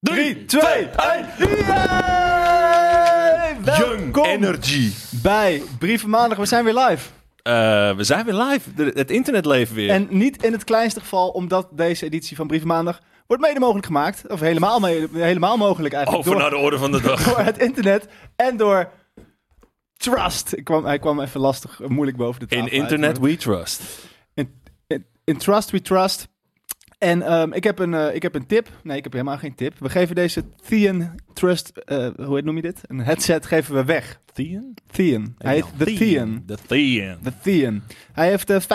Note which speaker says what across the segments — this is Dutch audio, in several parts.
Speaker 1: 3, 2, 1. Welkom
Speaker 2: Energy.
Speaker 1: bij Brieven Maandag. We zijn weer live.
Speaker 2: Eh, we zijn weer live. De- het internet leven weer.
Speaker 1: En niet in het kleinste geval, omdat deze editie van Brieven Maandag wordt mede mogelijk gemaakt. Of helemaal, mede- helemaal mogelijk eigenlijk.
Speaker 2: Over naar
Speaker 1: Door,
Speaker 2: de orde van de dag.
Speaker 1: door het internet en door trust. Ik kwam, hij kwam even lastig, eh, moeilijk boven de tafel.
Speaker 2: In
Speaker 1: uit,
Speaker 2: internet
Speaker 1: maar-
Speaker 2: we trust.
Speaker 1: in, in trust we trust. En ehm, ik, heb een, eh, ik heb een tip. Nee, ik heb helemaal geen tip. We geven deze Thean Trust, eh, hoe heet- noem je dit? Een headset geven we weg.
Speaker 2: Thean?
Speaker 1: Thean. Hij heet de Thean.
Speaker 2: De Thean.
Speaker 1: De Thean. Hij heeft eh, 5.8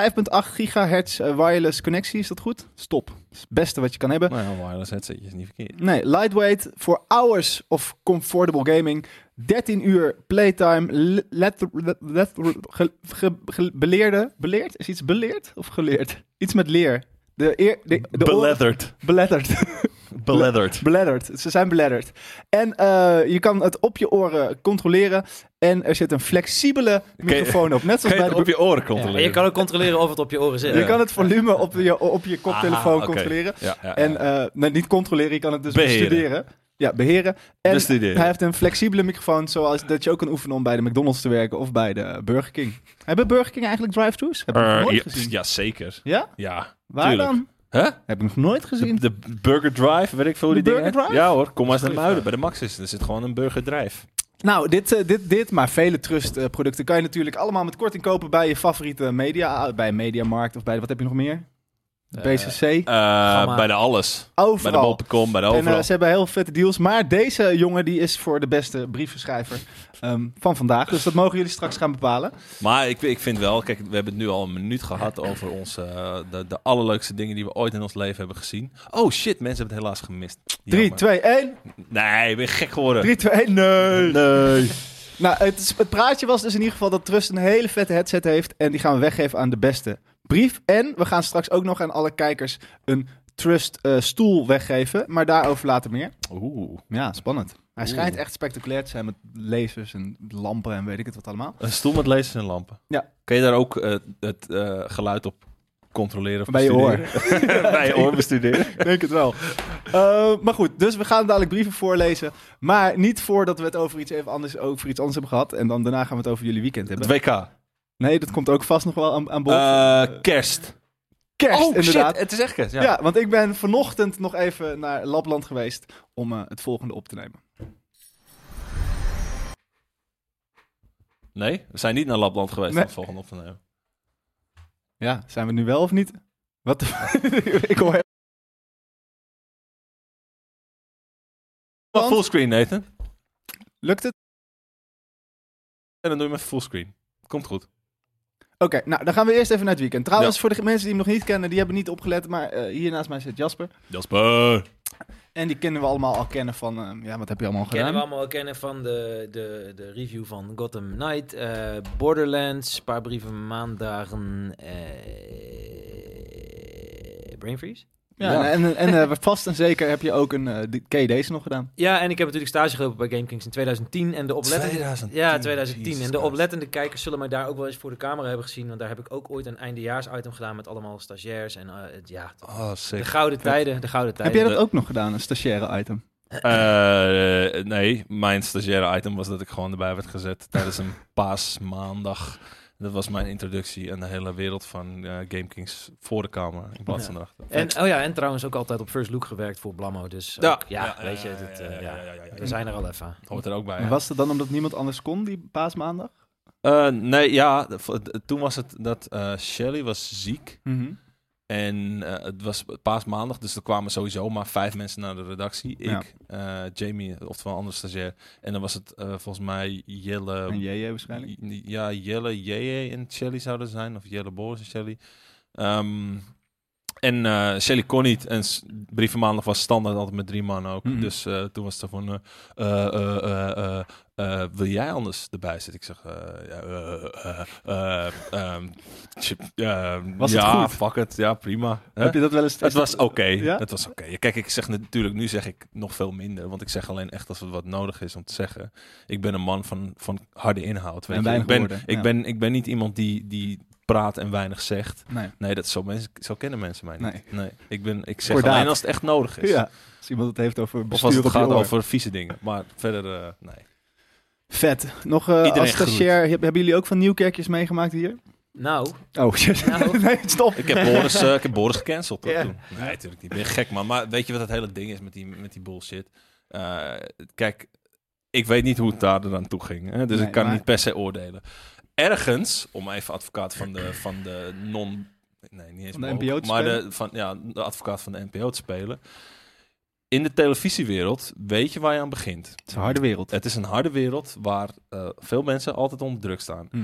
Speaker 1: gigahertz eh, wireless connectie. Is dat goed? Stop. Dat is het beste wat je kan hebben.
Speaker 2: Nou, wireless headsetjes is niet verkeerd.
Speaker 1: Nee, lightweight voor hours of comfortable gaming. 13 uur playtime. le- letter- le- letter- ge- ge- ge- beleerde. Beleerd? Is iets beleerd of geleerd? Iets met leer. De eer, de, de oren-
Speaker 2: Beleathered.
Speaker 1: Beletterd.
Speaker 2: Beleathered.
Speaker 1: beletterd. Ze zijn beletterd. En eh, je kan het op je oren controleren. En er zit een flexibele
Speaker 2: je-
Speaker 1: microfoon op. Net
Speaker 2: Kan
Speaker 1: zoals
Speaker 2: je
Speaker 1: bij
Speaker 2: het
Speaker 1: de
Speaker 2: op je oren controleren?
Speaker 3: En je kan ook controleren of het op je oren zit.
Speaker 1: Je
Speaker 2: Ja.
Speaker 1: kan het volume op je, op je koptelefoon
Speaker 2: Aha, oké.
Speaker 1: controleren.
Speaker 2: Ja, ja, ja.
Speaker 1: En eh, nee, niet controleren, je kan het dus
Speaker 2: Beheren.
Speaker 1: bestuderen. Ja, beheren. En
Speaker 2: Bestuderen.
Speaker 1: hij heeft een flexibele microfoon, zoals dat je ook kan oefenen om bij de McDonald's te werken of bij de Burger King. Hebben Burger King eigenlijk drive-thrus? Heb ik nog
Speaker 2: Eh,
Speaker 1: nooit
Speaker 2: ja,
Speaker 1: gezien.
Speaker 2: ja, zeker.
Speaker 1: Ja?
Speaker 2: Ja.
Speaker 1: Waar
Speaker 2: tuurlijk.
Speaker 1: dan?
Speaker 2: Huh?
Speaker 1: Heb ik nog nooit gezien.
Speaker 2: De, de Burger Drive, weet ik veel hoe die
Speaker 1: De
Speaker 2: dingen
Speaker 1: Burger
Speaker 2: heet.
Speaker 1: Drive?
Speaker 2: Ja hoor, kom maar eens naar
Speaker 1: Goeie
Speaker 2: Muiden.
Speaker 1: vraag.
Speaker 2: Bij de Max is er zit gewoon een Burger Drive.
Speaker 1: Nou, dit, eh, dit, dit, maar vele trustproducten producten kan je natuurlijk allemaal met korting kopen bij je favoriete media. Bij Mediamarkt of bij, de- wat heb je nog meer? BCC.
Speaker 2: Eh,
Speaker 3: Gamma.
Speaker 2: bij de alles. Bij de
Speaker 1: Overal.
Speaker 2: bol.com, bij de
Speaker 1: En
Speaker 2: overal.
Speaker 1: eh, ze hebben heel vette deals. Maar deze jongen die is voor de beste brievenschrijver ehm, van vandaag. Dus dat mogen jullie straks gaan bepalen.
Speaker 2: Maar ik, ik vind wel, kijk, we hebben het nu al een minuut gehad over onze, eh, de, de allerleukste dingen die we ooit in ons leven hebben gezien. Oh shit, mensen hebben het helaas gemist.
Speaker 1: 3,
Speaker 2: Jammer.
Speaker 1: 2, 1.
Speaker 2: Nee, ben je gek geworden.
Speaker 1: 3, 2, 1. Nee.
Speaker 2: Nee.
Speaker 1: Nou, het, is- het praatje was dus in ieder geval dat Trust een hele vette headset heeft. En die gaan we weggeven aan de beste brief. En we gaan straks ook nog aan alle kijkers een Trust eh, stoel weggeven. Maar daarover later meer.
Speaker 2: Oeh.
Speaker 1: Ja, spannend. Hij
Speaker 2: Oeh.
Speaker 1: schijnt echt spectaculair te zijn met lasers en lampen en weet ik het wat allemaal.
Speaker 2: Een stoel met lasers en lampen.
Speaker 1: Ja.
Speaker 2: Kun je daar ook eh, het eh, geluid op controleren of
Speaker 1: Bij je oor.
Speaker 2: bestuderen? Bij je oor bestuderen.
Speaker 1: Ik denk het wel. Eh, maar goed, dus we gaan dadelijk brieven voorlezen. Maar niet voordat we het over iets even anders, over iets anders hebben gehad. En dan daarna gaan we het over jullie weekend
Speaker 2: Het
Speaker 1: hebben.
Speaker 2: WK.
Speaker 1: Nee, dat komt ook vast nog wel aan, aan bod.
Speaker 2: Eh, kerst.
Speaker 1: Kerst,
Speaker 2: oh
Speaker 1: inderdaad.
Speaker 2: shit, het is echt kerst. Ja.
Speaker 1: ja. want ik ben vanochtend nog even naar Lapland geweest om eh, het volgende op te nemen.
Speaker 2: Nee, we zijn niet naar Lapland geweest om
Speaker 1: Nee.
Speaker 2: het volgende op te nemen.
Speaker 1: Ja, zijn we nu wel of niet? Wat de Ik hoor...
Speaker 2: Maar
Speaker 1: Want-
Speaker 2: fullscreen, Nathan.
Speaker 1: Lukt het?
Speaker 2: En dan doe je hem even fullscreen. Komt goed.
Speaker 1: Oké, nou dan gaan we eerst even naar het weekend. Trouwens,
Speaker 2: Ja.
Speaker 1: voor de mensen die hem nog niet kennen, die hebben niet opgelet, maar eh, hier naast mij zit Jasper.
Speaker 2: Jasper.
Speaker 1: En die kennen we allemaal al kennen van, eh, ja, wat heb je allemaal gedaan?
Speaker 3: Kennen we allemaal wel kennen van de, de, de review van Gotham Knight, eh, Borderlands, een paar brieven maandagen, eh Brain Freeze.
Speaker 1: Ja,
Speaker 2: Ja.
Speaker 1: en, en eh, vast en zeker heb je ook een eh, die- ken je deze nog gedaan.
Speaker 3: Ja, en ik heb natuurlijk stage gelopen bij GameKings in 2010 en de oplettende...
Speaker 2: 2010.
Speaker 3: Ja, 2010.
Speaker 2: Jezus
Speaker 3: en de
Speaker 2: Christus.
Speaker 3: oplettende kijkers zullen mij daar ook wel eens voor de camera hebben gezien. Want daar heb ik ook ooit een eindejaarsitem gedaan met allemaal stagiairs. En eh, het- ja,
Speaker 2: Oh,
Speaker 3: de
Speaker 2: sick.
Speaker 3: gouden tijden, de gouden
Speaker 1: Heb
Speaker 3: tijden.
Speaker 1: jij dat ook nog gedaan, een stagiaire item?
Speaker 2: Eh, nee, mijn stagiaire item was dat ik gewoon erbij werd gezet tijdens een paasmaandag. Dat was mijn introductie aan de hele wereld van eh GameKings voor de kamer in plaats van erachter.
Speaker 3: En, oh ja, en trouwens ook altijd op First Look gewerkt voor Blammo. Dus ook- ja, weet je, dit, eh, ja, we zijn er al even.
Speaker 2: Hoort er ook bij.
Speaker 1: En
Speaker 2: hè?
Speaker 1: Was dat dan omdat niemand anders kon, die paasmaandag?
Speaker 2: Eh, nee, ja, de- v- de- toen was het dat eh Shelly was ziek en eh, het was paasmaandag, dus er kwamen sowieso maar vijf mensen naar de redactie.
Speaker 1: Ja.
Speaker 2: Ik, eh, Jamie, oftewel een andere stagiair. En dan was het eh, volgens mij Jelle
Speaker 1: En JJ waarschijnlijk.
Speaker 2: J- Ja, Jelle, JJ en Shelly zouden zijn. Of Jelle, Boris en Shelly. Ehm, en eh Shelly kon niet. En s- Brieven Maandag was standaard altijd met drie man ook.
Speaker 1: Mhm.
Speaker 2: Dus eh, toen was het van... eh, eh, eh, eh, eh, eh, wil jij anders erbij zitten? Ik zeg... eh, ja, eh, eh, eh, ehm, tjip, ehm,
Speaker 1: Was het
Speaker 2: ja,
Speaker 1: goed?
Speaker 2: fuck it. Ja, prima. Hè?
Speaker 1: Heb je dat wel eens...
Speaker 2: Het was oké.
Speaker 1: Ja?
Speaker 2: Het was oké. Ja, Kijk, ik zeg natuurlijk, nu zeg ik nog veel minder. Want ik zeg alleen echt als het wat nodig is om te zeggen. Ik ben een man van, van harde inhoud. Weet
Speaker 1: En
Speaker 2: je.
Speaker 1: weinig
Speaker 2: Ik, ben,
Speaker 1: woorden,
Speaker 2: ik,
Speaker 1: ja.
Speaker 2: ben, ik ben niet iemand die, die praat en weinig zegt.
Speaker 1: Nee.
Speaker 2: Nee, dat zo, mensen, zo kennen mensen mij niet.
Speaker 1: Nee.
Speaker 2: Nee. Ik, ben, ik zeg
Speaker 1: Kordaat.
Speaker 2: alleen als het echt nodig is.
Speaker 1: Ja, als iemand het heeft over
Speaker 2: Of
Speaker 1: bestuur
Speaker 2: als het
Speaker 1: op je
Speaker 2: gaat
Speaker 1: oor.
Speaker 2: over vieze dingen. Maar verder, eh, nee.
Speaker 1: Vet. Nog eh
Speaker 2: Iedereen
Speaker 1: als
Speaker 2: groet.
Speaker 1: cashier, heb- hebben jullie ook van Nieuwkerkjes meegemaakt hier?
Speaker 3: Nou,
Speaker 1: Oh, shit.
Speaker 3: Nou.
Speaker 1: nee, stop.
Speaker 2: Ik heb Boris, eh, ik heb Boris gecanceld.
Speaker 1: Ja.
Speaker 2: Ja. Toen. Nee, natuurlijk niet. Ben je gek, man. Maar weet je wat het hele ding is met die, met die bullshit? Eh, kijk, ik weet niet hoe het daar dan toe ging. Hè? Dus
Speaker 1: Nee,
Speaker 2: ik kan
Speaker 1: maar-
Speaker 2: niet per se oordelen. Ergens, om even advocaat van de, van de non... Nee, niet eens
Speaker 1: Van de
Speaker 2: woke,
Speaker 1: NPO te
Speaker 2: Maar
Speaker 1: spelen?
Speaker 2: de, van, ja, de advocaat van de NPO te spelen. In de televisiewereld weet je waar je aan begint.
Speaker 1: Het is een harde wereld.
Speaker 2: Het is een harde wereld waar eh, veel mensen altijd onder druk staan
Speaker 1: Mhm.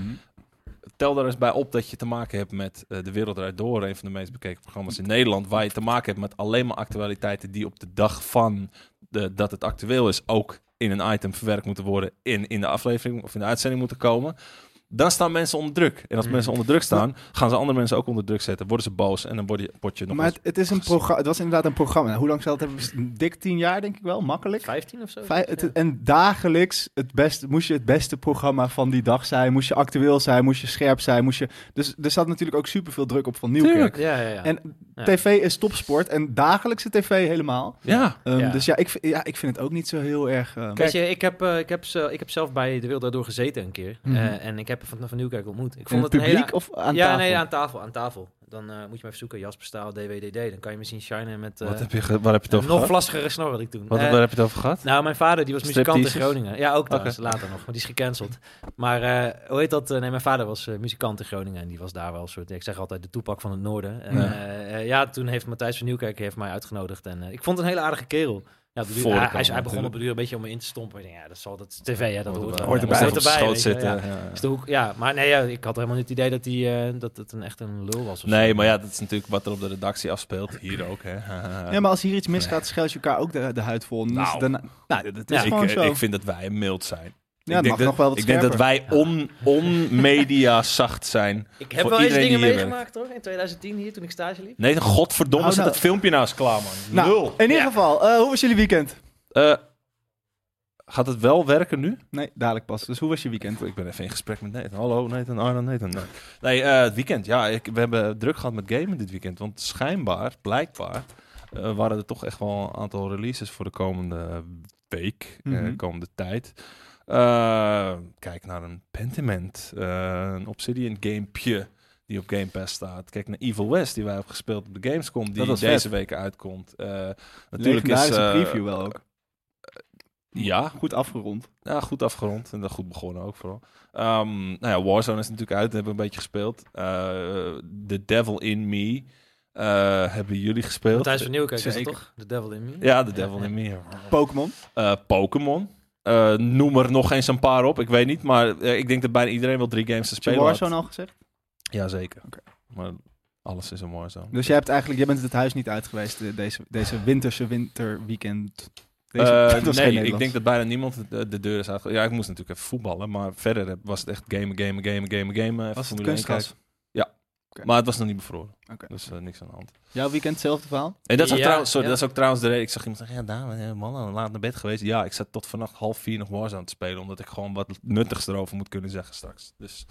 Speaker 2: tel daar eens bij op dat je te maken hebt met eh, De Wereld Draait Door, een van de meest bekeken programma's in Nederland, waar je te maken hebt met alleen maar actualiteiten die op de dag van de, dat het actueel is ook in een item verwerkt moeten worden, in, in de aflevering of in de uitzending moeten komen. Dan staan mensen onder druk. En als
Speaker 3: Mm.
Speaker 2: mensen onder druk staan, gaan ze andere mensen ook onder druk zetten. Worden ze boos en dan word je, word je nog
Speaker 1: Maar
Speaker 2: eens...
Speaker 1: het, het, is een programma, het was inderdaad een programma. Nou, hoe lang zal het hebben? best- Dik tien jaar, denk ik wel. Makkelijk.
Speaker 3: 15 of zo.
Speaker 1: Vij- het-
Speaker 3: Ja.
Speaker 1: En dagelijks het beste, moest je het beste programma van die dag zijn. Moest je actueel zijn, moest je scherp zijn. Moest je, dus er zat natuurlijk ook superveel druk op van Nieuwkerk.
Speaker 2: Tuurlijk.
Speaker 3: Ja, ja, ja.
Speaker 1: En
Speaker 3: Ja.
Speaker 1: tv is topsport en dagelijkse tv helemaal.
Speaker 2: Ja,
Speaker 1: Ehm,
Speaker 3: Ja.
Speaker 1: Dus ja ik, vind- ja, ik vind het ook niet zo heel erg... ehm,
Speaker 3: Weet je, ik heb, eh, ik, heb, ze- ik heb zelf bij De Wereld Daardoor gezeten een keer.
Speaker 1: Mhm.
Speaker 3: Eh, en ik heb van, van Nieuwkerk ontmoet. Ik
Speaker 1: in
Speaker 3: vond
Speaker 1: het
Speaker 3: het een hele-
Speaker 1: publiek of aan
Speaker 3: ja,
Speaker 1: tafel?
Speaker 3: nee, aan tafel. Aan tafel. Dan eh, moet je maar even zoeken. Jasper Staal, DWDD. Dan kan je me zien shinen met eh,
Speaker 2: wat heb je, ge- waar heb je het
Speaker 3: een
Speaker 2: over
Speaker 3: nog
Speaker 2: gehad?
Speaker 3: vlassigere snor had ik toen.
Speaker 2: Wat,
Speaker 3: Eh,
Speaker 2: waar heb je het over gehad?
Speaker 3: nou, mijn vader die was muzikant in
Speaker 2: Stripteases?
Speaker 3: Groningen. Ja, ook trouwens,
Speaker 2: Oké.
Speaker 3: later nog, want die is gecanceld. Maar eh, hoe heet dat? Eh, Nee, mijn vader was eh, muzikant in Groningen en die was daar wel een soort, ik zeg altijd, de toepak van het noorden. En,
Speaker 2: Ja.
Speaker 3: ja. ja, toen heeft Matthijs van Nieuwkerk heeft mij uitgenodigd en eh, ik vond het een hele aardige kerel. Ja, op de duur-
Speaker 2: Voor de
Speaker 3: hij, hij,
Speaker 2: camera
Speaker 3: hij begon
Speaker 2: natuurlijk.
Speaker 3: op de duur een beetje om me in te stompen. Ik denk, Ja, dat, zal, dat is tv, hè, dat hoort,
Speaker 2: Hoort
Speaker 3: wel.
Speaker 1: Hoort
Speaker 3: Ja,
Speaker 1: erbij.
Speaker 3: moest
Speaker 2: Op de
Speaker 3: erbij,
Speaker 2: schoot
Speaker 3: weet je,
Speaker 2: zitten.
Speaker 3: ja.
Speaker 2: ja, ja.
Speaker 3: Dus de hoek- ja, maar nee, ja, ik had helemaal niet het idee dat, die, eh, dat het een, echt een lul was. Of
Speaker 2: Nee,
Speaker 3: zo.
Speaker 2: maar ja, dat is natuurlijk wat er op de redactie afspeelt. Hier ook, hè.
Speaker 1: Ja, maar als hier iets misgaat, scheld je elkaar ook de, de huid vol. En dan is het
Speaker 2: Nou.
Speaker 1: daarna- nou, dat is
Speaker 3: Ja,
Speaker 2: ik,
Speaker 1: gewoon
Speaker 2: eh,
Speaker 1: zo.
Speaker 2: ik vind dat wij mild zijn.
Speaker 1: ja,
Speaker 2: ik
Speaker 1: het
Speaker 2: denk
Speaker 1: mag nog wel wat
Speaker 2: ik denk dat
Speaker 1: scherper.
Speaker 2: wij on, on-media zacht zijn.
Speaker 3: ik heb
Speaker 2: voor
Speaker 3: wel eens
Speaker 2: iedereen
Speaker 3: dingen
Speaker 2: die hier
Speaker 3: meegemaakt hoor, in 2010 hier toen ik stage liep.
Speaker 2: Nee, godverdomme,
Speaker 1: Oh,
Speaker 2: zet
Speaker 1: nou.
Speaker 2: dat filmpje nou eens klaar, man.
Speaker 1: Nou,
Speaker 2: Lul.
Speaker 1: in ieder
Speaker 3: Ja.
Speaker 1: geval, eh, hoe was jullie weekend?
Speaker 2: Eh, gaat het wel werken nu?
Speaker 1: Nee, dadelijk pas. Dus hoe was je weekend?
Speaker 2: Ik ben even in gesprek met Nathan. Hallo, Nathan, Arno, Nathan. Nee, nee eh, het weekend. Ja, ik, we hebben druk gehad met gamen dit weekend. Want schijnbaar, blijkbaar, eh, waren er toch echt wel een aantal releases voor de komende week, eh,
Speaker 1: Mhm.
Speaker 2: komende tijd. Eh, kijk naar een Pentiment, eh, een Obsidian gamepje die op Game Pass staat. Kijk naar Evil West, die wij hebben gespeeld op de Gamescom, die
Speaker 1: Dat was
Speaker 2: deze
Speaker 1: vet.
Speaker 2: week uitkomt. Eh, natuurlijk
Speaker 1: Natuurlijk
Speaker 2: is...
Speaker 1: is
Speaker 2: eh,
Speaker 1: een preview wel ook.
Speaker 2: Ja,
Speaker 1: Goed afgerond.
Speaker 2: ja, goed afgerond en dan goed begonnen ook vooral. Ehm, nou ja, Warzone is natuurlijk uit, hebben we een beetje gespeeld. Eh, The Devil in Me eh, hebben jullie gespeeld.
Speaker 3: Matthijs van Nieuwkerk is dat
Speaker 1: Zeker.
Speaker 3: toch? The Devil in Me.
Speaker 2: Ja, The Devil in Me.
Speaker 1: Pokémon.
Speaker 2: Eh, Pokémon. Eh, noem er nog eens een paar op, ik weet niet. Maar eh, ik denk dat bijna iedereen wel drie games te
Speaker 1: Heb je
Speaker 2: spelen had.
Speaker 1: Warzone al gezegd?
Speaker 2: Jazeker.
Speaker 1: Oké.
Speaker 2: Maar alles is een Warzone.
Speaker 1: Dus jij, hebt eigenlijk, jij bent het huis niet uit geweest eh, deze, deze winterse winterweekend. Deze,
Speaker 2: Eh,
Speaker 1: dat was geen
Speaker 2: nee, ik
Speaker 1: Nederlands.
Speaker 2: denk dat bijna niemand eh, de, de deur is uitge... Ja, ik moest natuurlijk even voetballen. Maar verder heb- was het echt gamen, gamen, gamen, gamen, gamen. Even
Speaker 1: Was het
Speaker 2: Formule 1
Speaker 1: kunstgras?
Speaker 2: kijken. Maar het was nog niet bevroren.
Speaker 1: Oké.
Speaker 2: Dus eh, niks aan de hand.
Speaker 1: Jouw weekend hetzelfde verhaal?
Speaker 2: En dat is, ook
Speaker 3: Ja,
Speaker 2: trouwens, sorry,
Speaker 3: ja.
Speaker 2: dat is ook trouwens de reden. Ik zag iemand zeggen, ja, Daan, eh, man, laat naar bed geweest. Ja, ik zat tot vannacht half vier nog Warzone te spelen. Omdat ik gewoon wat nuttigs erover moet kunnen zeggen straks. Dus,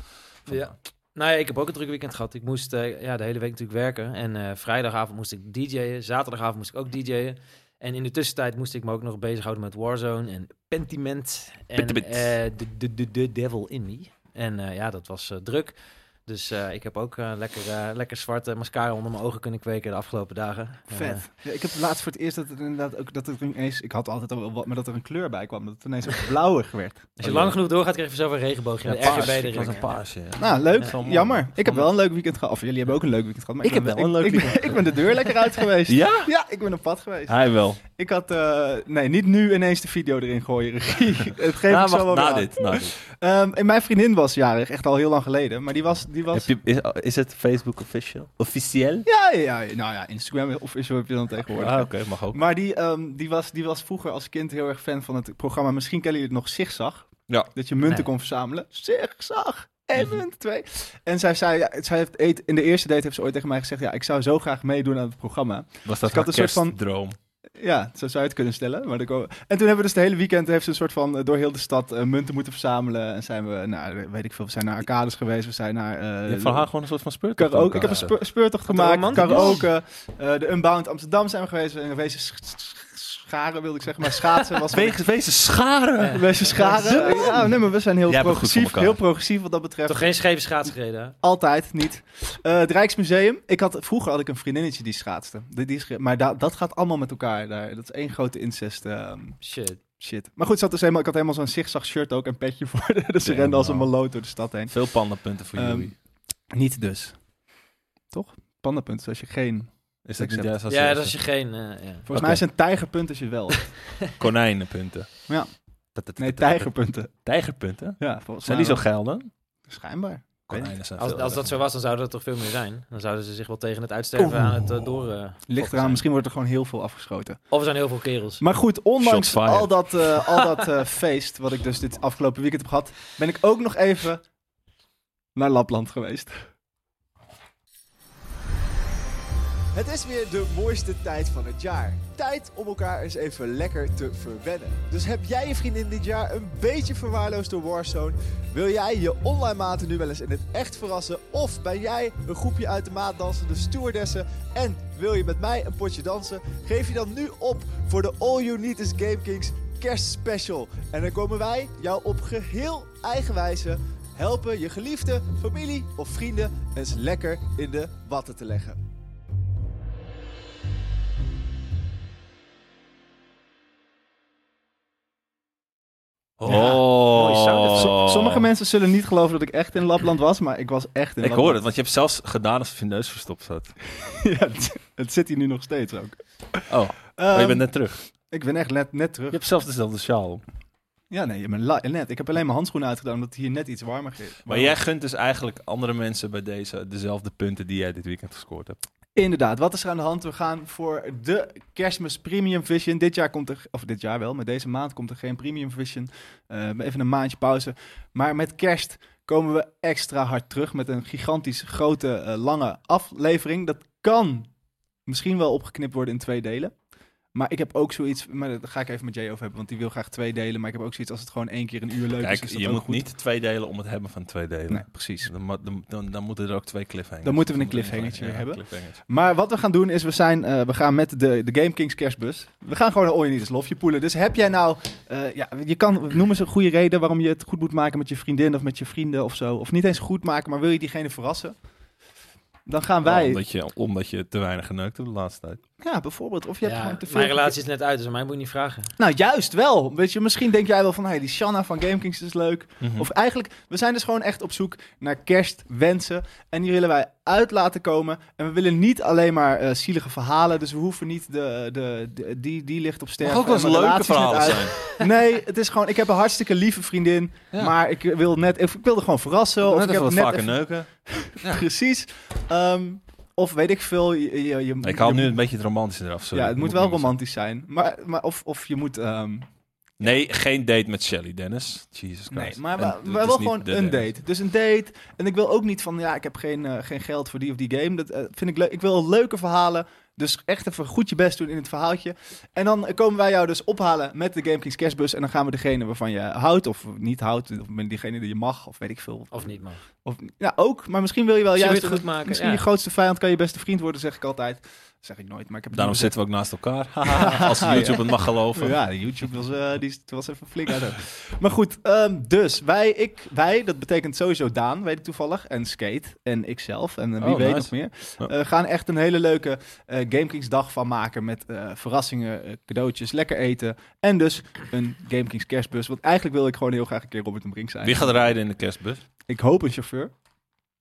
Speaker 3: Ja. Nou ja, ik heb ook een druk weekend gehad. Ik moest eh, ja, de hele week natuurlijk werken. En eh, vrijdagavond moest ik DJ'en. Zaterdagavond moest ik ook DJ'en. En in de tussentijd moest ik me ook nog bezighouden met Warzone en Pentiment. En
Speaker 2: Pentiment.
Speaker 3: eh, de, de, de, de Devil in Me. En eh, ja, dat was eh, druk. Dus eh, ik heb ook eh, lekker, eh, lekker zwarte mascara onder mijn ogen kunnen kweken de afgelopen dagen. Eh,
Speaker 1: Vet. Ja, ik heb laatst voor het eerst dat het inderdaad ook dat het ineens. Ik had altijd al wel wat, maar dat er een kleur bij kwam. Dat het ineens ook blauwig werd.
Speaker 3: als je
Speaker 2: Oh,
Speaker 3: lang
Speaker 2: ja.
Speaker 3: genoeg doorgaat, krijg je zelf een regenboogje.
Speaker 2: Ja,
Speaker 3: en een
Speaker 2: paars.
Speaker 3: RGB
Speaker 2: Het was
Speaker 3: erin.
Speaker 2: een paasje. ja.
Speaker 1: Nou, leuk.
Speaker 2: Ja, wel mooi.
Speaker 1: Jammer. Ik heb wel een leuk weekend gehad. Of jullie hebben ook een leuk weekend gehad. Maar
Speaker 2: Ik
Speaker 1: ben
Speaker 2: heb
Speaker 1: wel-
Speaker 2: wel een leuk
Speaker 1: ik, ik, ben, ik ben de deur lekker uit geweest.
Speaker 2: Ja? Ah.
Speaker 1: Ja, ik ben op pad geweest.
Speaker 2: Hij wel.
Speaker 1: Ik had. eh, nee, niet nu ineens de video erin gooien, regie. Het geeft
Speaker 2: Nou,
Speaker 1: ik zo wel
Speaker 2: wacht,
Speaker 1: weer
Speaker 2: na
Speaker 1: aan.
Speaker 2: dit. Na dit.
Speaker 1: Ehm, en mijn vriendin was jarig, echt al heel lang geleden. Maar die was. Die was
Speaker 2: Heb je, is, is het Facebook official? Officieel?
Speaker 1: ja, ja, ja, nou ja, Instagram of zo heb je dan tegenwoordig.
Speaker 2: Ah, oké, mag ook.
Speaker 1: Maar die, ehm, die, was, die was vroeger als kind heel erg fan van het programma. Misschien kennen jullie het nog Zigzag.
Speaker 2: Ja.
Speaker 1: Dat je munten
Speaker 3: Nee.
Speaker 1: kon verzamelen. Zigzag! En munt twee. En zij zei, ja, zij heeft, eet- in de eerste date heeft ze ooit tegen mij gezegd... ja, ik zou zo graag meedoen aan het programma.
Speaker 2: Was dat
Speaker 1: Ik had
Speaker 2: een
Speaker 1: een
Speaker 2: soort
Speaker 1: soort van-
Speaker 2: droom?
Speaker 1: Ja, zo zou je het kunnen stellen. Maar er komen- En toen hebben we dus de hele weekend heeft ze een soort van eh, door heel de stad eh, munten moeten verzamelen. En zijn we, nou weet ik veel, we zijn naar arcades geweest, we zijn naar... eh,
Speaker 2: Je hebt van haar gewoon een soort van speurtocht.
Speaker 1: Karaoke. Ik heb een
Speaker 2: elkaar.
Speaker 1: speur- speurtocht gemaakt.
Speaker 3: romantisch.
Speaker 1: Karaoke. eh, de Unbound Amsterdam zijn we geweest. We zijn geweest sch- sch- scharen, wilde ik zeggen. Maar schaatsen was...
Speaker 2: Wegens, wezen scharen.
Speaker 3: Ja.
Speaker 1: Wees scharen. Ja, nee, maar we zijn heel
Speaker 2: Jij bent goed voor
Speaker 1: progressief.
Speaker 2: elkaar.
Speaker 1: Heel progressief wat dat betreft.
Speaker 3: Toch geen scheve schaats gereden, hè?
Speaker 1: Altijd niet. Eh, het Rijksmuseum. Ik had, vroeger had ik een vriendinnetje die schaatste. Die, die scha- maar da- dat gaat allemaal met elkaar. Daar. Dat is één grote incest. ehm,
Speaker 3: Shit.
Speaker 1: shit. Maar goed, zat dus helemaal, ik had helemaal zo'n zigzag shirt ook en petje voor. dus ze
Speaker 2: Damn,
Speaker 1: rende als een
Speaker 2: nou.
Speaker 1: maloot door de stad heen.
Speaker 2: Veel pandapunten voor
Speaker 1: Ehm,
Speaker 2: jullie.
Speaker 1: Niet dus. Toch? Pandapunt. Als je geen...
Speaker 2: Is dat niet
Speaker 1: accept.
Speaker 2: juist als
Speaker 3: Ja, dat
Speaker 2: eerste?
Speaker 3: is je geen... eh, ja.
Speaker 1: Volgens mij is een tijgerpunt als je wel. hebt.
Speaker 2: konijnenpunten?
Speaker 1: Ja.
Speaker 2: Dat- dat-
Speaker 1: Nee, Nou.
Speaker 2: dat- dat-
Speaker 1: tijgerpunten.
Speaker 2: Tijgerpunten?
Speaker 1: Ja, volgens
Speaker 2: Zijn
Speaker 1: mij
Speaker 2: die zo
Speaker 1: wel.
Speaker 2: geil dan?
Speaker 1: Schijnbaar.
Speaker 2: Konijnen zijn
Speaker 3: Als,
Speaker 2: veel
Speaker 3: als dat zo
Speaker 2: erger.
Speaker 3: was, dan zouden er toch veel meer zijn. Dan zouden ze zich wel tegen het uitsterven aan het eh, door... eh,
Speaker 1: Ligt eraan, misschien wordt er gewoon heel veel afgeschoten.
Speaker 3: Of er zijn heel veel kerels.
Speaker 1: Maar goed, ondanks
Speaker 2: Shots fired.
Speaker 1: al dat, eh, al dat eh, feest wat ik dus dit afgelopen weekend heb gehad, ben ik ook nog even naar Lapland geweest. Het is weer de mooiste tijd van het jaar. Tijd om elkaar eens even lekker te verwennen. Dus heb jij je vriendin dit jaar een beetje verwaarloosd door Warzone? Wil jij je online maten nu wel eens in het echt verrassen? Of ben jij een groepje uit de maat dansende stewardessen? En wil je met mij een potje dansen? Geef je dan nu op voor de All You Need Is Game Kings kerstspecial. En dan komen wij jou op geheel eigen wijze helpen je geliefde, familie of vrienden eens lekker in de watten te leggen.
Speaker 3: Ja, mooi sound effect.
Speaker 2: Oh.
Speaker 1: Dus Sommige mensen zullen niet geloven dat ik echt in Lapland was, maar ik was echt in
Speaker 2: Ik
Speaker 1: Lapland.
Speaker 2: hoor het, want je hebt zelfs gedaan alsof je neus verstopt zat.
Speaker 1: Ja, het, het zit hier nu nog steeds ook.
Speaker 2: Oh, maar je
Speaker 1: Ehm,
Speaker 2: bent net terug.
Speaker 1: Ik ben echt net, net terug.
Speaker 2: Je hebt zelfs dezelfde sjaal. om.
Speaker 1: Ja, nee, je bent la- net. Ik heb alleen mijn handschoenen uitgedaan omdat het hier net iets warmer is.
Speaker 2: Maar jij gunt dus eigenlijk andere mensen bij deze dezelfde punten die jij dit weekend gescoord hebt.
Speaker 1: Inderdaad, wat is er aan de hand? We gaan voor de Kerstmis Premium Vision. Dit jaar komt er, of dit jaar wel, maar deze maand komt er geen Premium Vision. Eh, even een maandje pauze. Maar met kerst komen we extra hard terug met een gigantisch grote, eh, lange aflevering. Dat kan misschien wel opgeknipt worden in twee delen. Maar ik heb ook zoiets, maar daar ga ik even met Jay over hebben, want die wil graag twee delen. Maar ik heb ook zoiets als het gewoon één keer een uur leuk is.
Speaker 2: Kijk,
Speaker 1: is dat
Speaker 2: je
Speaker 1: ook
Speaker 2: moet
Speaker 1: goed.
Speaker 2: niet twee delen om het hebben van twee delen.
Speaker 1: Nee, precies.
Speaker 2: Dan, mo- dan, dan, dan moeten er ook twee cliffhangers.
Speaker 1: Dan moeten we een
Speaker 2: Dan moet er
Speaker 1: cliffhangertje
Speaker 2: ja,
Speaker 1: hebben.
Speaker 2: cliffhangers.
Speaker 1: Maar wat we gaan doen is, we, zijn, eh, we gaan met de, de Game Kings kerstbus. We gaan gewoon naar All You Need Is Love, je poelen. Dus heb jij nou, eh, ja, je kan, noem eens een goede reden waarom je het goed moet maken met je vriendin of met je vrienden of zo. Of niet eens goed maken, maar wil je diegene verrassen? Dan gaan
Speaker 2: Wij...
Speaker 1: wij,
Speaker 2: Omdat, je, omdat je te weinig geneukt hebt de laatste tijd.
Speaker 1: ja, bijvoorbeeld, of je hebt
Speaker 3: Ja,
Speaker 1: gewoon te veel...
Speaker 3: mijn relatie is net uit, dus aan mij moet je niet vragen.
Speaker 1: Nou, juist wel. Weet je, misschien denk jij wel van, hey, die Shanna van Game Kings is leuk.
Speaker 2: Hm.
Speaker 1: Of eigenlijk, we zijn dus gewoon echt op zoek naar kerstwensen. En die willen wij uit laten komen. En we willen niet alleen maar eh, zielige verhalen. Dus we hoeven niet de, de, de- die, die ligt op sterven.
Speaker 2: mag ook wel eens
Speaker 1: en mijn
Speaker 2: leuke
Speaker 1: relatie is net uit.
Speaker 2: verhalen zijn.
Speaker 1: Nee, het is gewoon, ik heb een hartstikke lieve vriendin.
Speaker 2: Ja.
Speaker 1: Maar ik, wil net, ik wilde gewoon verrassen. Of
Speaker 2: Net
Speaker 1: ik heb
Speaker 2: even wat
Speaker 1: net
Speaker 2: vaker
Speaker 1: even-
Speaker 2: neuken.
Speaker 1: Precies. Ehm, of weet ik veel. Je, je, je-
Speaker 2: Ik haal
Speaker 1: je-
Speaker 2: nu een beetje het romantische eraf. sorry.
Speaker 1: Ja, het moet
Speaker 2: ik
Speaker 1: wel
Speaker 2: niet
Speaker 1: romantisch zijn. Maar, maar of, of je moet... ehm,
Speaker 2: zeggen. Nee, geen date met Shelly, Dennis. Jesus Christ.
Speaker 1: Nee, maar,
Speaker 2: En
Speaker 1: maar,
Speaker 2: het
Speaker 1: maar
Speaker 2: is
Speaker 1: wel
Speaker 2: niet
Speaker 1: gewoon
Speaker 2: de
Speaker 1: een
Speaker 2: Dennis.
Speaker 1: date. Dus een date. En ik wil ook niet van, ja, ik heb geen, eh, geen geld voor die of die game. Dat eh, vind ik leuk. Ik wil leuke verhalen. Dus echt even goed je best doen in het verhaaltje. En dan eh, komen wij jou dus ophalen met de Game Kings kerstbus. En dan gaan we degene waarvan je houdt of niet houdt. Of met diegene die je mag of weet ik veel.
Speaker 3: Of niet, man.
Speaker 1: Of, ja, ook. Maar misschien wil je wel
Speaker 3: Misschien wil
Speaker 1: Oh, juist...
Speaker 3: je het goed maken,
Speaker 1: misschien
Speaker 3: ja.
Speaker 1: je grootste vijand kan je beste vriend worden, zeg ik altijd. Dat zeg ik nooit, maar ik heb het
Speaker 2: Daarom
Speaker 1: niet
Speaker 2: zitten we ook naast elkaar. Als YouTube het mag geloven.
Speaker 1: ja, YouTube was, eh, die was even flink uit. Maar goed, ehm, dus wij, ik, wij, dat betekent sowieso Daan, weet ik toevallig, en Skate en ikzelf en eh, wie
Speaker 2: Oh,
Speaker 1: weet
Speaker 2: nice.
Speaker 1: nog meer.
Speaker 2: Ja.
Speaker 1: eh, gaan echt een hele leuke eh GameKings dag van maken met eh, verrassingen, eh, cadeautjes, lekker eten en dus een GameKings kerstbus. Want eigenlijk wil ik gewoon heel graag een keer Robert en Brink zijn.
Speaker 2: Wie gaat rijden in de kerstbus?
Speaker 1: Ik hoop een chauffeur,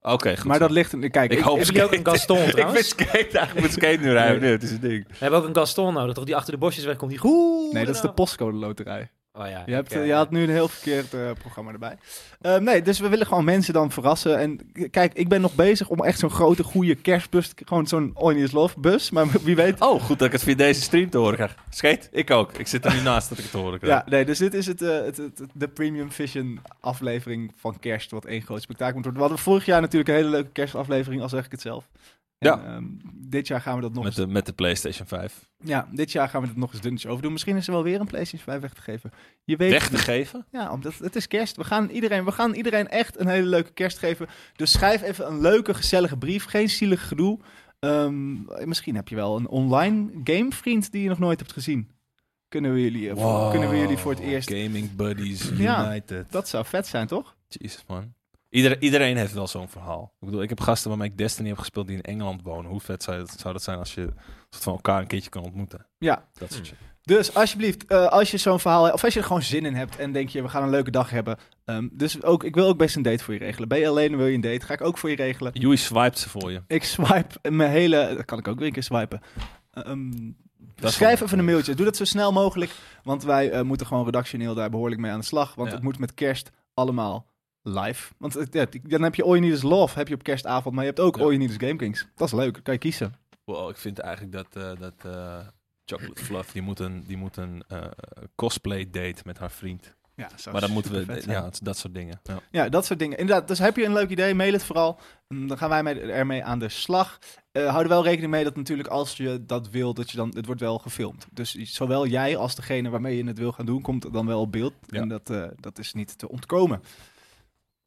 Speaker 2: Oké, goed.
Speaker 1: maar
Speaker 2: zo.
Speaker 1: dat ligt... in- Kijk,
Speaker 2: Ik hoop
Speaker 3: Hebben jullie ook een Gaston,
Speaker 2: Ik
Speaker 3: trouwens?
Speaker 2: vind skate eigenlijk moet skate nu rijden.
Speaker 1: Nee,
Speaker 2: Nee, het is een ding.
Speaker 3: We hebben ook een Gaston nodig, toch? Die achter de bosjes wegkomt. Die goed.
Speaker 1: Nee, dat is de postcode loterij.
Speaker 3: Oh ja.
Speaker 1: Je, hebt,
Speaker 3: oké.
Speaker 1: je had nu een heel verkeerd eh, programma erbij. Eh, nee, dus we willen gewoon mensen dan verrassen. En k- kijk, ik ben nog bezig om echt zo'n grote, goede kerstbus... te- Gewoon zo'n Onions Love bus. Maar wie weet...
Speaker 2: Oh, goed dat ik het via deze stream te horen krijg. Skate? Ik ook. Ik zit er nu naast dat ik het te horen krijg.
Speaker 1: Ja, nee, dus dit is het, eh, het, het- het- de Premium Vision aflevering van kerst. Wat één groot spektakel moet worden. We hadden vorig jaar natuurlijk een hele leuke kerstaflevering, al zeg ik het zelf.
Speaker 2: Ja.
Speaker 1: En, ehm, dit jaar gaan we dat nog
Speaker 2: Met
Speaker 1: eens...
Speaker 2: de, met de PlayStation 5.
Speaker 1: Ja, dit jaar gaan we dat nog eens dunnetjes overdoen. Misschien is er wel weer een PlayStation 5 weg te geven. Je weet
Speaker 2: Weg te geven?
Speaker 1: Ja, omdat het is kerst. We gaan, iedereen, we gaan iedereen echt een hele leuke kerst geven. Dus schrijf even een leuke, gezellige brief. Geen zielig gedoe. Ehm, misschien heb je wel een online gamevriend die je nog nooit hebt gezien. Kunnen we jullie, eh, voor-
Speaker 2: Wow.
Speaker 1: kunnen we jullie voor het eerst...
Speaker 2: Gaming Buddies
Speaker 1: Ja.
Speaker 2: United.
Speaker 1: Dat zou vet zijn, toch?
Speaker 2: Jezus, man. Ieder, iedereen heeft wel zo'n verhaal. Ik bedoel, ik heb gasten waarmee ik Destiny heb gespeeld die in Engeland wonen. Hoe vet zou, zou dat zijn als je soort van elkaar een keertje kan ontmoeten?
Speaker 1: Ja.
Speaker 2: Dat soort shit.
Speaker 1: Dus alsjeblieft, eh, als je zo'n verhaal hebt, of als je er gewoon zin in hebt en denk je, we gaan een leuke dag hebben. ehm, dus ook, ik wil ook best een date voor je regelen. Ben je alleen, wil je een date? Ga ik ook voor je regelen.
Speaker 2: Joey swiped ze voor je.
Speaker 1: Ik swipe mijn hele. Dat kan ik ook weer een keer swipen. Ehm,
Speaker 2: Dat
Speaker 1: schrijf
Speaker 2: kan.
Speaker 1: even een mailtje. Doe dat zo snel mogelijk. Want wij eh, moeten gewoon redactioneel daar behoorlijk mee aan de slag. Want
Speaker 2: Ja.
Speaker 1: het moet met kerst allemaal live. Want het- ja, dan heb je All You Need Is Love heb je op kerstavond. Maar je hebt ook
Speaker 2: Ja.
Speaker 1: All You Need Is Game Kings. Dat is leuk. Kan je kiezen.
Speaker 2: Wow, ik vind eigenlijk dat, eh, dat eh, Chocolate Fluff, die moet een, die moet een eh, cosplay date met haar vriend.
Speaker 1: Ja, zou
Speaker 2: maar dan moeten we,
Speaker 1: supervet zijn.
Speaker 2: ja, het- dat soort dingen. Ja.
Speaker 1: Ja, dat soort dingen. Inderdaad, dus heb je een leuk idee, mail het vooral. Mm, Dan gaan wij mee- ermee aan de slag. Eh hou er wel rekening mee dat natuurlijk als je dat wil, dat je dan, het wordt wel gefilmd. Dus zowel jij als degene waarmee je het wil gaan doen, komt dan wel op beeld.
Speaker 2: Ja.
Speaker 1: En dat, eh, dat is niet te ontkomen.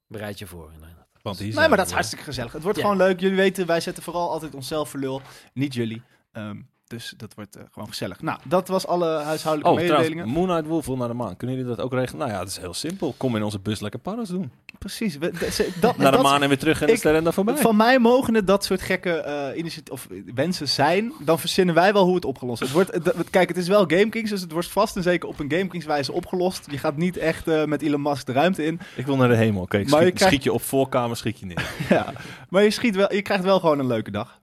Speaker 3: Bereid je voor. inderdaad.
Speaker 2: Want hier
Speaker 1: nee,
Speaker 2: zijn
Speaker 1: maar dat
Speaker 2: we
Speaker 1: is
Speaker 2: weer.
Speaker 1: hartstikke gezellig. Het wordt
Speaker 3: Ja.
Speaker 1: gewoon leuk. Jullie weten, wij zetten vooral altijd onszelf voor lul. Niet jullie. Ehm, dus dat wordt eh, gewoon gezellig. Nou, dat was alle huishoudelijke
Speaker 2: Oh, trouwens,
Speaker 1: mededelingen.
Speaker 2: Moon Knight Wolf wil naar de maan. Kunnen jullie dat ook regelen? Nou ja, het is heel simpel. Kom in onze bus lekker parras doen.
Speaker 1: Precies. We- dat- ze- dat,
Speaker 2: Naar de
Speaker 1: dat-
Speaker 2: maan en weer terug en de
Speaker 1: ik-
Speaker 2: sterren en daar voorbij.
Speaker 1: Van mij mogen het dat soort gekke eh, initiat- of eh, wensen zijn. Dan verzinnen wij wel hoe het opgelost is. Het wordt, eh, dat- kijk, het is wel GameKings, dus het wordt vast en zeker op een GameKings wijze opgelost. Je gaat niet echt eh, met Elon Musk de ruimte in.
Speaker 2: Ik wil naar de hemel. Kijk,
Speaker 1: Maar
Speaker 2: schiet,
Speaker 1: je krijgt-
Speaker 2: schiet je op voorkamer, schiet je neer.
Speaker 1: ja. Maar je, schiet wel, je krijgt wel gewoon een leuke dag.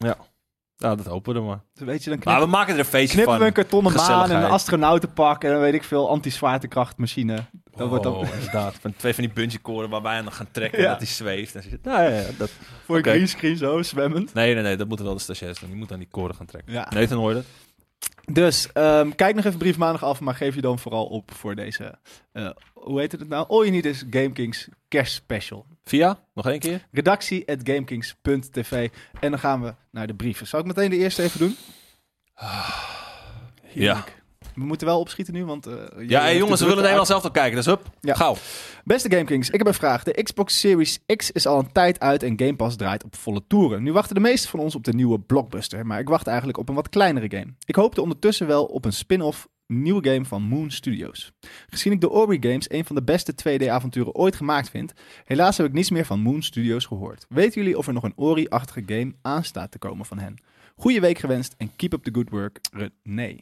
Speaker 2: nou, dat hopen we dan maar.
Speaker 1: Dus weet je, dan
Speaker 2: Maar
Speaker 1: knip,
Speaker 2: we maken er een feestje
Speaker 1: knippen
Speaker 2: van.
Speaker 1: we een kartonnen maan en een
Speaker 2: Gezelligheid.
Speaker 1: astronautenpak en dan weet ik veel anti-zwaartekrachtmachine. Dat wordt dan
Speaker 2: Oh, inderdaad. Van twee van die bungee koorden waarbij je aan gaan trekken
Speaker 1: Ja.
Speaker 2: en dat die zweeft. En zit, nou, ja, ja, dat...
Speaker 1: voor een
Speaker 2: Oké.
Speaker 1: greenscreen zo zwemmend.
Speaker 2: Nee, nee, nee, dat moeten wel de stagiairs doen. Die moeten aan die koorden gaan trekken.
Speaker 1: Ja.
Speaker 2: Nee, dan hoor je dat.
Speaker 1: Dus ehm, kijk nog even brief maandag af, maar geef je dan vooral op voor deze. eh, hoe heet het nou? All you need is GameKings kerstspecial.
Speaker 2: Via, nog één keer.
Speaker 1: redactie.gamekings.tv. En dan gaan we naar de brieven. Zal ik meteen de eerste even doen? Heerlijk. We moeten wel opschieten nu, want... eh, jullie
Speaker 2: Ja, hey,
Speaker 1: hebben
Speaker 2: jongens, we
Speaker 1: natuurlijk
Speaker 2: willen Nederland
Speaker 1: uit-
Speaker 2: zelf al kijken. Dus hup,
Speaker 1: Ja.
Speaker 2: gauw.
Speaker 1: Beste Gamekings, ik heb een vraag. De Xbox Series X is al een tijd uit en Game Pass draait op volle toeren. Nu wachten de meesten van ons op de nieuwe blockbuster, maar ik wacht eigenlijk op een wat kleinere game. Ik hoopte ondertussen wel op een spin-off nieuwe game van Moon Studios. Gezien ik de Ori Games een van de beste 2D-avonturen ooit gemaakt vind, helaas heb ik niets meer van Moon Studios gehoord. Weten jullie of er nog een Ori-achtige game aanstaat te komen van hen? Goeie week gewenst en keep up the good work, René.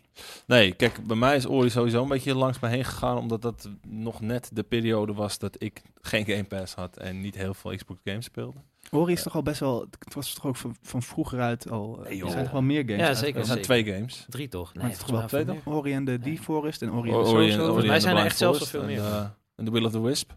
Speaker 2: Nee, kijk, bij mij is Ori sowieso een beetje langs me heen gegaan. Omdat dat nog net de periode was dat ik geen Game Pass had. En niet heel veel Xbox games speelde.
Speaker 1: Ori is toch al best wel, het was toch ook van, van vroeger uit al, eh,
Speaker 2: Nee, joh.
Speaker 1: er zijn toch wel meer games
Speaker 3: Ja,
Speaker 1: uit?
Speaker 3: zeker.
Speaker 2: Er zijn twee games.
Speaker 3: Drie toch? Nee,
Speaker 1: Maar het is toch
Speaker 3: volgens
Speaker 2: wel
Speaker 3: mij
Speaker 2: twee,
Speaker 3: veel
Speaker 1: Ori en de D-Forest en Ori en de
Speaker 2: Ori- Ori-
Speaker 1: Soulstone.
Speaker 2: Ori-
Speaker 3: Wij
Speaker 2: and
Speaker 3: zijn
Speaker 2: the
Speaker 3: er
Speaker 2: Blind
Speaker 3: echt zelfs
Speaker 2: Forest
Speaker 3: al veel
Speaker 2: en,
Speaker 3: meer.
Speaker 2: eh, En The Will of the Wisp.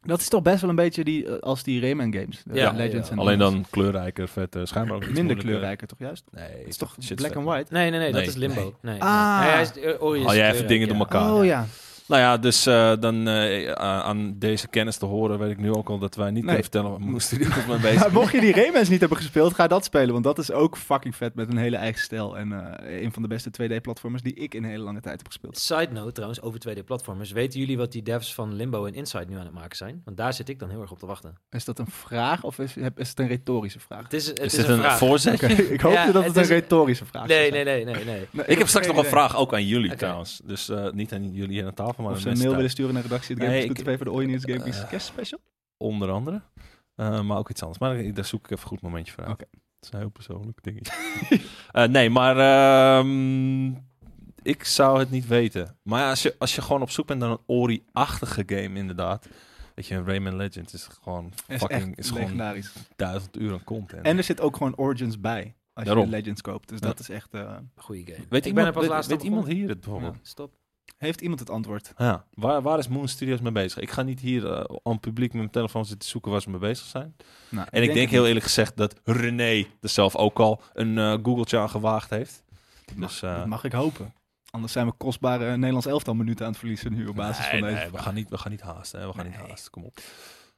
Speaker 1: Dat is toch best wel een beetje die, eh, als die Rayman games. de
Speaker 3: Ja,
Speaker 1: Legends
Speaker 3: ja.
Speaker 1: en
Speaker 2: Alleen
Speaker 1: alles.
Speaker 2: dan kleurrijker, vetter. Schijnbaar ook iets
Speaker 1: Minder
Speaker 2: moeilijker.
Speaker 1: kleurrijker toch juist?
Speaker 2: Nee.
Speaker 1: Het is toch
Speaker 2: shit
Speaker 1: black
Speaker 2: vet.
Speaker 1: and white?
Speaker 3: Nee, nee, nee,
Speaker 2: Nee,
Speaker 3: dat is Limbo.
Speaker 2: nee.
Speaker 3: Nee. nee.
Speaker 1: Ah.
Speaker 3: Nee, hij is, eh, Ori is
Speaker 2: Haal jij even
Speaker 3: kleur,
Speaker 2: dingen
Speaker 3: ja.
Speaker 2: door elkaar.
Speaker 1: Oh ja.
Speaker 2: Nou ja, dus eh, dan eh, eh, aan deze kennis te horen weet ik nu ook al dat wij niet
Speaker 1: Nee.
Speaker 2: kunnen vertellen wat mijn studie met mij bezig
Speaker 1: Maar mocht je die Raymans niet hebben gespeeld, ga dat spelen. Want dat is ook fucking vet met een hele eigen stijl. En eh, een van de beste 2D-platformers die ik in een hele lange tijd heb gespeeld.
Speaker 3: Side note trouwens, over 2D-platformers. Weten jullie wat die devs van Limbo en Inside nu aan het maken zijn? Want daar zit ik dan heel erg op te wachten.
Speaker 1: Is dat een vraag of is, heb- is het een retorische vraag?
Speaker 3: Het is, het
Speaker 2: is
Speaker 3: is,
Speaker 2: dit
Speaker 3: een,
Speaker 2: een,
Speaker 3: vraag.
Speaker 2: voorzet?
Speaker 1: Oké, ik hoop
Speaker 3: Ja,
Speaker 1: dat het,
Speaker 3: het is-
Speaker 1: een retorische vraag Nou,
Speaker 3: Nee,
Speaker 1: is.
Speaker 3: nee, nee, nee, nee.
Speaker 2: Ik heb straks nog een vraag ook aan jullie
Speaker 3: Oké.
Speaker 2: trouwens. Dus eh, niet aan jullie aan de tafel, maar
Speaker 1: Of
Speaker 2: aan
Speaker 1: ze
Speaker 2: de
Speaker 1: een
Speaker 2: mensen
Speaker 1: mail willen
Speaker 2: thuis.
Speaker 1: sturen naar
Speaker 2: Nee,
Speaker 1: redactie.games.tv
Speaker 2: ik-
Speaker 1: voor de All You Need Is Game Geeks
Speaker 2: Eh,
Speaker 1: kerstspecial.
Speaker 2: Onder andere. Eh, maar ook iets anders. Maar ik- daar zoek ik even een goed momentje voor uit.
Speaker 1: Oké.
Speaker 2: Dat is een heel persoonlijk dingetje. Eh, nee, maar ehm, ik zou het niet weten. Maar ja, als je, als je gewoon op zoek bent naar een Ori-achtige game inderdaad. Weet je, een Rayman Legends is gewoon
Speaker 1: Is
Speaker 2: fucking
Speaker 1: echt
Speaker 2: is gewoon
Speaker 1: legendarisch.
Speaker 2: duizend uur aan content.
Speaker 1: En er zit ook gewoon Origins bij. Als
Speaker 2: Daarom.
Speaker 1: je de Legends koopt. Dus
Speaker 2: Ja.
Speaker 1: dat is echt. eh,
Speaker 3: Goeie game.
Speaker 2: weet
Speaker 3: ik
Speaker 2: iemand-
Speaker 3: ben er pas
Speaker 2: weet-
Speaker 3: laatst
Speaker 2: weet
Speaker 3: aan
Speaker 2: iemand
Speaker 3: begonnen.
Speaker 2: hier het bijvoorbeeld?
Speaker 3: Ja, Stop.
Speaker 1: heeft iemand het antwoord?
Speaker 2: Ja, waar, waar is Moon Studios mee bezig? Ik ga niet hier eh, aan het publiek met mijn telefoon zitten zoeken waar ze mee bezig zijn.
Speaker 1: Nou,
Speaker 2: En ik denk heel eerlijk gezegd dat René er zelf ook al een eh googeltje aan gewaagd heeft. Dus, eh,
Speaker 1: Dat mag ik hopen. Anders zijn we kostbare Nederlands elftal minuten aan het verliezen nu op basis
Speaker 2: nee,
Speaker 1: van
Speaker 2: nee,
Speaker 1: deze.
Speaker 2: we, gaan niet, we gaan niet haasten. Hè? We gaan niet
Speaker 1: Nee.
Speaker 2: haasten, kom op.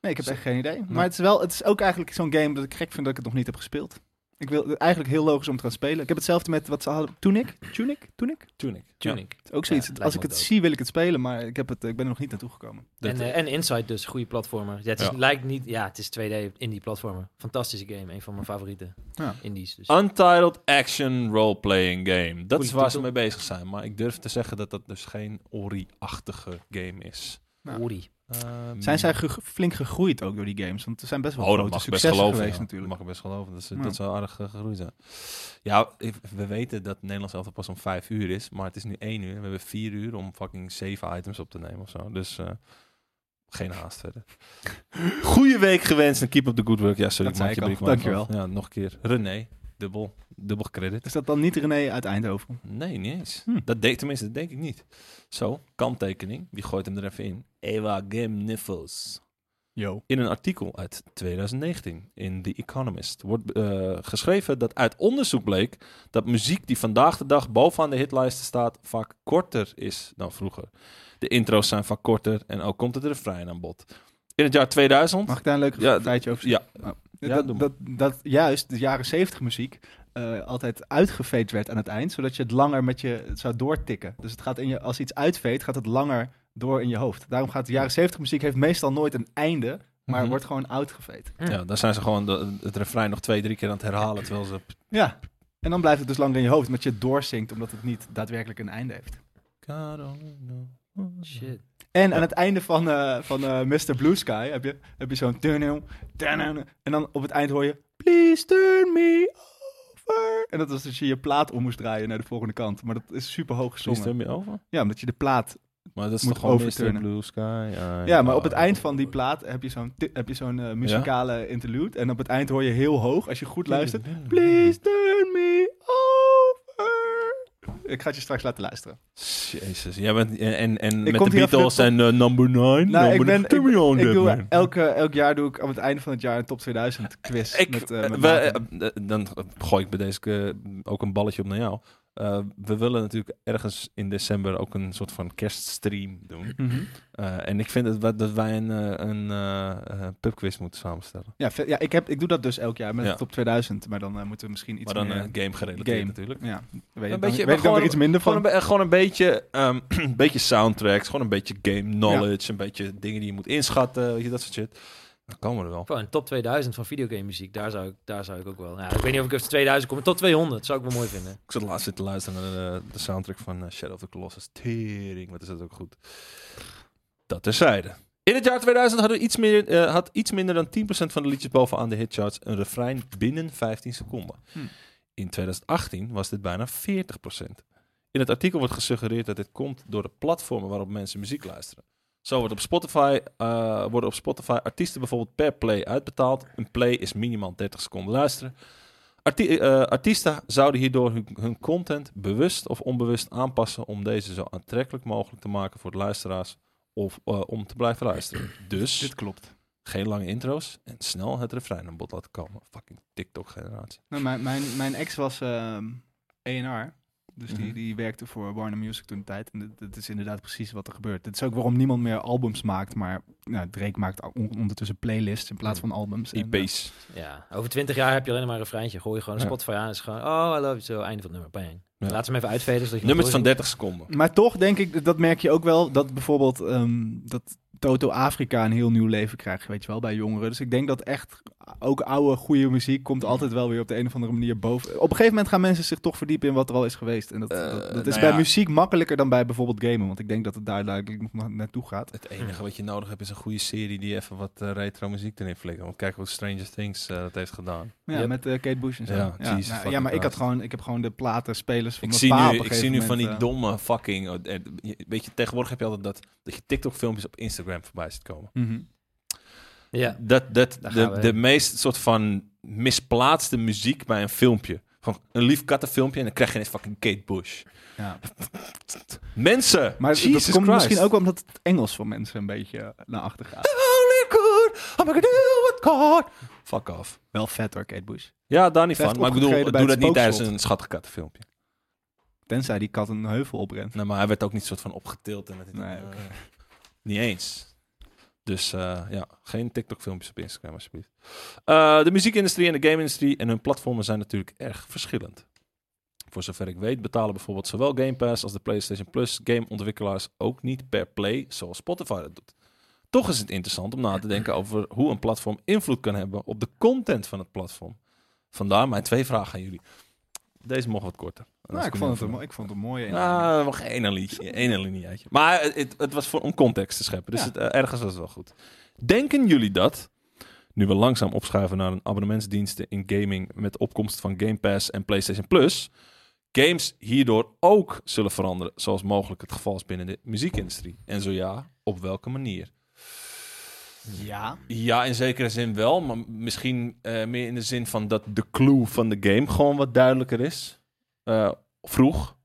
Speaker 1: Nee, ik heb echt geen idee. Maar het is wel, het is ook eigenlijk zo'n game dat ik gek vind dat ik het nog niet heb gespeeld. Ik wil eigenlijk heel logisch om te gaan spelen. Ik heb hetzelfde met wat ze hadden. Tunic? Tunic? Tunic?
Speaker 2: Tunic.
Speaker 3: Tunic.
Speaker 1: Het is ook zoiets.
Speaker 3: Ja, lijkt
Speaker 1: Als
Speaker 3: me
Speaker 1: ik het
Speaker 3: ook.
Speaker 1: zie, wil ik het spelen, maar ik, heb het, eh, ik ben er nog niet naartoe gekomen.
Speaker 2: Dat-
Speaker 3: En, eh, en Inside dus, goede platformer. Ja, het is,
Speaker 2: Ja.
Speaker 3: lijkt niet... Ja, het is 2D indie platformer. Fantastische game. Een van mijn favoriete
Speaker 1: Ja.
Speaker 3: indies.
Speaker 2: Oh.
Speaker 3: Dus.
Speaker 2: Untitled Action Role-Playing Game. Dat is
Speaker 3: Goeie
Speaker 2: waar ze mee
Speaker 3: titel.
Speaker 2: bezig zijn. Maar ik durf te zeggen dat dat dus geen Ori-achtige game is.
Speaker 1: Nou.
Speaker 3: Ori.
Speaker 2: Ehm,
Speaker 1: Zijn zij ge- flink gegroeid ook door die games? Want er zijn best wel
Speaker 2: Oh, dat
Speaker 1: grote
Speaker 2: mag ik best
Speaker 1: successen
Speaker 2: geloven.
Speaker 1: geweest
Speaker 2: ja.
Speaker 1: natuurlijk.
Speaker 2: Dat mag ik best geloven. Dat, ze,
Speaker 1: Ja.
Speaker 2: dat zou aardig eh, gegroeid zijn. Ja, ik- we weten dat Nederlands elftal pas om vijf uur is. Maar het is nu één uur. We hebben vier uur om fucking zeven items op te nemen of zo. Dus eh, geen haast verder. Goeie week gewenst en keep up the good work. Ja, sorry.
Speaker 1: Dat zei
Speaker 2: maak
Speaker 1: ik
Speaker 2: je
Speaker 1: al.
Speaker 2: brief maar af.
Speaker 1: Dankjewel.
Speaker 2: Ja, nog een keer. René. Dubbel. Dubbel credit.
Speaker 1: Is dat dan niet René uit Eindhoven?
Speaker 2: Nee, niet eens.
Speaker 1: Hm.
Speaker 2: Dat deed, tenminste, dat denk ik niet. Zo, kanttekening. Wie gooit hem er even in? Eva Game Niffels.
Speaker 1: Yo.
Speaker 2: In een artikel uit 2019 in The Economist wordt eh, geschreven dat uit onderzoek bleek dat muziek die vandaag de dag bovenaan de hitlijsten staat vaak korter is dan vroeger. De intro's zijn vaak korter en ook komt het refrein aan bod. In het jaar 2000...
Speaker 1: Mag ik daar een leuk
Speaker 2: Ja, d-
Speaker 1: feitje over
Speaker 2: ja.
Speaker 1: Oh.
Speaker 2: Ja, doe
Speaker 1: dat,
Speaker 2: maar.
Speaker 1: dat, dat juist de jaren 70 muziek eh, altijd uitgeveed werd aan het eind, zodat je het langer met je het zou doortikken. Dus het gaat in je, als iets uitveet, gaat het langer door in je hoofd. Daarom gaat de jaren 70 muziek heeft meestal nooit een einde, maar
Speaker 2: Mhm.
Speaker 1: wordt gewoon uitgeveed.
Speaker 2: Ja, daar zijn ze gewoon de- het refrein nog twee, drie keer aan het herhalen terwijl ze...
Speaker 1: Ja. En dan blijft het dus langer in je hoofd, omdat je het doorzinkt, omdat het niet daadwerkelijk een einde heeft.
Speaker 3: Shit.
Speaker 1: En aan het einde van, eh, van eh, Mr. Blue Sky heb je, heb je zo'n... tunnel, tunnel, En dan op het eind hoor je... Please turn me over. En dat was dat je je plaat om moest draaien naar de volgende kant. Maar dat is super hoog
Speaker 2: Zo
Speaker 1: gezongen.
Speaker 2: stem je over?
Speaker 1: Ja, omdat je de plaat...
Speaker 2: Maar dat is
Speaker 1: Moet
Speaker 2: toch gewoon Mr.
Speaker 1: overturnen.
Speaker 2: Blue Sky?
Speaker 1: Ja, maar op het eind van die plaat heb je zo'n, ti- heb je zo'n eh, muzikale interlude. En op het eind hoor je heel hoog, als je goed luistert... Please turn me over. Ik ga het je straks laten luisteren.
Speaker 2: Jezus, jij bent... En, en, en
Speaker 1: Ik
Speaker 2: met
Speaker 1: kom
Speaker 2: de
Speaker 1: hier even
Speaker 2: Beatles
Speaker 1: op-
Speaker 2: en eh, Number 9.
Speaker 1: Nou, ik
Speaker 2: number
Speaker 1: ben,
Speaker 2: Turn me on,
Speaker 1: ik, ik doe
Speaker 2: Deadman.
Speaker 1: elke, elk jaar doe ik aan het einde van het jaar een top 2000 quiz.
Speaker 2: Ik,
Speaker 1: met, eh,
Speaker 2: eh,
Speaker 1: met
Speaker 2: we-
Speaker 1: Maarten.
Speaker 2: eh, eh, dan gooi ik bij deze eh, ook een balletje op naar jou. Eh, we willen natuurlijk ergens in december ook een soort van kerststream doen.
Speaker 1: Mhm.
Speaker 2: Eh, en ik vind het wat- dat wij een, eh, een eh, eh, pubquiz moeten samenstellen.
Speaker 1: Ja, ve- ja ik, heb, ik doe dat dus elk jaar met
Speaker 2: Ja.
Speaker 1: de top 2000. Maar dan eh, moeten we misschien iets
Speaker 2: maar dan
Speaker 1: meer...
Speaker 2: een game gerelateerd
Speaker 1: game.
Speaker 2: natuurlijk.
Speaker 1: ja, dan weet,
Speaker 2: Een
Speaker 1: ik-
Speaker 2: beetje-
Speaker 1: dan
Speaker 2: maar
Speaker 1: weet ik dan
Speaker 2: gewoon-
Speaker 1: weer iets minder
Speaker 2: Gewoon
Speaker 1: van.
Speaker 2: een, be- eh, gewoon een beetje, ehm, een beetje soundtracks, gewoon een beetje game knowledge, een beetje dingen die je moet inschatten, weet je, dat soort shit. Dan komen we er wel.
Speaker 3: Gewoon een top 2000 van videogame muziek. Daar zou ik, daar zou ik ook wel... Nou, ik weet niet of ik op de 2000 kom. maar Top 200 zou ik wel mooi vinden.
Speaker 2: Ik zat laatst zitten luisteren naar eh, de, soundtrack van eh, Shadow of the Colossus. Tering, wat is dat ook goed. Dat terzijde. In het jaar 2000 hadden we iets meer, eh, had iets minder dan 10% van de liedjes bovenaan de hitcharts een refrein binnen 15 seconden.
Speaker 1: Hm.
Speaker 2: In 2018 was dit bijna 40%. In het artikel wordt gesuggereerd dat dit komt door de platformen waarop mensen muziek luisteren. Zo wordt op Spotify, eh, worden op Spotify artiesten bijvoorbeeld per play uitbetaald. Een play is minimaal 30 seconden luisteren. Arti- eh, artiesten zouden hierdoor hun, hun content bewust of onbewust aanpassen om deze zo aantrekkelijk mogelijk te maken voor de luisteraars of eh, om te blijven luisteren. Dus
Speaker 1: Dit klopt.
Speaker 2: geen lange intro's en snel het refrein aan bod laten komen. Fucking TikTok-generatie.
Speaker 1: Nou, mijn, mijn, mijn ex was ehm A&R. Dus die,
Speaker 2: Mhm.
Speaker 1: die werkte voor Warner Music toen de tijd. En dat- dat is inderdaad precies wat er gebeurt. Dit is ook waarom niemand meer albums maakt. Maar nou, Drake maakt al- on- ondertussen playlists in plaats
Speaker 2: Mhm.
Speaker 1: van albums. En, eh,
Speaker 2: IP's.
Speaker 3: Ja, over 20 jaar heb je alleen maar een refreintje. Gooi je gewoon een
Speaker 2: Ja.
Speaker 3: Spotify aan. en is gewoon, oh, I love you so. Einde van het nummer. Bang.
Speaker 2: Ja.
Speaker 3: Laat ze hem even uitveden. Zodat je
Speaker 2: Nummers van
Speaker 3: hem door-
Speaker 2: 30 seconden.
Speaker 1: Maar toch denk ik, dat- dat merk je ook wel, dat bijvoorbeeld ehm, dat Toto Afrika een heel nieuw leven krijgt, weet je wel, bij jongeren. Dus ik denk dat echt ook oude, goede muziek komt altijd wel weer op de een of andere manier boven. Op een gegeven moment gaan mensen zich toch verdiepen in wat er al is geweest. En dat,
Speaker 2: Eh,
Speaker 1: dat, dat is
Speaker 2: nou
Speaker 1: bij
Speaker 2: ja.
Speaker 1: muziek makkelijker dan bij bijvoorbeeld gamen, want ik denk dat het daar duidelijk nog na- naartoe gaat.
Speaker 2: Het enige wat je nodig hebt is een goede serie die even wat eh, retro muziek erin flikkert. Want kijk hoe Stranger Things eh, dat heeft gedaan.
Speaker 1: Ja,
Speaker 3: Yep.
Speaker 1: met eh, Kate Bush en zo.
Speaker 2: Ja,
Speaker 1: Ja,
Speaker 2: Jesus
Speaker 1: nou,
Speaker 2: fucking
Speaker 1: ja, maar ik, had
Speaker 2: Christ.
Speaker 1: gewoon, ik heb gewoon de platenspelers van
Speaker 2: Ik
Speaker 1: mijn
Speaker 2: zie,
Speaker 1: pa op
Speaker 2: nu,
Speaker 1: een
Speaker 2: ik zie
Speaker 1: gegeven
Speaker 2: nu van die
Speaker 1: moment, eh,
Speaker 2: domme fucking... eh, eh, je- Weet je, tegenwoordig heb je altijd dat, dat je TikTok-filmpjes op Instagram voorbij ziet komen.
Speaker 1: mhm.
Speaker 3: Ja.
Speaker 2: Dat, dat
Speaker 3: Daar gaan
Speaker 2: de,
Speaker 3: we
Speaker 2: de
Speaker 3: heen.
Speaker 2: meest soort van misplaatste muziek bij een filmpje. Gewoon een lief kattenfilmpje en dan krijg je ineens fucking Kate Bush.
Speaker 1: Ja.
Speaker 2: Mensen!
Speaker 1: Maar
Speaker 2: Jesus
Speaker 1: dat komt
Speaker 2: Christ.
Speaker 1: misschien ook wel omdat het Engels voor mensen een beetje eh, naar achter gaat.
Speaker 2: Only good, I'm gonna do what God... Fuck off.
Speaker 1: Wel vet hoor, Kate Bush.
Speaker 2: Ja, daar niet
Speaker 1: Werd
Speaker 2: van. Maar ik bedoel, doe
Speaker 1: opgetreden bij
Speaker 2: dat
Speaker 1: het
Speaker 2: niet tijdens
Speaker 1: spookslot.
Speaker 2: een schattig kattenfilmpje.
Speaker 1: Tenzij die kat een heuvel oprent.
Speaker 2: Nou, maar hij werd ook eh, niet soort van opgetild. En dat-
Speaker 1: Nee,
Speaker 2: eh,
Speaker 1: oké.
Speaker 2: Niet eens. Dus eh, ja, geen TikTok-filmpjes op Instagram, alsjeblieft. Eh, de muziekindustrie en de game-industrie en hun platformen zijn natuurlijk erg verschillend. Voor zover ik weet betalen bijvoorbeeld zowel Game Pass als de PlayStation Plus gameontwikkelaars ook niet per play zoals Spotify dat doet. Toch is het interessant om na te denken over hoe een platform invloed kan hebben op de content van het platform. Vandaar mijn twee vragen aan jullie. Deze mocht wat korter.
Speaker 1: Nou, ik vond, het een, mooi- ik vond het een mooie. inleiding.
Speaker 2: Ah, nog één liedje, één lineaatje. Maar het, het was voor, om context te scheppen, dus
Speaker 1: Ja.
Speaker 2: het, eh, ergens was het wel goed. Denken jullie dat, nu we langzaam opschuiven naar een abonnementsdiensten in gaming met opkomst van Game Pass en PlayStation Plus, games hierdoor ook zullen veranderen, zoals mogelijk het geval is binnen de muziekindustrie? En zo ja, op welke manier?
Speaker 1: Ja.
Speaker 2: Ja, in zekere zin wel, maar misschien eh, meer in de zin van dat de clue van de game gewoon wat duidelijker is. Eh, vroeg.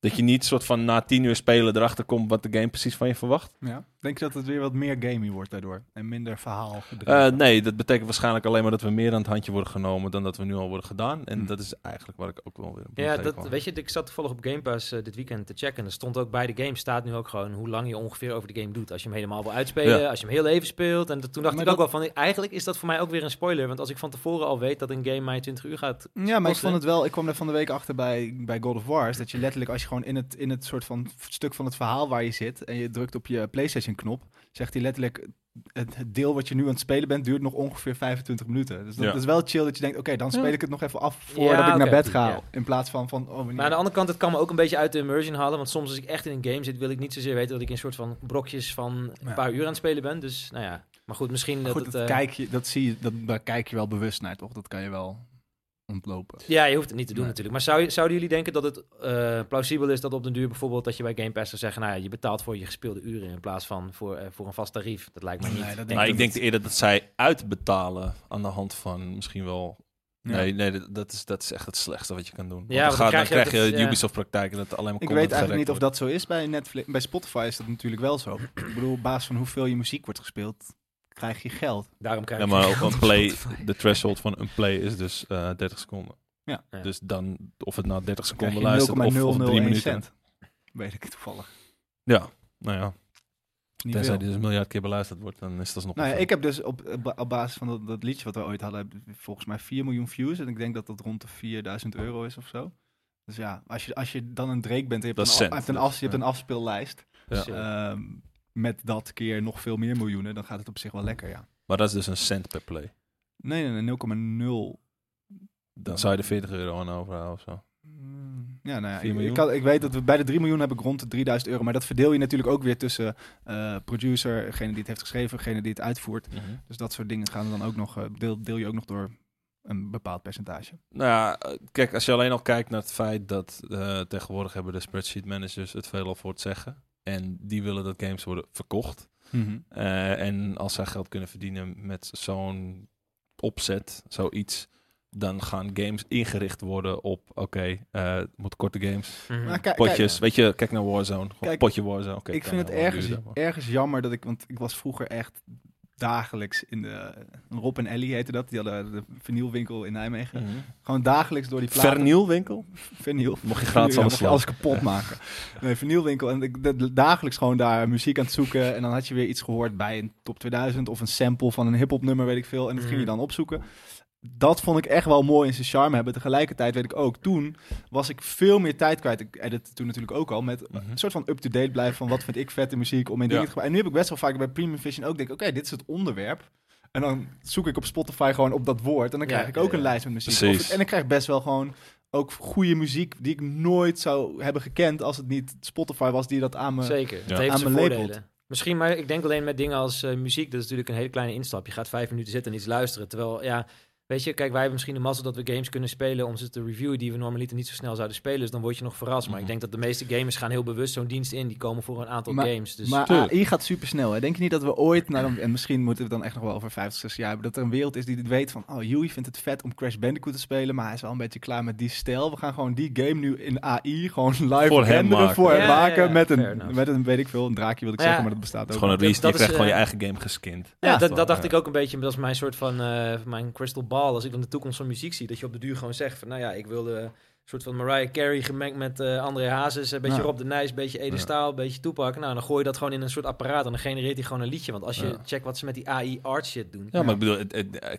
Speaker 2: Dat je niet soort van na tien uur spelen erachter komt wat de game precies van je verwacht.
Speaker 1: ja. Denk je dat het weer wat meer gamey wordt daardoor? En minder verhaal.
Speaker 2: Eh, nee, dat betekent waarschijnlijk alleen maar dat we meer aan het handje worden genomen dan dat we nu al worden gedaan. En
Speaker 1: Hm.
Speaker 2: dat is eigenlijk waar ik ook wel weer op
Speaker 3: Ja, dat, weet je, ik zat toevallig op Game Pass eh, dit weekend te checken. En er stond ook bij de game, staat nu ook gewoon hoe lang je ongeveer over de game doet. Als je hem helemaal wil uitspelen,
Speaker 2: Ja.
Speaker 3: als je hem heel even speelt. En dat- toen dacht
Speaker 1: Maar
Speaker 3: ik ook wel van, eigenlijk is dat voor mij ook weer een spoiler. Want als ik van tevoren al weet dat een game mij 20 uur gaat...
Speaker 1: Ja, maar ik
Speaker 3: Kost,
Speaker 1: vond
Speaker 3: hè?
Speaker 1: het wel. Ik kwam er van de week achter bij, bij God of War. is Dat je letterlijk, als je gewoon in het, in het soort van stuk van het verhaal waar je zit. en je drukt op je PlayStation-knop. zegt hij letterlijk. Het het deel wat je nu aan het spelen bent duurt nog ongeveer 25 minuten. Dus dat
Speaker 2: Ja.
Speaker 1: is wel chill dat je denkt: oké, dan speel ik het nog even af voordat
Speaker 3: Ja,
Speaker 1: ik naar
Speaker 3: oké.
Speaker 1: bed ga.
Speaker 3: Ja.
Speaker 1: In plaats van van. Oh, wanneer-
Speaker 3: Maar aan de andere kant, het kan me ook een beetje uit de immersion halen. Want soms als ik echt in een game zit, wil ik niet zozeer weten dat ik in soort van brokjes van
Speaker 1: Ja.
Speaker 3: een paar uur aan het spelen ben. Dus nou ja, maar goed, misschien
Speaker 1: Maar goed,
Speaker 3: dat
Speaker 1: dat,
Speaker 3: het... eh,
Speaker 1: kijk je, dat zie je, dat, daar kijk je wel bewust naar, toch? Dat kan je wel ontlopen.
Speaker 3: Ja, je hoeft het niet te doen
Speaker 1: Nee.
Speaker 3: natuurlijk. Maar zou, je- zouden jullie denken dat het eh, plausibel is dat op den duur bijvoorbeeld dat je bij Game Pass zou zeggen, nou ja, je betaalt voor je gespeelde uren in plaats van voor, eh, voor een vast tarief. Dat lijkt me niet.
Speaker 1: dat
Speaker 2: Nou, ik denk eerder dat zij uitbetalen aan de hand van misschien wel Nee, nee dat, dat is, dat is echt het slechtste wat je kan doen.
Speaker 3: Ja,
Speaker 2: Ja, dan,
Speaker 3: want
Speaker 2: ga,
Speaker 3: dan
Speaker 2: dan
Speaker 3: krijg je
Speaker 2: krijg
Speaker 3: dat
Speaker 2: je
Speaker 3: het, ja.
Speaker 2: Ubisoft-praktijk en dat alleen maar
Speaker 1: Ik
Speaker 2: content
Speaker 1: weet eigenlijk niet
Speaker 2: gerekt
Speaker 1: of dat zo is bij Netflix. Bij Spotify is dat natuurlijk wel zo. Ik bedoel, op basis van hoeveel je muziek wordt gespeeld, krijg je geld.
Speaker 3: Daarom krijg
Speaker 2: Ja,
Speaker 3: je
Speaker 2: maar
Speaker 3: veel
Speaker 2: ook een
Speaker 3: op
Speaker 2: play,
Speaker 3: Spotify.
Speaker 2: de threshold van een play is dus eh, 30 seconden.
Speaker 1: Ja.
Speaker 3: Ja.
Speaker 2: Dus dan, of het na 30
Speaker 1: Dan
Speaker 2: seconden
Speaker 1: krijg
Speaker 2: luistert of,
Speaker 1: je
Speaker 2: of 3 minuten.
Speaker 1: cent. Weet ik toevallig.
Speaker 2: Ja, nou ja.
Speaker 1: Niet
Speaker 2: Tenzij
Speaker 1: veel.
Speaker 2: die dus een miljard keer beluisterd wordt, dan is dat nog
Speaker 1: Nou ja,
Speaker 2: een-
Speaker 1: ik heb dus op, op ba- op basis van dat, dat liedje wat we ooit hadden, heb- volgens mij 4 miljoen views. En ik denk dat dat rond de 4000 euro is of zo. Dus ja, als je, als je dan een Drake bent en je hebt,
Speaker 2: Dat
Speaker 1: een,
Speaker 2: is
Speaker 1: af-
Speaker 2: cent,
Speaker 1: hebt, een,
Speaker 2: dus,
Speaker 1: af, je hebt
Speaker 2: ja.
Speaker 1: een afspeellijst.
Speaker 2: Ja.
Speaker 3: Zo.
Speaker 1: ehm, met dat keer nog veel meer miljoenen, dan gaat het op zich wel lekker, ja.
Speaker 2: Maar dat is dus een cent per play.
Speaker 1: Nee, nee, nee, 0,0
Speaker 2: Dan zou je er 40 euro aan overhouden of zo.
Speaker 1: Mm, Ja, nou ja, ik,
Speaker 2: 4
Speaker 1: ik,
Speaker 2: miljoen?
Speaker 1: kan, ik weet dat we bij de 3 miljoen heb ik rond de 3000 euro. Maar dat verdeel je natuurlijk ook weer tussen eh, producer, degene die het heeft geschreven, degene die het uitvoert. Dus dat soort dingen gaan dan ook nog, eh, deel, deel je ook nog door een bepaald percentage.
Speaker 2: Nou ja, eh, kijk, als je alleen al kijkt naar het feit dat eh, tegenwoordig hebben de spreadsheet managers het veelal voor het zeggen. En die willen dat games worden verkocht. Eh, en als zij geld kunnen verdienen met zo'n opzet, zoiets, dan gaan games ingericht worden op, oké, eh, het moet korte games,
Speaker 3: Mhm.
Speaker 1: Maar kijk,
Speaker 2: potjes,
Speaker 1: kijk,
Speaker 2: weet je, kijk naar Warzone, gewoon
Speaker 1: Kijk,
Speaker 2: potje Warzone. Oké,
Speaker 1: ik
Speaker 2: kan
Speaker 1: vind het
Speaker 2: wel lang
Speaker 1: ergens,
Speaker 2: duren, maar-
Speaker 1: ergens jammer dat ik, want ik was vroeger echt dagelijks in de, Rob en Ellie heette dat, die hadden de vernielwinkel in Nijmegen.
Speaker 2: Mhm.
Speaker 1: Gewoon dagelijks door die platen.
Speaker 2: Vernielwinkel?
Speaker 1: Verniel.
Speaker 2: Mocht je gratis
Speaker 1: Ja,
Speaker 2: alles
Speaker 1: mocht je
Speaker 2: slaan.
Speaker 1: alles kapot maken. Nee, vernielwinkel. En ik d- dagelijks gewoon daar muziek aan het zoeken. En dan had je weer iets gehoord bij een top 2000 of een sample van een hip-hop nummer, weet ik veel. En dat
Speaker 2: Mm.
Speaker 1: ging je dan opzoeken. Dat vond ik echt wel mooi in zijn charme hebben. Tegelijkertijd weet ik ook, toen was ik veel meer tijd kwijt. Ik edit toen natuurlijk ook al met
Speaker 2: Mhm.
Speaker 1: een soort van up-to-date blijven van wat vind ik vette muziek om in
Speaker 2: Ja.
Speaker 1: dingen te gebruiken. En nu heb ik best wel vaak bij Premium Vision ook denk, oké, dit is het onderwerp. En dan zoek ik op Spotify gewoon op dat woord. En dan
Speaker 3: Ja,
Speaker 1: krijg ik ook
Speaker 3: ja, ja.
Speaker 1: een lijst met muziek.
Speaker 2: Precies.
Speaker 1: Of ik- en ik krijg best wel gewoon ook goede muziek die ik nooit zou hebben gekend als het niet Spotify was die dat aan me...
Speaker 3: Zeker, dat heeft
Speaker 1: Aan
Speaker 3: zijn
Speaker 1: mijn
Speaker 3: voordelen.
Speaker 1: label.
Speaker 3: Misschien, maar ik denk alleen met dingen als eh, muziek, dat is natuurlijk een hele kleine instap. Je gaat vijf minuten zitten en iets luisteren. Terwijl, ja, weet je, kijk, wij hebben misschien de mazzel dat we games kunnen spelen om ze te reviewen die we normaliter niet zo snel zouden spelen. Dus dan word je nog verrast. Maar ik
Speaker 2: Mhm.
Speaker 3: denk dat de meeste gamers gaan heel bewust zo'n dienst in. Die komen voor een aantal
Speaker 1: Maar-
Speaker 3: games. Dus
Speaker 1: maar
Speaker 2: tuurlijk.
Speaker 1: AI gaat supersnel. Hè? Denk je niet dat we ooit, naar een- en misschien moeten we het dan echt nog wel over 50, 60 jaar hebben, dat er een wereld is die dit weet van, oh, Yui vindt het vet om Crash Bandicoot te spelen, maar hij is wel een beetje klaar met die stijl. We gaan gewoon die game nu in AI gewoon live
Speaker 2: Voor hem
Speaker 1: renderen,
Speaker 2: maken.
Speaker 1: voor hem
Speaker 3: Ja, ja,
Speaker 1: maken,
Speaker 3: ja,
Speaker 1: met,
Speaker 3: fair
Speaker 1: een,
Speaker 3: enough.
Speaker 1: met een, weet ik veel, een draakje wil ik
Speaker 3: Ja.
Speaker 1: zeggen, maar dat bestaat
Speaker 2: Het is
Speaker 1: ook.
Speaker 2: gewoon een
Speaker 1: niet.
Speaker 3: dat-
Speaker 2: release, je krijgt
Speaker 3: dat is,
Speaker 2: gewoon je eigen
Speaker 3: eh,
Speaker 2: game geskind.
Speaker 1: Ja,
Speaker 3: Ja, dat,
Speaker 2: toch,
Speaker 3: dat dacht
Speaker 2: ja.
Speaker 3: ik ook een beetje. Dat is mijn soort van eh, mijn crystal ball. Als ik dan de toekomst van muziek zie, dat je op de duur gewoon zegt van, nou ja, ik wil eh, soort van Mariah Carey gemengd met eh, André Hazes. Een beetje
Speaker 1: Ja.
Speaker 3: Rob de Nijs, een beetje Ede
Speaker 2: Ja.
Speaker 3: Staal, een beetje Toepak. Nou, dan gooi je dat gewoon in een soort apparaat en dan genereert hij gewoon een liedje. Want als je
Speaker 2: Ja.
Speaker 3: checkt wat ze met die AI art shit doen.
Speaker 2: Ja, maar ik bedoel, het- het- eh,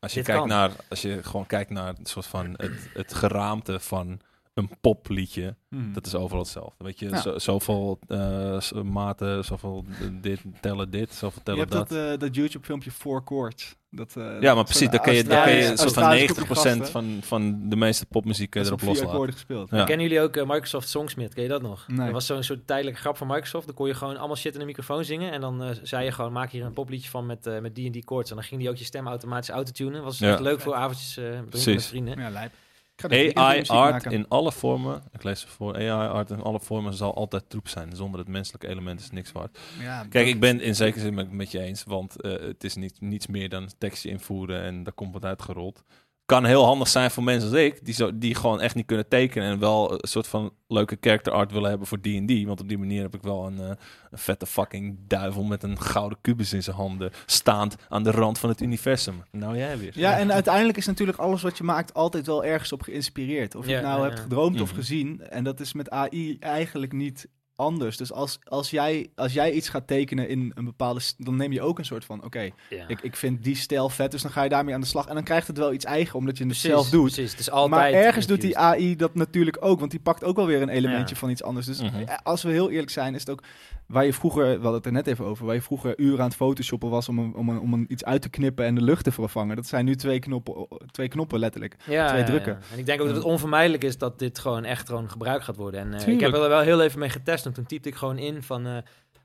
Speaker 2: als, je
Speaker 3: Dit
Speaker 2: kijkt
Speaker 3: kan.
Speaker 2: naar, als je gewoon kijkt naar het soort van het, het geraamte van een popliedje,
Speaker 1: Hmm.
Speaker 2: dat is overal hetzelfde. Weet je,
Speaker 1: Mm. Ja.
Speaker 2: zo- zoveel eh, s- maten, zoveel dit, tellen dit, zoveel
Speaker 1: Je
Speaker 2: tellen
Speaker 1: hebt
Speaker 2: dat.
Speaker 1: dat, eh, dat YouTube-filmpje Four Chords. Dat, eh,
Speaker 2: ja, maar
Speaker 1: dat
Speaker 2: precies,
Speaker 1: soort
Speaker 2: dan kun je, dan kun je
Speaker 1: Australische-
Speaker 2: een soort
Speaker 1: Australische
Speaker 2: van 90%
Speaker 1: gasten.
Speaker 2: van, van de meeste popmuziek kun je
Speaker 1: Dat
Speaker 2: erop
Speaker 1: is op vier
Speaker 2: loslaten.
Speaker 1: akkoorden gespeeld.
Speaker 2: Ja.
Speaker 3: Kennen jullie ook eh, Microsoft Songsmith? Ken je dat nog?
Speaker 1: Nee.
Speaker 3: Dat was zo'n soort tijdelijke grap van Microsoft. Dan kon je gewoon allemaal shit in de microfoon zingen. En dan eh, zei je gewoon, maak hier een popliedje van met, eh, met die en die koorts. En dan ging die ook je stem automatisch autotunen. Was dus
Speaker 2: Ja.
Speaker 3: echt leuk voor avondjes eh, drinken met
Speaker 2: Precies.
Speaker 3: vrienden.
Speaker 1: Ja, lijp. Ik ga dit weekend weer
Speaker 2: AI
Speaker 1: muziek
Speaker 2: art
Speaker 1: maken.
Speaker 2: in alle vormen, ik lees het voor, AI art in alle vormen zal altijd troep zijn. Zonder het menselijke element is niks waard.
Speaker 1: Ja,
Speaker 2: Kijk, ik ben in zekere zin met, met je eens, want eh, het is niet, niets meer dan tekstje invoeren en daar komt wat uitgerold. Kan heel handig zijn voor mensen als ik, die, zo, die gewoon echt niet kunnen tekenen en wel een soort van leuke character art willen hebben voor D&D. Want op die manier heb ik wel een, eh, een vette fucking duivel met een gouden kubus in zijn handen, staand aan de rand van het universum. Nou jij weer.
Speaker 1: Ja, en uiteindelijk is natuurlijk alles wat je maakt altijd wel ergens op geïnspireerd. Of je
Speaker 3: Ja,
Speaker 1: het nou
Speaker 3: ja,
Speaker 1: hebt
Speaker 3: ja.
Speaker 1: gedroomd of
Speaker 2: Mhm.
Speaker 1: gezien. En dat is met AI eigenlijk niet anders. Dus als, als, jij, als jij iets gaat tekenen in een bepaalde... s- dan neem je ook een soort van... oké,
Speaker 3: Ja.
Speaker 1: ik, ik vind die stijl vet, dus dan ga je daarmee aan de slag. En dan krijgt het wel iets eigen, omdat je het
Speaker 3: Precies,
Speaker 1: zelf doet.
Speaker 3: Precies, het is altijd
Speaker 1: maar ergens doet
Speaker 3: infused.
Speaker 1: die AI dat natuurlijk ook, want die pakt ook wel weer een elementje
Speaker 3: Ja.
Speaker 1: van iets anders. Dus
Speaker 2: Mhm.
Speaker 1: eh, als we heel eerlijk zijn, is het ook waar je vroeger, we hadden het er net even over, waar je vroeger uren aan het photoshoppen was om, een, om, een, om een iets uit te knippen en de lucht te vervangen. Dat zijn nu twee knoppen, twee knoppen letterlijk.
Speaker 3: Ja,
Speaker 1: Twee
Speaker 3: ja,
Speaker 1: drukken.
Speaker 3: ja. En ik denk ook dat het onvermijdelijk is dat dit gewoon echt gewoon gebruikt gaat worden. En eh, ik heb
Speaker 2: Tuurlijk.
Speaker 3: er wel heel even mee getest. En toen typte ik gewoon in van eh,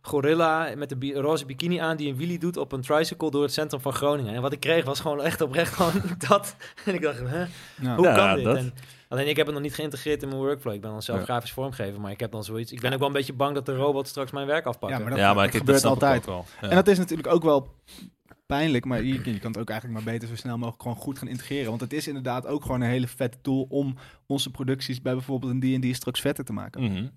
Speaker 3: gorilla met een bi- roze bikini aan die een wheelie doet op een tricycle door het centrum van Groningen. En wat ik kreeg was gewoon echt oprecht gewoon dat. En ik dacht, hè,
Speaker 1: Ja.
Speaker 3: hoe
Speaker 2: Ja,
Speaker 3: kan dit?
Speaker 2: dat.
Speaker 3: En alleen ik heb het nog niet geïntegreerd in mijn workflow. Ik ben dan zelf
Speaker 2: Ja.
Speaker 3: grafisch vormgever, maar ik heb dan zoiets. Ik ben ook wel een beetje bang dat de robot straks mijn werk afpakken.
Speaker 1: Ja, maar dat-
Speaker 2: ja, maar ik-
Speaker 1: gebeurt
Speaker 2: snap ik
Speaker 1: altijd.
Speaker 2: ook wel. Ja.
Speaker 1: En dat is natuurlijk ook wel pijnlijk, maar je, je kan het ook eigenlijk maar beter zo snel mogelijk gewoon goed gaan integreren. Want het is inderdaad ook gewoon een hele vette tool om onze producties bij bijvoorbeeld een die en die straks vetter te maken.
Speaker 2: Mhm.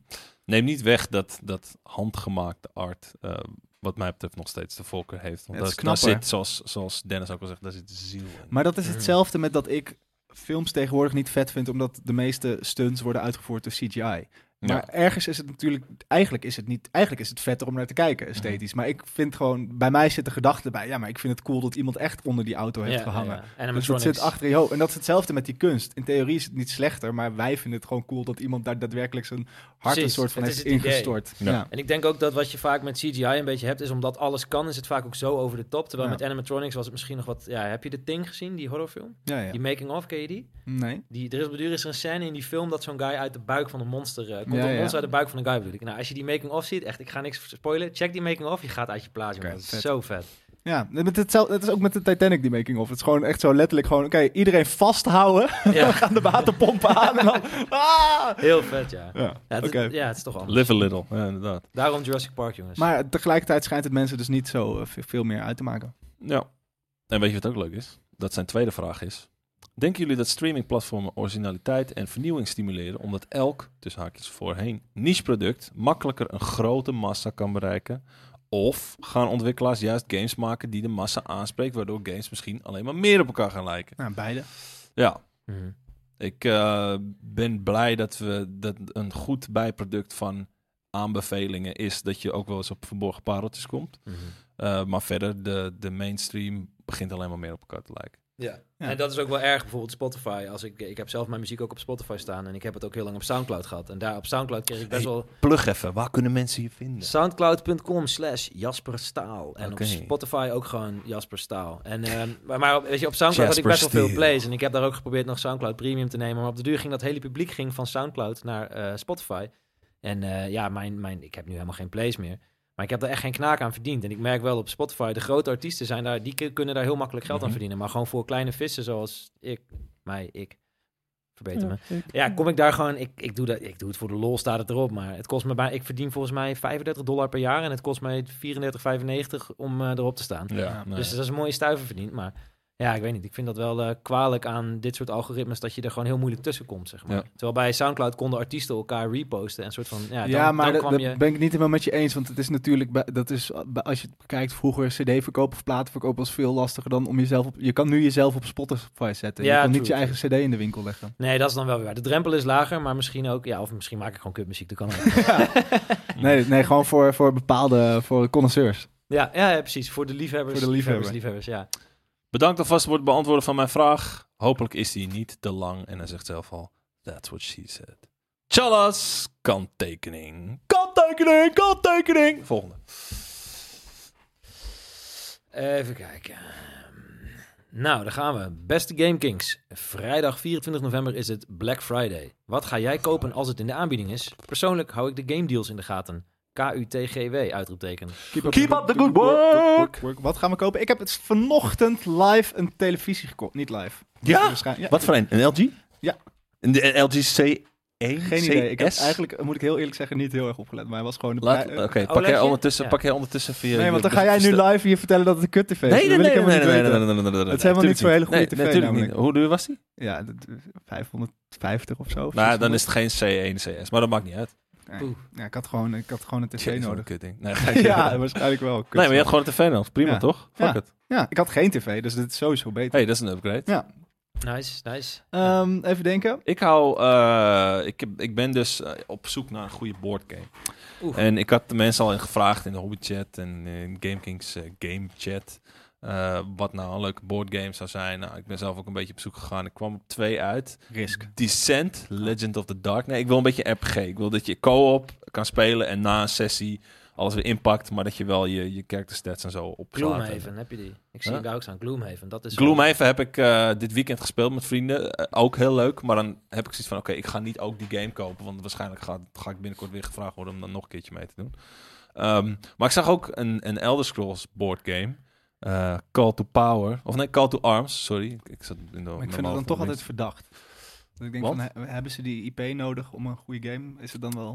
Speaker 2: Neem niet weg dat, dat handgemaakte art, eh, wat mij betreft, nog steeds de voorkeur heeft. Want
Speaker 1: Het
Speaker 2: dat
Speaker 1: is
Speaker 2: daar, daar
Speaker 1: knapper.
Speaker 2: zit, zoals, zoals Dennis ook al zegt, daar zit ziel in.
Speaker 1: Maar dat is
Speaker 3: Mm.
Speaker 1: hetzelfde met dat ik films tegenwoordig niet vet vind, omdat de meeste stunts worden uitgevoerd door CGI.
Speaker 2: Ja.
Speaker 1: Maar ergens is het natuurlijk, eigenlijk is het niet, eigenlijk is het vetter om naar te kijken,
Speaker 3: Mhm.
Speaker 1: esthetisch. Maar ik vind gewoon, bij mij zit de gedachte bij, ja, maar ik vind het cool dat iemand echt onder die auto heeft gehangen.
Speaker 3: En
Speaker 1: Dus dat zit achter je hoofd. En dat is hetzelfde met die kunst. In theorie is het niet slechter, maar wij vinden het gewoon cool dat iemand daar daadwerkelijk zijn hart een
Speaker 3: Precies,
Speaker 1: soort van
Speaker 3: het
Speaker 1: heeft
Speaker 3: is het idee.
Speaker 1: ingestort.
Speaker 2: Ja.
Speaker 1: Ja.
Speaker 3: En ik denk ook dat wat je vaak met CGI een beetje hebt, is omdat alles kan, is het vaak ook zo over de top. Terwijl
Speaker 1: Ja.
Speaker 3: met animatronics was het misschien nog wat. Ja, heb je de Thing gezien, die horrorfilm?
Speaker 1: Ja, ja.
Speaker 3: Die Making of, ken je die?
Speaker 1: Nee.
Speaker 3: die er is, bedoel, er is een scène in die film dat zo'n guy uit de buik van een monster eh, komt.
Speaker 1: Ja,
Speaker 3: een
Speaker 1: ja.
Speaker 3: monster uit de buik van een guy bedoel ik. Nou, als je die Making of ziet, echt, ik ga niks spoilen. Check die Making of, je gaat uit je plaats. jongen.
Speaker 1: Oké,
Speaker 3: dat is
Speaker 1: vet.
Speaker 3: zo vet.
Speaker 1: Ja, met hetzelfde, het is ook met de Titanic die making of. Het is gewoon echt zo letterlijk gewoon, oké, iedereen vasthouden.
Speaker 3: Ja,
Speaker 1: aan de waterpomp aan en dan... Ah!
Speaker 3: heel vet, ja.
Speaker 1: Ja,
Speaker 3: Ja, het, is-
Speaker 1: Oké.
Speaker 3: ja, het is toch anders.
Speaker 2: Live a little, ja, inderdaad.
Speaker 3: Daarom Jurassic Park, jongens.
Speaker 1: Maar tegelijkertijd schijnt het mensen dus niet zo eh, ve- veel meer uit te maken.
Speaker 2: Ja. En weet je wat ook leuk is? Dat zijn tweede vraag is. Denken jullie dat streamingplatformen originaliteit en vernieuwing stimuleren omdat elk, tussen haakjes voorheen, niche-product makkelijker een grote massa kan bereiken? Of gaan ontwikkelaars juist games maken die de massa aanspreekt, waardoor games misschien alleen maar meer op elkaar gaan lijken?
Speaker 1: Nou, beide.
Speaker 2: Ja,
Speaker 3: Mhm.
Speaker 2: Ik eh, ben blij dat, we, dat een goed bijproduct van aanbevelingen is dat je ook wel eens op verborgen pareltjes komt.
Speaker 3: Mhm.
Speaker 2: Eh, maar verder, de, de mainstream begint alleen maar meer op elkaar te lijken.
Speaker 3: Ja.
Speaker 1: Ja.
Speaker 3: en dat is ook wel erg. Bijvoorbeeld Spotify. Als ik, ik heb zelf mijn muziek ook op Spotify staan en ik heb het ook heel lang op Soundcloud gehad. En daar op Soundcloud kreeg ik best
Speaker 2: Hey,
Speaker 3: wel
Speaker 2: Plug even, waar kunnen mensen je vinden?
Speaker 3: Soundcloud.com slash Jasper Staal. En
Speaker 2: Oké.
Speaker 3: op Spotify ook gewoon Jasper Staal. En, ehm, maar, maar op- weet je, op Soundcloud had ik
Speaker 2: Jasper
Speaker 3: best wel veel
Speaker 2: Staal.
Speaker 3: plays. En ik heb daar ook geprobeerd nog Soundcloud Premium te nemen. Maar op de duur ging dat hele publiek ging van Soundcloud naar eh, Spotify. En eh, ja, mijn, mijn, ik heb nu helemaal geen plays meer. Maar ik heb daar echt geen knaak aan verdiend. En ik merk wel op Spotify, de grote artiesten zijn daar, die k- kunnen daar heel makkelijk geld aan
Speaker 2: Mhm.
Speaker 3: verdienen. Maar gewoon voor kleine vissen zoals ik, mij, ik, verbeter me. Ja, kom ik daar gewoon. Ik, ik, doe dat, ik doe het voor de lol, staat het erop. Maar het kost me bij, ik verdien volgens mij 35 dollar per jaar. En het kost mij 34,95 om eh, erop te staan.
Speaker 2: Ja, nee.
Speaker 3: Dus dat is een mooie stuiver verdiend. Maar Ja, ik weet niet. Ik vind dat wel eh, kwalijk aan dit soort algoritmes dat je er gewoon heel moeilijk tussen komt, zeg maar.
Speaker 2: Ja.
Speaker 3: Terwijl bij SoundCloud konden artiesten elkaar reposten en soort van ja,
Speaker 1: Ja,
Speaker 3: dan,
Speaker 1: maar
Speaker 3: dan
Speaker 1: dat,
Speaker 3: kwam
Speaker 1: dat
Speaker 3: je
Speaker 1: ben ik niet helemaal met je eens. Want het is natuurlijk, bij- dat is, eh, bij- als je het kijkt, vroeger cd-verkoop of platenverkoop was veel lastiger dan om jezelf op... Je kan nu jezelf op Spotify zetten. je
Speaker 3: Ja,
Speaker 1: kan niet
Speaker 3: true,
Speaker 1: je eigen cd in de winkel leggen.
Speaker 3: Nee, dat is dan wel weer waar. De drempel is lager, maar misschien ook... Ja, of misschien maak ik gewoon kutmuziek, dat kan ook.
Speaker 1: Nee, nee gewoon voor, voor bepaalde, voor connoisseurs.
Speaker 3: ja, ja, ja, precies. Voor de liefhebbers.
Speaker 1: Voor de liefhebber.
Speaker 3: Liefhebbers, liefhebbers,
Speaker 2: Bedankt alvast voor het beantwoorden van mijn vraag. Hopelijk is die niet te lang. En hij zegt zelf al, that's what she said. Chalas, kanttekening. Kanttekening, kanttekening. Volgende.
Speaker 3: ja. Even kijken. Nou, daar gaan we. Beste Game Kings. Vrijdag 24 november is het Black Friday. Wat ga jij kopen als het in de aanbieding is? Persoonlijk hou ik de game deals in de gaten. KUTGW, uitroepteken.
Speaker 2: Keep up the good work.
Speaker 1: Wat gaan we kopen? Ik heb het vanochtend live een televisie gekocht. Niet live.
Speaker 2: Ja?
Speaker 1: Waarschijnlijk.
Speaker 2: Wat voor een? Een LG?
Speaker 1: Ja.
Speaker 2: Een de- een LG C1?
Speaker 1: Geen idee. Ik heb
Speaker 2: CS?
Speaker 1: eigenlijk, eh, oh, moet ik heel eerlijk zeggen, niet heel erg opgelet. Maar hij was gewoon... De
Speaker 2: Laat-
Speaker 1: pri-
Speaker 2: Oké, pak,
Speaker 3: OLEDje?
Speaker 2: jij ondertussen-
Speaker 3: Ja.
Speaker 2: pak jij ondertussen via...
Speaker 1: nee,
Speaker 2: je
Speaker 1: want dan ga jij nu
Speaker 2: bestel-
Speaker 1: live hier vertellen dat het een kut-tv is.
Speaker 2: Nee,
Speaker 1: Dat
Speaker 2: nee,
Speaker 1: wil ik
Speaker 2: nee, nee,
Speaker 1: helemaal
Speaker 2: nee, nee,
Speaker 1: niet
Speaker 2: nee,
Speaker 1: weten.
Speaker 2: nee, nee, nee, nee, nee,
Speaker 1: Het is helemaal niet zo'n hele goede
Speaker 2: nee,
Speaker 1: tv
Speaker 2: natuurlijk niet.
Speaker 1: namelijk.
Speaker 2: Hoe duur was die?
Speaker 1: Ja, dat- 500, 50 of zo. of
Speaker 2: Nou, dan
Speaker 1: 600.
Speaker 2: is het geen C1, CS. Maar dat maakt niet uit.
Speaker 1: Ja, ik had gewoon, ik had gewoon een tv
Speaker 2: Jezus, wat een
Speaker 1: nodig.
Speaker 2: kutding. Nee, ga ik-
Speaker 1: ja, waarschijnlijk wel. Kut
Speaker 2: Nee, maar je had gewoon een tv nodig. Prima,
Speaker 1: Ja.
Speaker 2: toch? Fuck
Speaker 1: Ja.
Speaker 2: het.
Speaker 1: Ja, ik had geen tv, dus dit is sowieso beter.
Speaker 2: hey, dat is een upgrade.
Speaker 3: Nice, nice.
Speaker 2: Eh,
Speaker 1: Ehm, even denken.
Speaker 2: Ik hou, eh, ik, heb- ik ben dus eh, op zoek naar een goede boardgame.
Speaker 3: Oeh.
Speaker 2: En ik had de mensen al in gevraagd in de hobbychat en in GameKings eh, game chat. eh, wat nou een leuke boardgame zou zijn. Nou, ik ben zelf ook een beetje op zoek gegaan. Ik kwam op twee uit.
Speaker 1: Risk.
Speaker 2: Descent, Legend of the Dark. Nee, ik wil een beetje RPG. Ik wil dat je co-op kan spelen en na een sessie alles weer inpakt. Maar dat je wel je, je character stats en zo opslaat. En-
Speaker 3: Gloomhaven, heb je die? Ik zie
Speaker 2: Huh?
Speaker 3: daar ook staan. Gloomhaven, dat is...
Speaker 2: Gloomhaven heb ik eh, dit weekend gespeeld met vrienden. Eh, ook heel leuk. Maar dan heb ik zoiets van: oké, ik ga niet ook die game kopen. Want waarschijnlijk ga, ga ik binnenkort weer gevraagd worden om dan nog een keertje mee te doen. Ehm, maar ik zag ook een, een Elder Scrolls board game. Eh, Call to Power. Of nee, Call to Arms. Sorry. Ik- Ik zat in de.
Speaker 1: Maar ik vind het dan toch altijd verdacht. Dat ik denk,
Speaker 2: Wat?
Speaker 1: van, he- hebben ze die IP nodig om een goede game? Is het dan
Speaker 2: Eh,
Speaker 1: wel...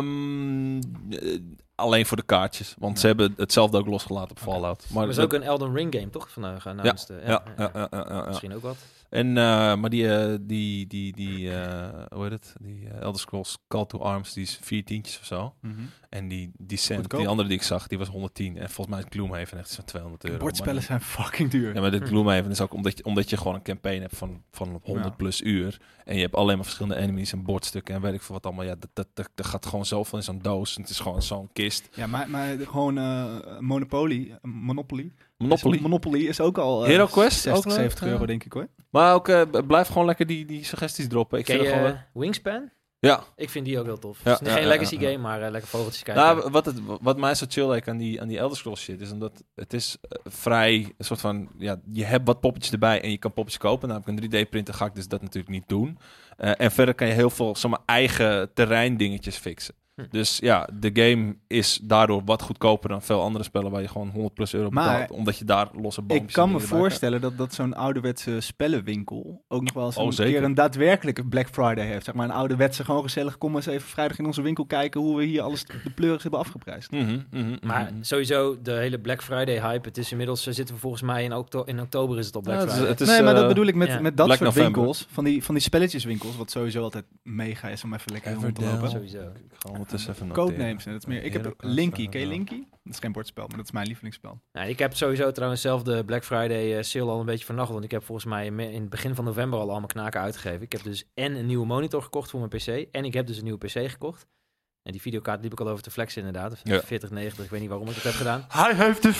Speaker 2: Ehm, eh, alleen voor de kaartjes. Want ze hebben hetzelfde ook losgelaten op Fallout. Maar
Speaker 3: Er is
Speaker 2: dat-
Speaker 3: ook een Elden Ring game, toch? Vandaag announced. eh,
Speaker 2: ja, ja, ja, ja, ja, ja.
Speaker 3: Misschien ook wat.
Speaker 2: En, eh, maar die, eh, die, die, die eh, hoe heet het? Die eh, Elder Scrolls Call to Arms, die is vier tientjes of zo.
Speaker 1: Mhm.
Speaker 2: En die, die cent,
Speaker 1: Goedkoop.
Speaker 2: die andere die ik zag, die was 110. En volgens mij is Gloomhaven echt zo'n 200 euro.
Speaker 1: Bordspellen
Speaker 2: Maar-
Speaker 1: zijn fucking duur.
Speaker 2: Ja, maar dit
Speaker 3: Hm.
Speaker 2: Gloomhaven is ook omdat je, omdat je gewoon een campaign hebt van, van 100
Speaker 1: Ja.
Speaker 2: plus uur. En je hebt alleen maar verschillende enemies en bordstukken en weet ik veel wat allemaal. Ja, dat, dat, dat, dat gaat gewoon zoveel in zo'n doos. En het is gewoon zo'n kist.
Speaker 1: Ja, maar, maar gewoon eh, Monopoly, eh, Monopoly.
Speaker 2: Monopoly.
Speaker 1: Is, Monopoly is ook al eh,
Speaker 2: Hero Quest,
Speaker 1: 60,
Speaker 2: ook eh, leuk,
Speaker 1: 70
Speaker 2: ja.
Speaker 1: euro denk ik hoor.
Speaker 2: Maar ook, eh, b- blijf gewoon lekker die, die suggesties droppen. Ik
Speaker 3: Ken
Speaker 2: vind
Speaker 3: je
Speaker 2: het gewoon...
Speaker 3: eh, Wingspan?
Speaker 2: Ja,
Speaker 3: Ik vind die ook heel tof.
Speaker 2: Ja,
Speaker 3: Het is
Speaker 2: ja,
Speaker 3: geen
Speaker 2: ja,
Speaker 3: legacy
Speaker 2: ja, ja.
Speaker 3: game, maar eh, lekker vogeltjes kijken.
Speaker 2: Nou, wat, het, wat mij zo chill lijkt aan die, aan die Elder Scrolls shit, is omdat het is eh, vrij een soort van, ja, je hebt wat poppetjes erbij en je kan poppetjes kopen. Nou, heb ik een 3D-printer, ga ik dus dat natuurlijk niet doen. Eh, en verder kan je heel veel, zeg maar, eigen terreindingetjes fixen.
Speaker 3: Hm.
Speaker 2: Dus ja, de game is daardoor wat goedkoper dan veel andere spellen waar je gewoon 100 plus euro
Speaker 1: Maar-
Speaker 2: betaalt, omdat je daar losse boompjes
Speaker 1: Ik
Speaker 2: en
Speaker 1: kan me
Speaker 2: dingen bij krijgt.
Speaker 1: voorstellen dat, dat zo'n ouderwetse spellenwinkel ook nog wel eens
Speaker 2: Oh,
Speaker 1: een
Speaker 2: zeker.
Speaker 1: keer een daadwerkelijke Black Friday heeft. Zeg maar een ouderwetse, gewoon gezellig, kom eens even vrijdag in onze winkel kijken hoe we hier alles de pleurig hebben afgeprijsd.
Speaker 2: Mhm, mhm, mhm.
Speaker 3: maar
Speaker 2: Ja,
Speaker 3: sowieso, de hele Black Friday hype. Het is inmiddels, eh, zitten we volgens mij in, okto- in oktober is het al Black
Speaker 2: het is-
Speaker 3: Friday.
Speaker 2: het is,
Speaker 1: nee, maar dat
Speaker 2: eh,
Speaker 1: bedoel ik met,
Speaker 3: ja.
Speaker 1: met dat
Speaker 2: Black
Speaker 1: soort
Speaker 2: November.
Speaker 1: winkels, van die, van die spelletjeswinkels, wat sowieso altijd mega is om even lekker rond te
Speaker 2: Everdell.
Speaker 1: lopen.
Speaker 3: Sowieso.
Speaker 2: Ik ik ga ondertussen even noteren.
Speaker 1: Codenames, en dat is meer. Ik heb
Speaker 2: Heracles,
Speaker 1: Linky, ken je
Speaker 2: eh,
Speaker 1: Linky? Dat is geen bordspel, maar dat is mijn lievelingsspel.
Speaker 3: Nou, ik heb sowieso trouwens zelf de Black Friday eh, sale al een beetje vernacht. Want ik heb volgens mij in me- in het begin van november al allemaal knaken uitgegeven. Ik heb dus en een nieuwe monitor gekocht voor mijn PC. En ik heb dus een nieuwe PC gekocht. En die videokaart liep ik al over te flexen inderdaad.
Speaker 2: Ja.
Speaker 3: 4090, ik weet niet waarom ik dat heb gedaan.
Speaker 2: Hij heeft de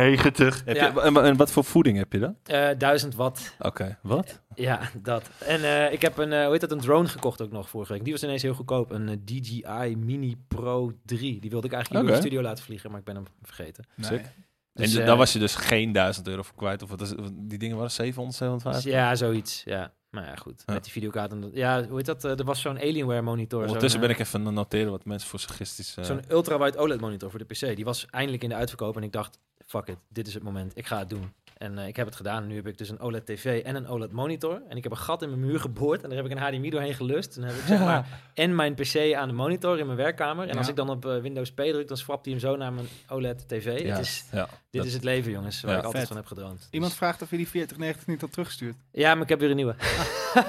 Speaker 2: 4090. Heb
Speaker 3: Ja.
Speaker 2: je, en, en wat voor voeding heb je dan?
Speaker 3: Eh 1000 watt
Speaker 2: Oké, wat?
Speaker 3: Ja, dat. En eh, ik heb een, eh, hoe heet dat, een drone gekocht ook nog vorige week. Die was ineens heel goedkoop. Een eh, DJI Mini Pro 3. Die wilde ik eigenlijk hier door
Speaker 2: Oké.
Speaker 3: de studio laten vliegen, maar ik ben hem vergeten.
Speaker 2: Sick.
Speaker 1: Nee.
Speaker 3: Dus,
Speaker 2: en
Speaker 3: eh,
Speaker 2: daar was je dus geen 1000 euro voor kwijt. Of wat is, die dingen waren 700,
Speaker 3: Dus
Speaker 2: 750?
Speaker 3: ja, zoiets. Ja. Maar ja, goed.
Speaker 2: Ah, Ja.
Speaker 3: Met die videokaart. En dat- ja, hoe heet dat? eh, er was zo'n Alienware monitor.
Speaker 2: Ondertussen
Speaker 3: zo'n,
Speaker 2: ben ik even aan het noteren wat mensen voor suggesties... eh,
Speaker 3: Zo'n ultrawide OLED monitor voor de PC. Die was eindelijk in de uitverkoop. En ik dacht, fuck it, dit is het moment, ik ga het doen. En eh, ik heb het gedaan. Nu heb ik dus een OLED TV en een OLED monitor. En ik heb een gat in mijn muur geboord en daar heb ik een HDMI doorheen gelust. En dan heb ik zeg maar en mijn PC aan de monitor in mijn werkkamer. En als
Speaker 1: Ja.
Speaker 3: ik dan op eh, Windows P druk, dan swapt hij hem zo naar mijn OLED TV.
Speaker 2: Ja.
Speaker 3: Het is,
Speaker 2: Ja,
Speaker 3: dit
Speaker 2: dat-
Speaker 3: is het leven, jongens, waar
Speaker 2: Ja.
Speaker 3: ik altijd
Speaker 1: Vet.
Speaker 3: van heb gedroomd. Dus
Speaker 1: Iemand vraagt of je die 4090 niet had teruggestuurd.
Speaker 3: Ja, maar ik heb weer een nieuwe. ja, ik-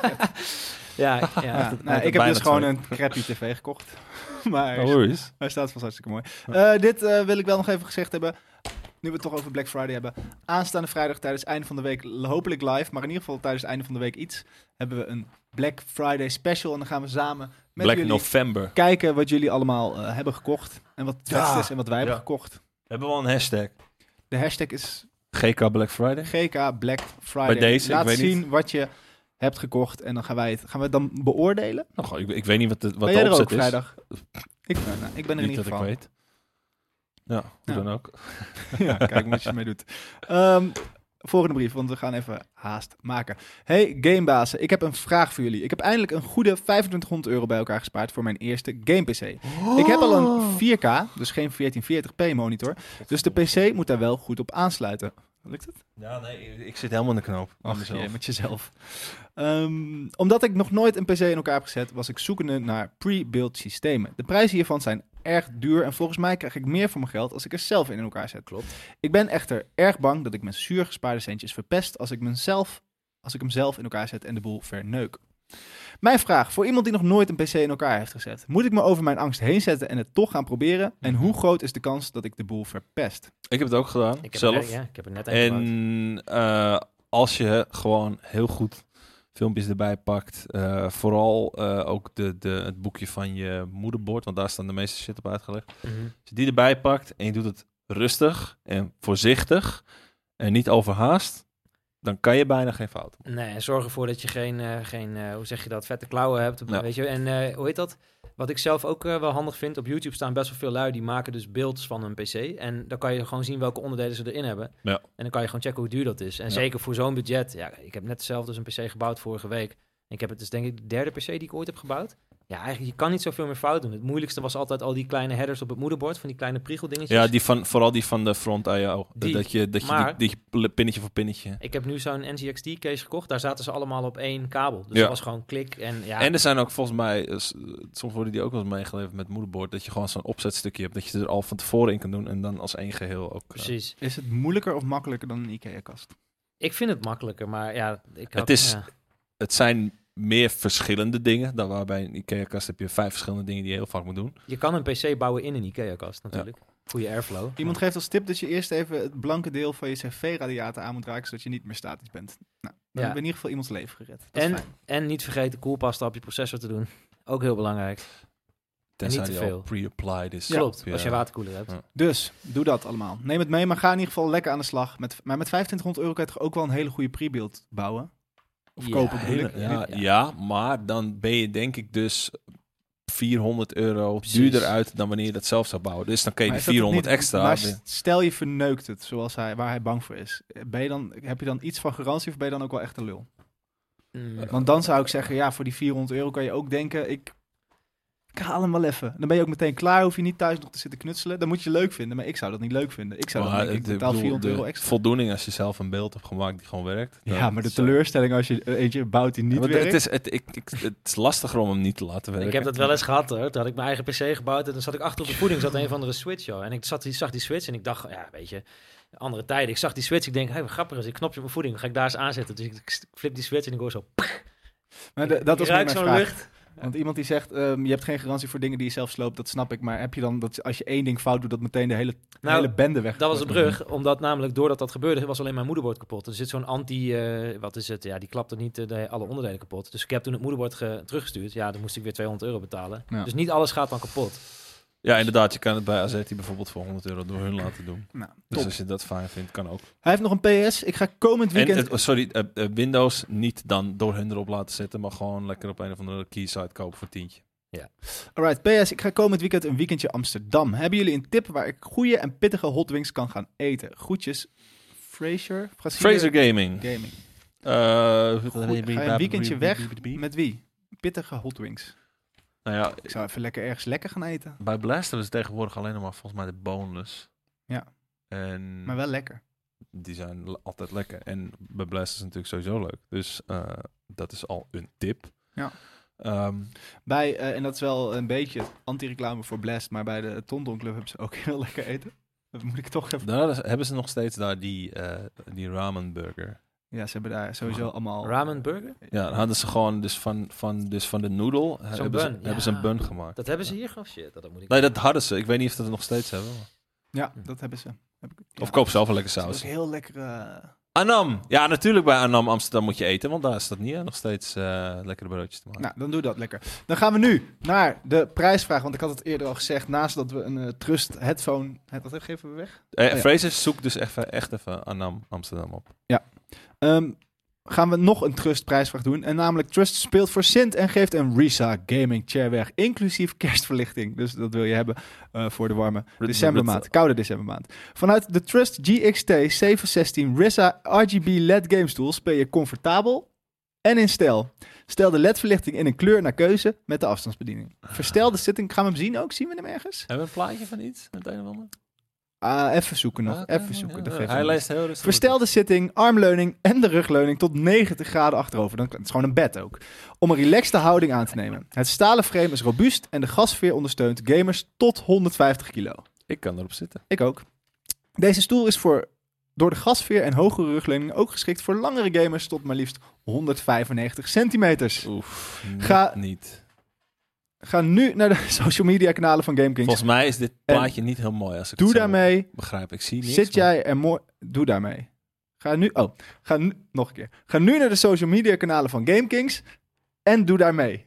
Speaker 3: ja,
Speaker 1: Ja,
Speaker 3: echt-
Speaker 1: nou,
Speaker 2: het
Speaker 1: ik heb
Speaker 2: bijna
Speaker 1: dus gewoon
Speaker 2: twee.
Speaker 1: een crappy tv gekocht. maar
Speaker 3: Oh,
Speaker 2: No worries.
Speaker 1: hij staat vast hartstikke mooi. Eh, dit eh, wil ik wel nog even gezegd hebben. Nu we het toch over Black Friday hebben. Aanstaande vrijdag tijdens het einde van de week, l- hopelijk live, maar in ieder geval tijdens het einde van de week iets, hebben we een Black Friday special. En dan gaan we samen met
Speaker 2: Black
Speaker 1: jullie
Speaker 2: November.
Speaker 1: kijken wat jullie allemaal eh, hebben gekocht. En wat het
Speaker 2: Ja.
Speaker 1: vetst is en wat wij hebben
Speaker 2: Ja.
Speaker 1: gekocht.
Speaker 2: We hebben wel een hashtag.
Speaker 1: De hashtag is
Speaker 2: GK Black Friday.
Speaker 1: GK Black Friday.
Speaker 2: Bij deze, ik
Speaker 1: Laat
Speaker 2: weet
Speaker 1: zien
Speaker 2: niet.
Speaker 1: wat je hebt gekocht en dan gaan wij het, gaan we het dan beoordelen.
Speaker 2: Nou, goh, ik, ik weet niet wat de, wat
Speaker 1: ben
Speaker 2: de
Speaker 1: jij er
Speaker 2: opzet
Speaker 1: ook
Speaker 2: is.
Speaker 1: vrijdag? Ik, nou, nou, ik ben er in ieder Nou.
Speaker 2: niet dat ik
Speaker 1: geval.
Speaker 2: weet. Ja,
Speaker 1: Ja.
Speaker 2: hoe dan ook.
Speaker 1: ja, kijk wat je ermee doet. Ehm, volgende brief, want we gaan even haast maken. Hey gamebazen, ik heb een vraag voor jullie. Ik heb eindelijk een goede 2500 euro bij elkaar gespaard voor mijn eerste game PC. Ik heb al een 4K, dus geen 1440p monitor. Dus de PC moet daar wel goed op aansluiten. Lukt het?
Speaker 2: Ja, nee, ik zit helemaal in de knoop. Aan
Speaker 1: Ach,
Speaker 2: mezelf.
Speaker 1: jee, met jezelf. Ehm, omdat ik nog nooit een PC in elkaar heb gezet, was ik zoekende naar pre-built systemen. De prijzen hiervan zijn erg duur en volgens mij krijg ik meer voor mijn geld als ik er zelf in in elkaar zet.
Speaker 3: Klopt.
Speaker 1: Ik ben echter erg bang dat ik mijn zuur gespaarde centjes verpest als ik, mezelf, als ik hem zelf in elkaar zet en de boel verneuk. Mijn vraag, voor iemand die nog nooit een PC in elkaar heeft gezet, moet ik me over mijn angst heen zetten en het toch gaan proberen? En hoe groot is de kans dat ik de boel verpest?
Speaker 2: Ik heb het ook gedaan,
Speaker 3: Ik heb,
Speaker 2: zelf.
Speaker 3: Er, ja, ik heb er net een gebouwd.
Speaker 2: En eh, als je gewoon heel goed filmpjes erbij pakt, eh, vooral eh, ook de, de, het boekje van je moederbord, want daar staan de meeste shit op uitgelegd.
Speaker 3: Mhm.
Speaker 2: Als je die erbij pakt en je doet het rustig en voorzichtig en niet overhaast, dan kan je bijna geen fout. maken.
Speaker 3: Nee, en zorg ervoor dat je geen, eh, geen eh, hoe zeg je dat, vette klauwen hebt.
Speaker 2: Ja.
Speaker 3: Weet je? En eh, hoe heet dat? Wat ik zelf ook eh, wel handig vind, op YouTube staan best wel veel lui die maken dus beelds van hun PC. En dan kan je gewoon zien welke onderdelen ze erin hebben.
Speaker 2: Ja.
Speaker 3: En dan kan je gewoon checken hoe duur dat is. En
Speaker 2: Ja.
Speaker 3: zeker voor zo'n budget. Ja, ik heb net zelf dus een PC gebouwd vorige week. Ik heb het dus denk ik de derde PC die ik ooit heb gebouwd. Ja, eigenlijk, je kan niet zoveel meer fout doen. Het moeilijkste was altijd al die kleine headers op het moederbord, van die kleine priegeldingetjes.
Speaker 2: Ja, die van, vooral die van de front IO.
Speaker 3: Die.
Speaker 2: Dat je, dat je
Speaker 3: Maar-
Speaker 2: die, die pinnetje voor pinnetje.
Speaker 3: Ik heb nu zo'n NCXT-case gekocht. Daar zaten ze allemaal op één kabel. Dus
Speaker 2: Ja.
Speaker 3: dat was gewoon klik en ja.
Speaker 2: En er zijn ook volgens mij, eh, s- soms worden die ook wel eens meegeleverd met moederbord, dat je gewoon zo'n opzetstukje hebt, dat je er al van tevoren in kan doen en dan als één geheel ook. eh,
Speaker 3: Precies.
Speaker 1: Is het moeilijker of makkelijker dan een IKEA-kast?
Speaker 3: Ik vind het makkelijker, maar ja, ik had,
Speaker 2: Het is-
Speaker 3: ja.
Speaker 2: het zijn meer verschillende dingen, dan waarbij een IKEA-kast heb je vijf verschillende dingen die je heel vaak moet doen.
Speaker 3: Je kan een PC bouwen in een IKEA-kast natuurlijk. Voor je airflow.
Speaker 1: Iemand geeft als tip dat je eerst even het blanke deel van je cv-radiator aan moet raken, zodat je niet meer statisch bent. Nou, dan hebben we in ieder geval iemands leven gered. Dat is
Speaker 3: en,
Speaker 1: fijn.
Speaker 3: en niet vergeten koelpasta op je processor te doen. Ook heel belangrijk.
Speaker 2: Tenzij
Speaker 3: te
Speaker 2: die
Speaker 3: veel.
Speaker 2: al pre-applied is.
Speaker 3: Klopt,
Speaker 2: Ja.
Speaker 3: als je een waterkoeler hebt.
Speaker 2: Ja.
Speaker 1: Dus, doe dat allemaal. Neem het mee, maar ga in ieder geval lekker aan de slag. Met, maar met 2500 euro kan je toch ook wel een hele goede pre-build bouwen? Of
Speaker 3: Ja,
Speaker 1: kopen bedoel
Speaker 2: Hele-
Speaker 1: ik.
Speaker 2: ja,
Speaker 3: Ja.
Speaker 2: ja, maar dan ben je denk ik dus 400 euro
Speaker 3: Precies.
Speaker 2: duurder uit dan wanneer je dat zelf zou bouwen. Dus dan kun je
Speaker 1: Maar
Speaker 2: die
Speaker 1: is dat het
Speaker 2: 400
Speaker 1: niet-
Speaker 2: extra.
Speaker 1: Maar
Speaker 2: weer-
Speaker 1: s- stel je verneukt het, zoals hij, waar hij bang voor is. Ben je dan, heb je dan iets van garantie of ben je dan ook wel echt een lul?
Speaker 3: Mm.
Speaker 1: Want dan zou ik zeggen, ja, voor die 400 euro kan je ook denken, ik, ik haal hem wel even. Dan ben je ook meteen klaar, hoef je niet thuis nog te zitten knutselen. Dan moet je leuk vinden, maar ik zou dat niet leuk vinden. Ik zou dan
Speaker 2: Maar
Speaker 1: denken, ik
Speaker 2: het- ik
Speaker 1: betaal
Speaker 2: bedoel,
Speaker 1: 400
Speaker 2: de
Speaker 1: euro extra.
Speaker 2: Voldoening als je zelf een beeld hebt gemaakt die gewoon werkt.
Speaker 1: Ja,
Speaker 2: dan-
Speaker 1: maar de
Speaker 2: zo.
Speaker 1: teleurstelling als je er eentje bouwt die
Speaker 2: Ja,
Speaker 1: niet
Speaker 2: want
Speaker 1: werkt.
Speaker 2: Het is, het, ik, ik, het is lastiger om hem niet te laten werken.
Speaker 3: Ik heb dat wel eens gehad hoor. Toen had ik mijn eigen PC gebouwd en dan zat ik achter op de voeding. zat een van de switch joh. En ik zat, die- zag die switch en ik dacht, ja weet je, andere tijden. Ik zag die switch, ik denk, hé hey, wat grappig is, ik knopje op mijn voeding. Ga ik daar eens aanzetten. Dus ik, ik flip die switch en ik hoor zo,
Speaker 1: maar de- dat was
Speaker 3: ik
Speaker 1: niet
Speaker 3: ruik
Speaker 1: mijn
Speaker 3: zo'n
Speaker 1: vraag.
Speaker 3: lucht. Nou,
Speaker 1: Want iemand die zegt, ehm, je hebt geen garantie voor dingen die je zelf sloopt, dat snap ik. Maar heb je dan, dat als je één ding fout doet, dat meteen de hele,
Speaker 3: Nou,
Speaker 1: hele bende weg
Speaker 3: Dat was een brug, omdat namelijk doordat dat gebeurde, was alleen mijn moederbord kapot. Er zit zo'n anti, eh, wat is het, ja, die klapte niet eh, de, alle onderdelen kapot. Dus ik heb toen het moederbord ge- teruggestuurd. Ja, dan moest ik weer 200 euro betalen.
Speaker 1: Ja.
Speaker 3: Dus niet alles gaat dan kapot.
Speaker 2: Ja, inderdaad. Je kan het bij AZ bijvoorbeeld voor 100 euro door hun laten doen.
Speaker 1: Nou,
Speaker 2: Dus
Speaker 1: top.
Speaker 2: als je dat fijn vindt, kan ook.
Speaker 1: Hij heeft nog een PS. Ik ga komend
Speaker 2: En,
Speaker 1: weekend...
Speaker 2: het- oh, sorry, eh, eh, Windows niet dan door hun erop laten zetten, maar gewoon lekker op een of andere keysite kopen voor tientje.
Speaker 1: Alright, PS, ik ga komend weekend een weekendje Amsterdam. Hebben jullie een tip waar ik goede en pittige hot wings kan gaan eten? Groetjes, Fraser?
Speaker 2: Fraser Gaming.
Speaker 1: Gaming.
Speaker 2: Eh,
Speaker 1: Ga je een weekendje weg? Met wie? Pittige hot wings.
Speaker 2: Nou ja,
Speaker 1: Ik
Speaker 2: Hmm.
Speaker 1: zou even lekker ergens lekker gaan eten.
Speaker 2: bij Blaster is het tegenwoordig alleen nog maar volgens mij de boneless.
Speaker 1: Ja.
Speaker 2: En
Speaker 1: Maar wel lekker.
Speaker 2: die zijn l- altijd lekker. En bij Blast is het natuurlijk sowieso leuk. Dus eh, dat is al een tip.
Speaker 1: Ja.
Speaker 2: Ehm,
Speaker 1: Bij, eh, en dat is wel een beetje anti-reclame voor Blast, maar bij de Tondon Club hebben ze ook heel lekker eten. Dat moet ik toch even...
Speaker 2: daar is- hebben ze nog steeds daar die, eh, die ramen burger.
Speaker 1: Ja, ze hebben daar sowieso allemaal...
Speaker 3: Ramen burger?
Speaker 2: Ja, dan hadden ze gewoon dus van, van, dus van de noedel eh,
Speaker 3: Zo'n
Speaker 2: hebben, ze,
Speaker 3: bun,
Speaker 2: hebben ze
Speaker 3: ja.
Speaker 2: een bun gemaakt.
Speaker 3: Dat hebben ze hier? Oh shit, dat moet ik...
Speaker 2: Nee, dat hadden ze. Ik weet niet of dat het nog steeds hebben. maar-
Speaker 1: Ja, dat hebben ze. Heb ik- ja.
Speaker 2: Of koop zelf een lekker
Speaker 1: Ze hebben
Speaker 2: saus.
Speaker 1: ook heel eh, lekkere...
Speaker 2: Anam. Ja, natuurlijk bij Anam Amsterdam moet je eten, want daar is dat niet hè, nog steeds eh, lekkere broodjes te maken.
Speaker 1: Nou, dan doe dat lekker. Dan gaan we nu naar de prijsvraag. Want ik had het eerder al gezegd. Naast dat we een eh, Trust headphone... he- Dat geven we weg.
Speaker 2: Eh,
Speaker 1: Oh ja.
Speaker 2: Fraser, zoek dus even, echt even Anam Amsterdam op.
Speaker 1: Ehm, gaan we nog een Trust prijsvraag doen. En namelijk Trust speelt voor Sint en geeft een Risa gaming chair weg. Inclusief kerstverlichting. Dus dat wil je hebben eh, voor de warme decembermaand. Koude decembermaand. Vanuit de Trust GXT 716 Risa RGB LED game stoel speel je comfortabel en in stijl. Stel de LED-verlichting in een kleur naar keuze met de afstandsbediening.
Speaker 2: Ah.
Speaker 1: Verstel de zitting. Gaan we hem zien ook? Zien we hem ergens?
Speaker 2: Hebben we een plaatje van iets? Met een of ander?
Speaker 1: Ah, even zoeken nog.
Speaker 2: Ah, oké,
Speaker 1: even zoeken.
Speaker 2: ja,
Speaker 1: dat
Speaker 2: ja.
Speaker 1: geeft
Speaker 2: Hij
Speaker 1: niet.
Speaker 2: leest heel rustig.
Speaker 1: Verstel de zitting, armleuning en de rugleuning tot 90 graden achterover. Dan, het is gewoon een bed ook. Om een relaxte houding aan te nemen. Het stalen frame is robuust en de gasveer ondersteunt gamers tot 150 kilo.
Speaker 2: Ik kan erop zitten.
Speaker 1: Ik ook. Deze stoel is voor door de gasveer en hogere rugleuning ook geschikt voor langere gamers tot maar liefst 195 centimeters.
Speaker 2: Oef,
Speaker 1: Ga-
Speaker 2: niet.
Speaker 1: Ga nu naar de social media kanalen van GameKings.
Speaker 2: Volgens mij is dit plaatje niet heel mooi als ik
Speaker 1: Doe
Speaker 2: het zo
Speaker 1: daarmee
Speaker 2: begrijp. Ik zie niks.
Speaker 1: Zit
Speaker 2: maar-
Speaker 1: jij er mooi... Doe daarmee. Ga nu... Oh, ga nu... Nog een keer. Ga nu naar de social media kanalen van GameKings en doe daarmee.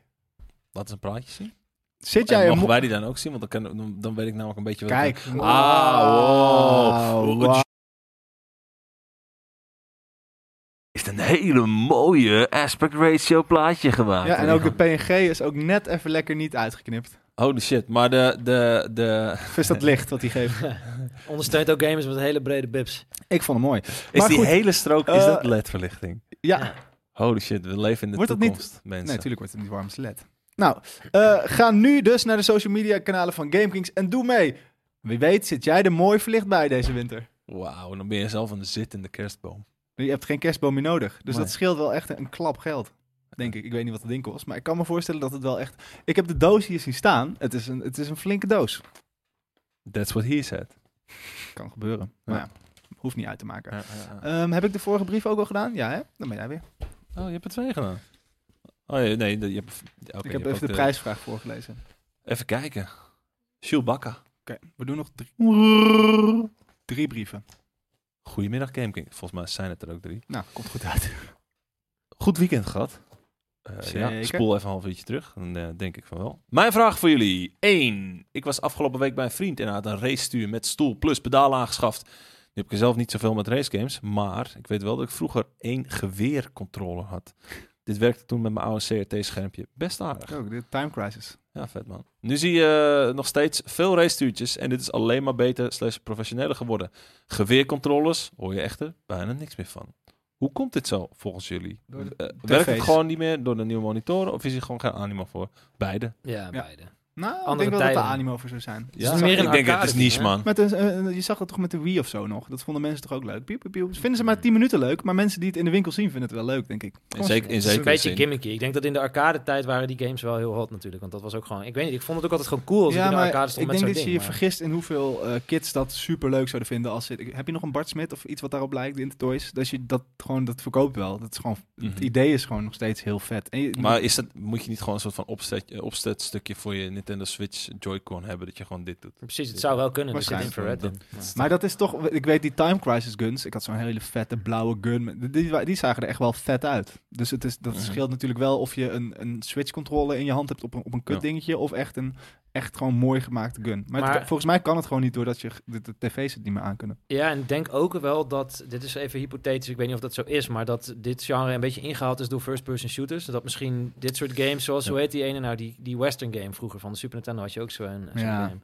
Speaker 2: Laat eens een plaatje zien.
Speaker 1: Zit
Speaker 2: En
Speaker 1: jij er
Speaker 2: mogen
Speaker 1: mooi...
Speaker 2: wij die dan ook zien? Want dan, kan, dan, dan weet ik namelijk een beetje wat...
Speaker 1: Kijk.
Speaker 2: Ah, wow.
Speaker 1: Wauw.
Speaker 2: Is een hele mooie aspect ratio plaatje gemaakt.
Speaker 1: Ja, en ook de PNG is ook net even lekker niet uitgeknipt.
Speaker 2: Holy shit, maar de... de, de
Speaker 1: Of is dat licht wat hij geeft?
Speaker 3: Ondersteunt ook gamers met hele brede bibs.
Speaker 1: Ik vond hem mooi.
Speaker 2: is
Speaker 1: Maar
Speaker 2: die
Speaker 1: goed.
Speaker 2: hele strook, is dat
Speaker 1: Eh,
Speaker 2: ledverlichting?
Speaker 1: Ja,
Speaker 3: Ja.
Speaker 2: Holy shit, we leven in de
Speaker 1: Wordt dat niet-
Speaker 2: toekomst, mensen.
Speaker 1: nee, natuurlijk wordt het niet warm led. Nou, eh, ga nu dus naar de social media kanalen van GameKings en doe mee. Wie weet zit jij er mooi verlicht bij deze winter.
Speaker 2: Wauw, dan ben je zelf een zittende kerstboom.
Speaker 1: Je hebt geen kerstboom meer nodig. Dus
Speaker 2: Nee.
Speaker 1: dat scheelt wel echt een klap geld. Denk ik. Ik weet niet wat het ding kost. Maar ik kan me voorstellen dat het wel echt. Ik heb de doos hier zien staan. Het is een, het is een flinke doos.
Speaker 2: That's what he said.
Speaker 1: Kan gebeuren. Maar
Speaker 2: Ja.
Speaker 1: ja, hoeft niet uit te maken. Ehm, heb ik de vorige brief ook al gedaan? Ja, hè? Dan ben jij weer.
Speaker 2: Oh, je hebt er twee gedaan. Oh ja, nee, de- je hebt... ja, oké, je
Speaker 1: ik
Speaker 2: hebt
Speaker 1: heb even
Speaker 2: ook
Speaker 1: de prijsvraag voorgelezen.
Speaker 2: Even kijken. Jules Bakker.
Speaker 1: Oké, we doen nog drie, drie brieven.
Speaker 2: Goedemiddag Gameking. Volgens mij zijn het er ook drie.
Speaker 1: Nou, komt goed uit.
Speaker 2: Goed weekend gehad. Eh, ja,
Speaker 1: Zeker.
Speaker 2: spoel even een half uurtje terug. Dan eh, denk ik van wel. Mijn vraag voor jullie. 1. Ik was afgelopen week bij een vriend en hij had een race stuur met stoel plus pedalen aangeschaft. Nu heb ik er zelf niet zoveel met racegames. Maar ik weet wel dat ik vroeger één geweercontroller had. Dit werkte toen met mijn oude CRT-schermpje best aardig.
Speaker 1: Ook de time crisis.
Speaker 2: Ja, vet man. Nu zie je eh, nog steeds veel racestuurtjes en dit is alleen maar beter slechts professioneler geworden. Geweercontrollers hoor je echter bijna niks meer van. Hoe komt dit zo volgens jullie?
Speaker 1: Door de
Speaker 2: Eh, werkt het
Speaker 1: tv's.
Speaker 2: gewoon niet meer door de nieuwe monitoren of is er gewoon geen animo voor? Beide.
Speaker 3: Ja,
Speaker 1: Ja.
Speaker 3: beide.
Speaker 1: Nou, ik
Speaker 3: Andere
Speaker 1: denk wel dat
Speaker 3: tijden.
Speaker 1: de animo voor zou zijn.
Speaker 3: Ja. is meer
Speaker 2: ik
Speaker 3: een
Speaker 2: denk het
Speaker 3: arcade
Speaker 2: is niche
Speaker 3: ding,
Speaker 2: man.
Speaker 1: Met een, eh, je zag dat toch met de Wii of zo nog? Dat vonden mensen toch ook leuk? Piep, piep, piep. Ze Vinden ze maar 10 minuten leuk, maar mensen die het in de winkel zien vinden het wel leuk, denk ik.
Speaker 2: In zeker, in
Speaker 3: Het is een
Speaker 2: zekere
Speaker 3: beetje
Speaker 2: zin.
Speaker 3: gimmicky. Ik denk dat in de arcade tijd waren die games wel heel hot natuurlijk. Want dat was ook gewoon... Ik weet niet, ik vond het ook altijd gewoon cool als ik in de arcade stond
Speaker 1: ik denk
Speaker 3: met zo'n
Speaker 1: dat je
Speaker 3: ding.
Speaker 1: je
Speaker 3: maar-
Speaker 1: vergist in hoeveel eh, kids dat super leuk zouden vinden. Als ze, heb je nog een Bart Smit of iets wat daarop lijkt in de toys? Dat je dat gewoon, dat verkoopt wel. Dat is gewoon,
Speaker 2: Mhm.
Speaker 1: Het idee is gewoon nog steeds heel vet. En je-
Speaker 2: Maar is dat, moet je niet gewoon een soort van opzet, eh, opzetstukje voor je Nintendo Switch Joy-Con hebben dat je gewoon dit doet?
Speaker 3: Precies, het zou wel kunnen. Er zit
Speaker 2: Waarschijnlijk.
Speaker 3: infrared in.
Speaker 1: maar dat is toch, ik weet die Time Crisis guns. Ik had zo'n hele vette blauwe gun. met- Die, wa- die zagen er echt wel vet uit. Dus het is, dat
Speaker 2: Mhm.
Speaker 1: scheelt natuurlijk wel of je een, een Switch controller in je hand hebt op een, op een kut
Speaker 2: Ja.
Speaker 1: dingetje. Of echt een echt gewoon mooi gemaakte gun. Maar, het-
Speaker 3: Maar-
Speaker 1: volgens mij kan het gewoon niet doordat je, de, de tv's het niet meer aankunnen.
Speaker 3: Ja, en ik denk ook wel dat, dit is even hypothetisch, ik weet niet of dat zo is, maar dat dit genre een beetje ingehaald is door first-person shooters. Dat misschien dit soort games, zoals,
Speaker 2: Ja.
Speaker 3: hoe heet die ene nou, die, die western game vroeger van de Super Nintendo had je ook zo'n zo'n
Speaker 1: Ja.
Speaker 3: game.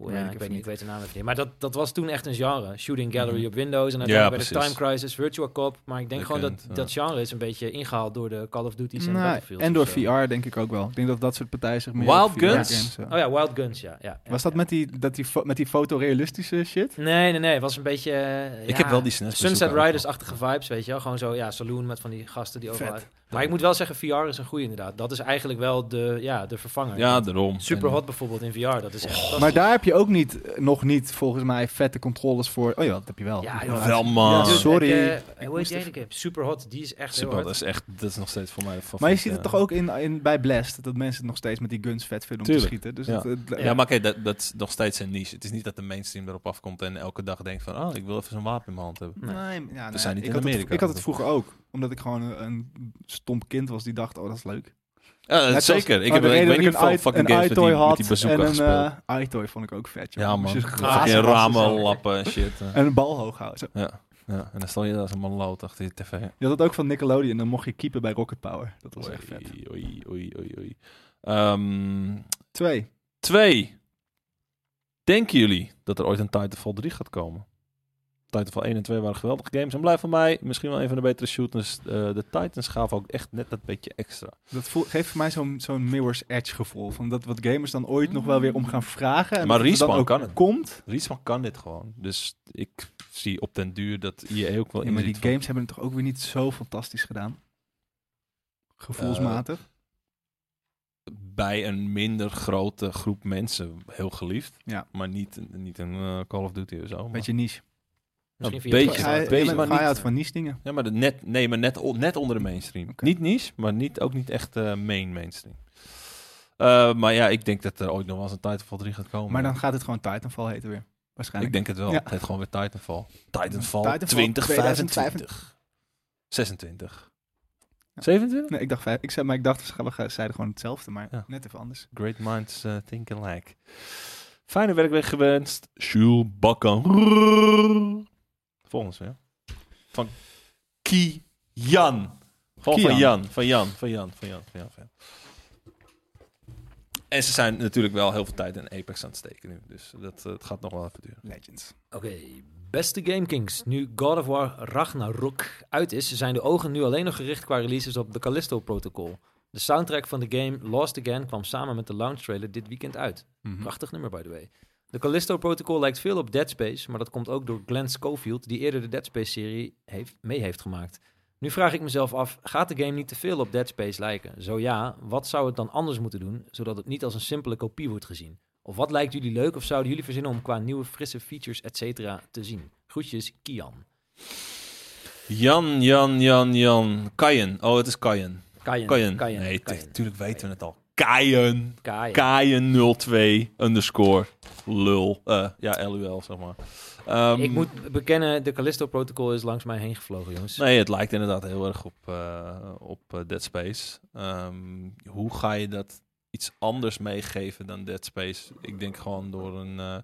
Speaker 3: Oeh,
Speaker 1: Weet
Speaker 3: ja,
Speaker 1: ik
Speaker 3: ik,
Speaker 1: even
Speaker 3: weet niet,
Speaker 1: niet.
Speaker 3: ik weet de naam even niet. Maar dat, dat was toen echt een genre. Shooting gallery
Speaker 1: Mhm.
Speaker 3: op Windows en dan
Speaker 2: Ja,
Speaker 3: bij de
Speaker 2: precies.
Speaker 3: Time Crisis, Virtual Cop. Maar ik denk gewoon dat
Speaker 2: Bekend, ja.
Speaker 3: dat genre is een beetje ingehaald door de Call of Duty's en
Speaker 1: Nou,
Speaker 3: Battlefield.
Speaker 1: en door
Speaker 3: of zo.
Speaker 1: VR denk ik ook wel. Ik denk dat dat soort partijen zich meer...
Speaker 2: Wild
Speaker 1: op VR
Speaker 2: Guns?
Speaker 1: games, ja.
Speaker 3: Oh ja, Wild Guns, ja. ja, ja,
Speaker 1: Was dat
Speaker 3: ja.
Speaker 1: met die, dat die, fo- met die fotorealistische shit?
Speaker 3: Nee, nee, nee. Het was een beetje... eh,
Speaker 2: Ik
Speaker 3: ja,
Speaker 2: heb wel die SNES
Speaker 3: Sunset
Speaker 2: bezoeken ook
Speaker 3: Riders-achtige vibes, weet je wel. Gewoon zo, ja, saloon met van die gasten die overal...
Speaker 1: Vet.
Speaker 3: Maar ik moet wel zeggen, VR is een goede inderdaad. Dat is eigenlijk wel de, ja, de vervanger.
Speaker 2: wel. Ja, daarom.
Speaker 3: Super hot bijvoorbeeld in VR, dat is echt fantastisch.
Speaker 1: Oh, Maar daar heb je ook niet, eh, nog niet volgens mij vette controllers voor. Oh ja, dat heb je wel.
Speaker 3: Ja,
Speaker 2: En-
Speaker 3: joh.
Speaker 2: Wel man.
Speaker 1: Ja,
Speaker 3: Dude,
Speaker 1: sorry.
Speaker 3: Ik, eh, hoe heet
Speaker 1: moest
Speaker 3: die ene game? Superhot, die is echt
Speaker 2: Super
Speaker 3: heel
Speaker 2: hot.
Speaker 3: hard.
Speaker 2: Dat is echt, dat is nog steeds voor mij een favoriet,
Speaker 1: Maar je ziet het
Speaker 2: ja.
Speaker 1: toch ook in, in, bij Blast, dat mensen het nog steeds met die guns vet vinden om
Speaker 2: Tuurlijk,
Speaker 1: te schieten. Dus
Speaker 2: ja.
Speaker 1: het, het-
Speaker 2: Ja, maar kijk, dat, dat is nog steeds een niche. Het is niet dat de mainstream erop afkomt en elke dag denkt van, oh, ik wil even zo'n wapen in mijn hand hebben.
Speaker 1: Nee,
Speaker 3: Nee.
Speaker 1: ja, nou ja,
Speaker 2: zijn niet
Speaker 1: ik
Speaker 2: in
Speaker 1: had het-
Speaker 2: Amerika.
Speaker 1: ik had het vroeger ook, omdat ik gewoon een, een stom kind was die dacht, oh dat is leuk.
Speaker 2: Ja, dat
Speaker 1: Net zoals-
Speaker 2: Eh, zeker. Ik
Speaker 1: maar
Speaker 2: heb
Speaker 1: de
Speaker 2: ik
Speaker 1: reden
Speaker 2: weet
Speaker 1: dat
Speaker 2: niet veel
Speaker 1: i-
Speaker 2: fucking games met
Speaker 1: iToy
Speaker 2: die, met
Speaker 1: had
Speaker 2: die bazooka
Speaker 1: en een
Speaker 2: gespeeld.
Speaker 1: eh, iToy vond ik ook vet. joh.
Speaker 2: ja
Speaker 1: Moest
Speaker 2: man,
Speaker 1: je
Speaker 3: glazen
Speaker 2: fucking
Speaker 1: glazen
Speaker 2: ramen
Speaker 1: wassen zo.
Speaker 2: lappen en shit. eh.
Speaker 1: En een bal hoog houden. Zo.
Speaker 2: Ja. ja, en dan stel je daar als een man lood achter je tv.
Speaker 1: Je had het ook van Nickelodeon, dan mocht je keeper bij Rocket Power. Dat was echt vet.
Speaker 2: Oei, oei, oei, oei, oei. Ehm,
Speaker 1: Twee.
Speaker 2: twee. Denken jullie dat er ooit een Titanfall 3 gaat komen? Titanfall 1 en 2 waren geweldige games en blijf van mij misschien wel een van de betere shooters. Eh, de Titans gaven ook echt net dat beetje extra.
Speaker 1: Dat voel- geeft voor mij zo'n zo'n Mirror's Edge gevoel. Van dat wat gamers dan
Speaker 2: Mm.
Speaker 1: ooit nog wel weer om gaan vragen. En
Speaker 2: Maar
Speaker 1: dat het dan
Speaker 2: Respawn
Speaker 1: ook
Speaker 2: kan het.
Speaker 1: komt.
Speaker 2: Riesman kan dit gewoon. Dus ik zie op den duur dat je ook wel
Speaker 1: Ja,
Speaker 2: in
Speaker 1: maar die games hebben het toch ook weer niet zo fantastisch gedaan. Gevoelsmatig.
Speaker 2: bij een minder grote groep mensen heel geliefd.
Speaker 1: Ja.
Speaker 2: Maar niet, niet een eh, Call of Duty of zo. maar-
Speaker 1: Beetje niche.
Speaker 2: Ja,
Speaker 3: Misschien
Speaker 2: een
Speaker 3: via
Speaker 2: beetje.
Speaker 3: Twitch.
Speaker 1: Hij-
Speaker 2: een
Speaker 1: ik
Speaker 3: Weet
Speaker 2: beetje,
Speaker 1: ben
Speaker 2: maar
Speaker 1: een
Speaker 2: niet,
Speaker 1: out van niche dingen.
Speaker 2: ja, maar de net, nee, maar net, o- net onder de mainstream.
Speaker 1: Oké.
Speaker 2: Niet niche, maar niet, ook niet echt eh, main mainstream. Eh, maar ja, ik denk dat er ooit nog wel eens een Titanfall 3 gaat komen.
Speaker 1: Maar dan gaat het gewoon Titanfall heten weer.
Speaker 2: Oh, ik
Speaker 1: Waarschijnlijk.
Speaker 2: denk het wel.
Speaker 1: Ja.
Speaker 2: Het heet gewoon weer Titanfall. Titanfall,
Speaker 1: Titanfall
Speaker 2: 2025. 26.
Speaker 1: Ja.
Speaker 2: 27?
Speaker 1: Nee, ik dacht vijf. Ik zei, maar ik dacht, ze gaan- we gaan- zeiden gewoon hetzelfde, maar
Speaker 2: Ja.
Speaker 1: net even anders.
Speaker 2: Great minds eh, think alike. Fijne werkweek gewenst. Jules Bakker. Volgens mij. Van Kian. Gewoon van
Speaker 1: Kian.
Speaker 2: Jan. Van Jan. Van Jan. Van Jan. Van Jan. Van Jan. En ze zijn natuurlijk wel heel veel tijd in Apex aan het steken nu. Dus dat, eh, het gaat nog wel even duren.
Speaker 1: Legends.
Speaker 3: Oké, beste GameKings. Nu God of War Ragnarok uit is, zijn de ogen nu alleen nog gericht qua releases op de Callisto Protocol. De soundtrack van de game Lost Again kwam samen met de launch trailer dit weekend uit.
Speaker 2: Mhm.
Speaker 1: Hm.
Speaker 3: Prachtig nummer, by the way. De Callisto Protocol lijkt veel op Dead Space, maar dat komt ook door Glenn Schofield, die eerder de Dead Space-serie heeft, mee heeft gemaakt. Nu vraag ik mezelf af, gaat de game niet te veel op Dead Space lijken? Zo ja, wat zou het dan anders moeten doen, zodat het niet als een simpele kopie wordt gezien? Of wat lijkt jullie leuk of zouden jullie verzinnen om qua nieuwe frisse features, et cetera, te zien? Groetjes, Kian.
Speaker 2: Jan, Jan, Jan, Jan. Kayen. Oh, het is Kayen.
Speaker 3: Kayen.
Speaker 2: Kayen.
Speaker 3: Kayen.
Speaker 2: Nee,
Speaker 3: Kayen.
Speaker 2: natuurlijk weten we het al. Kayen.
Speaker 3: Kayen.
Speaker 2: Kaien02 underscore lul. Eh, ja, LUL, zeg maar. Ehm,
Speaker 3: Ik moet bekennen, de Callisto Protocol is langs mij heen gevlogen, jongens.
Speaker 2: Nee, het lijkt inderdaad heel erg op, eh, op eh, Dead Space. Ehm, hoe ga je dat iets anders meegeven dan Dead Space? Ik denk gewoon door een eh,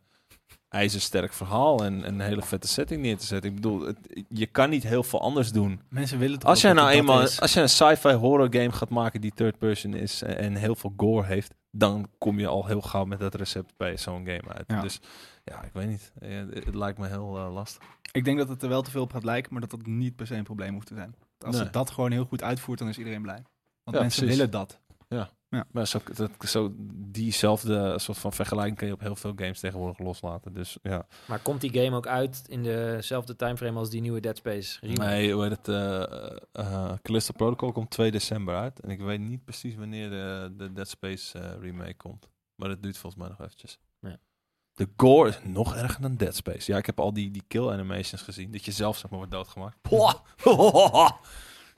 Speaker 2: ijzersterk verhaal en een hele vette setting neer te zetten. Ik bedoel, het- je kan niet heel veel anders doen.
Speaker 1: Mensen willen toch
Speaker 2: Als jij
Speaker 1: ook dat
Speaker 2: nou
Speaker 1: het
Speaker 2: eenmaal
Speaker 1: dat is?
Speaker 2: als jij een sci-fi horror game gaat maken die third person is en, en heel veel gore heeft, dan kom je al heel gauw met dat recept bij zo'n game uit.
Speaker 1: Ja.
Speaker 2: Dus ja, ik weet niet. Eh, Het, het lijkt me heel eh, lastig.
Speaker 1: Ik denk dat het er wel te veel op gaat lijken, maar dat dat niet per se een probleem hoeft te zijn. Als
Speaker 2: Nee.
Speaker 1: het dat gewoon heel goed uitvoert, dan is iedereen blij. Want
Speaker 2: Ja,
Speaker 1: mensen
Speaker 2: precies.
Speaker 1: willen dat.
Speaker 2: Maar zo, dat, zo diezelfde soort van vergelijking kan je op heel veel games tegenwoordig loslaten. Dus ja.
Speaker 3: Maar komt die game ook uit in dezelfde timeframe als die nieuwe Dead Space remake?
Speaker 2: Nee, hoe heet het? eh, eh, Callisto Protocol komt 2 december uit. En ik weet niet precies wanneer de, de Dead Space eh, remake komt. Maar dat duurt volgens mij nog eventjes.
Speaker 3: Ja.
Speaker 2: De gore is nog erger dan Dead Space. Ja, ik heb al die, die kill animations gezien. Dat je zelf zeg maar wordt doodgemaakt. Pwa!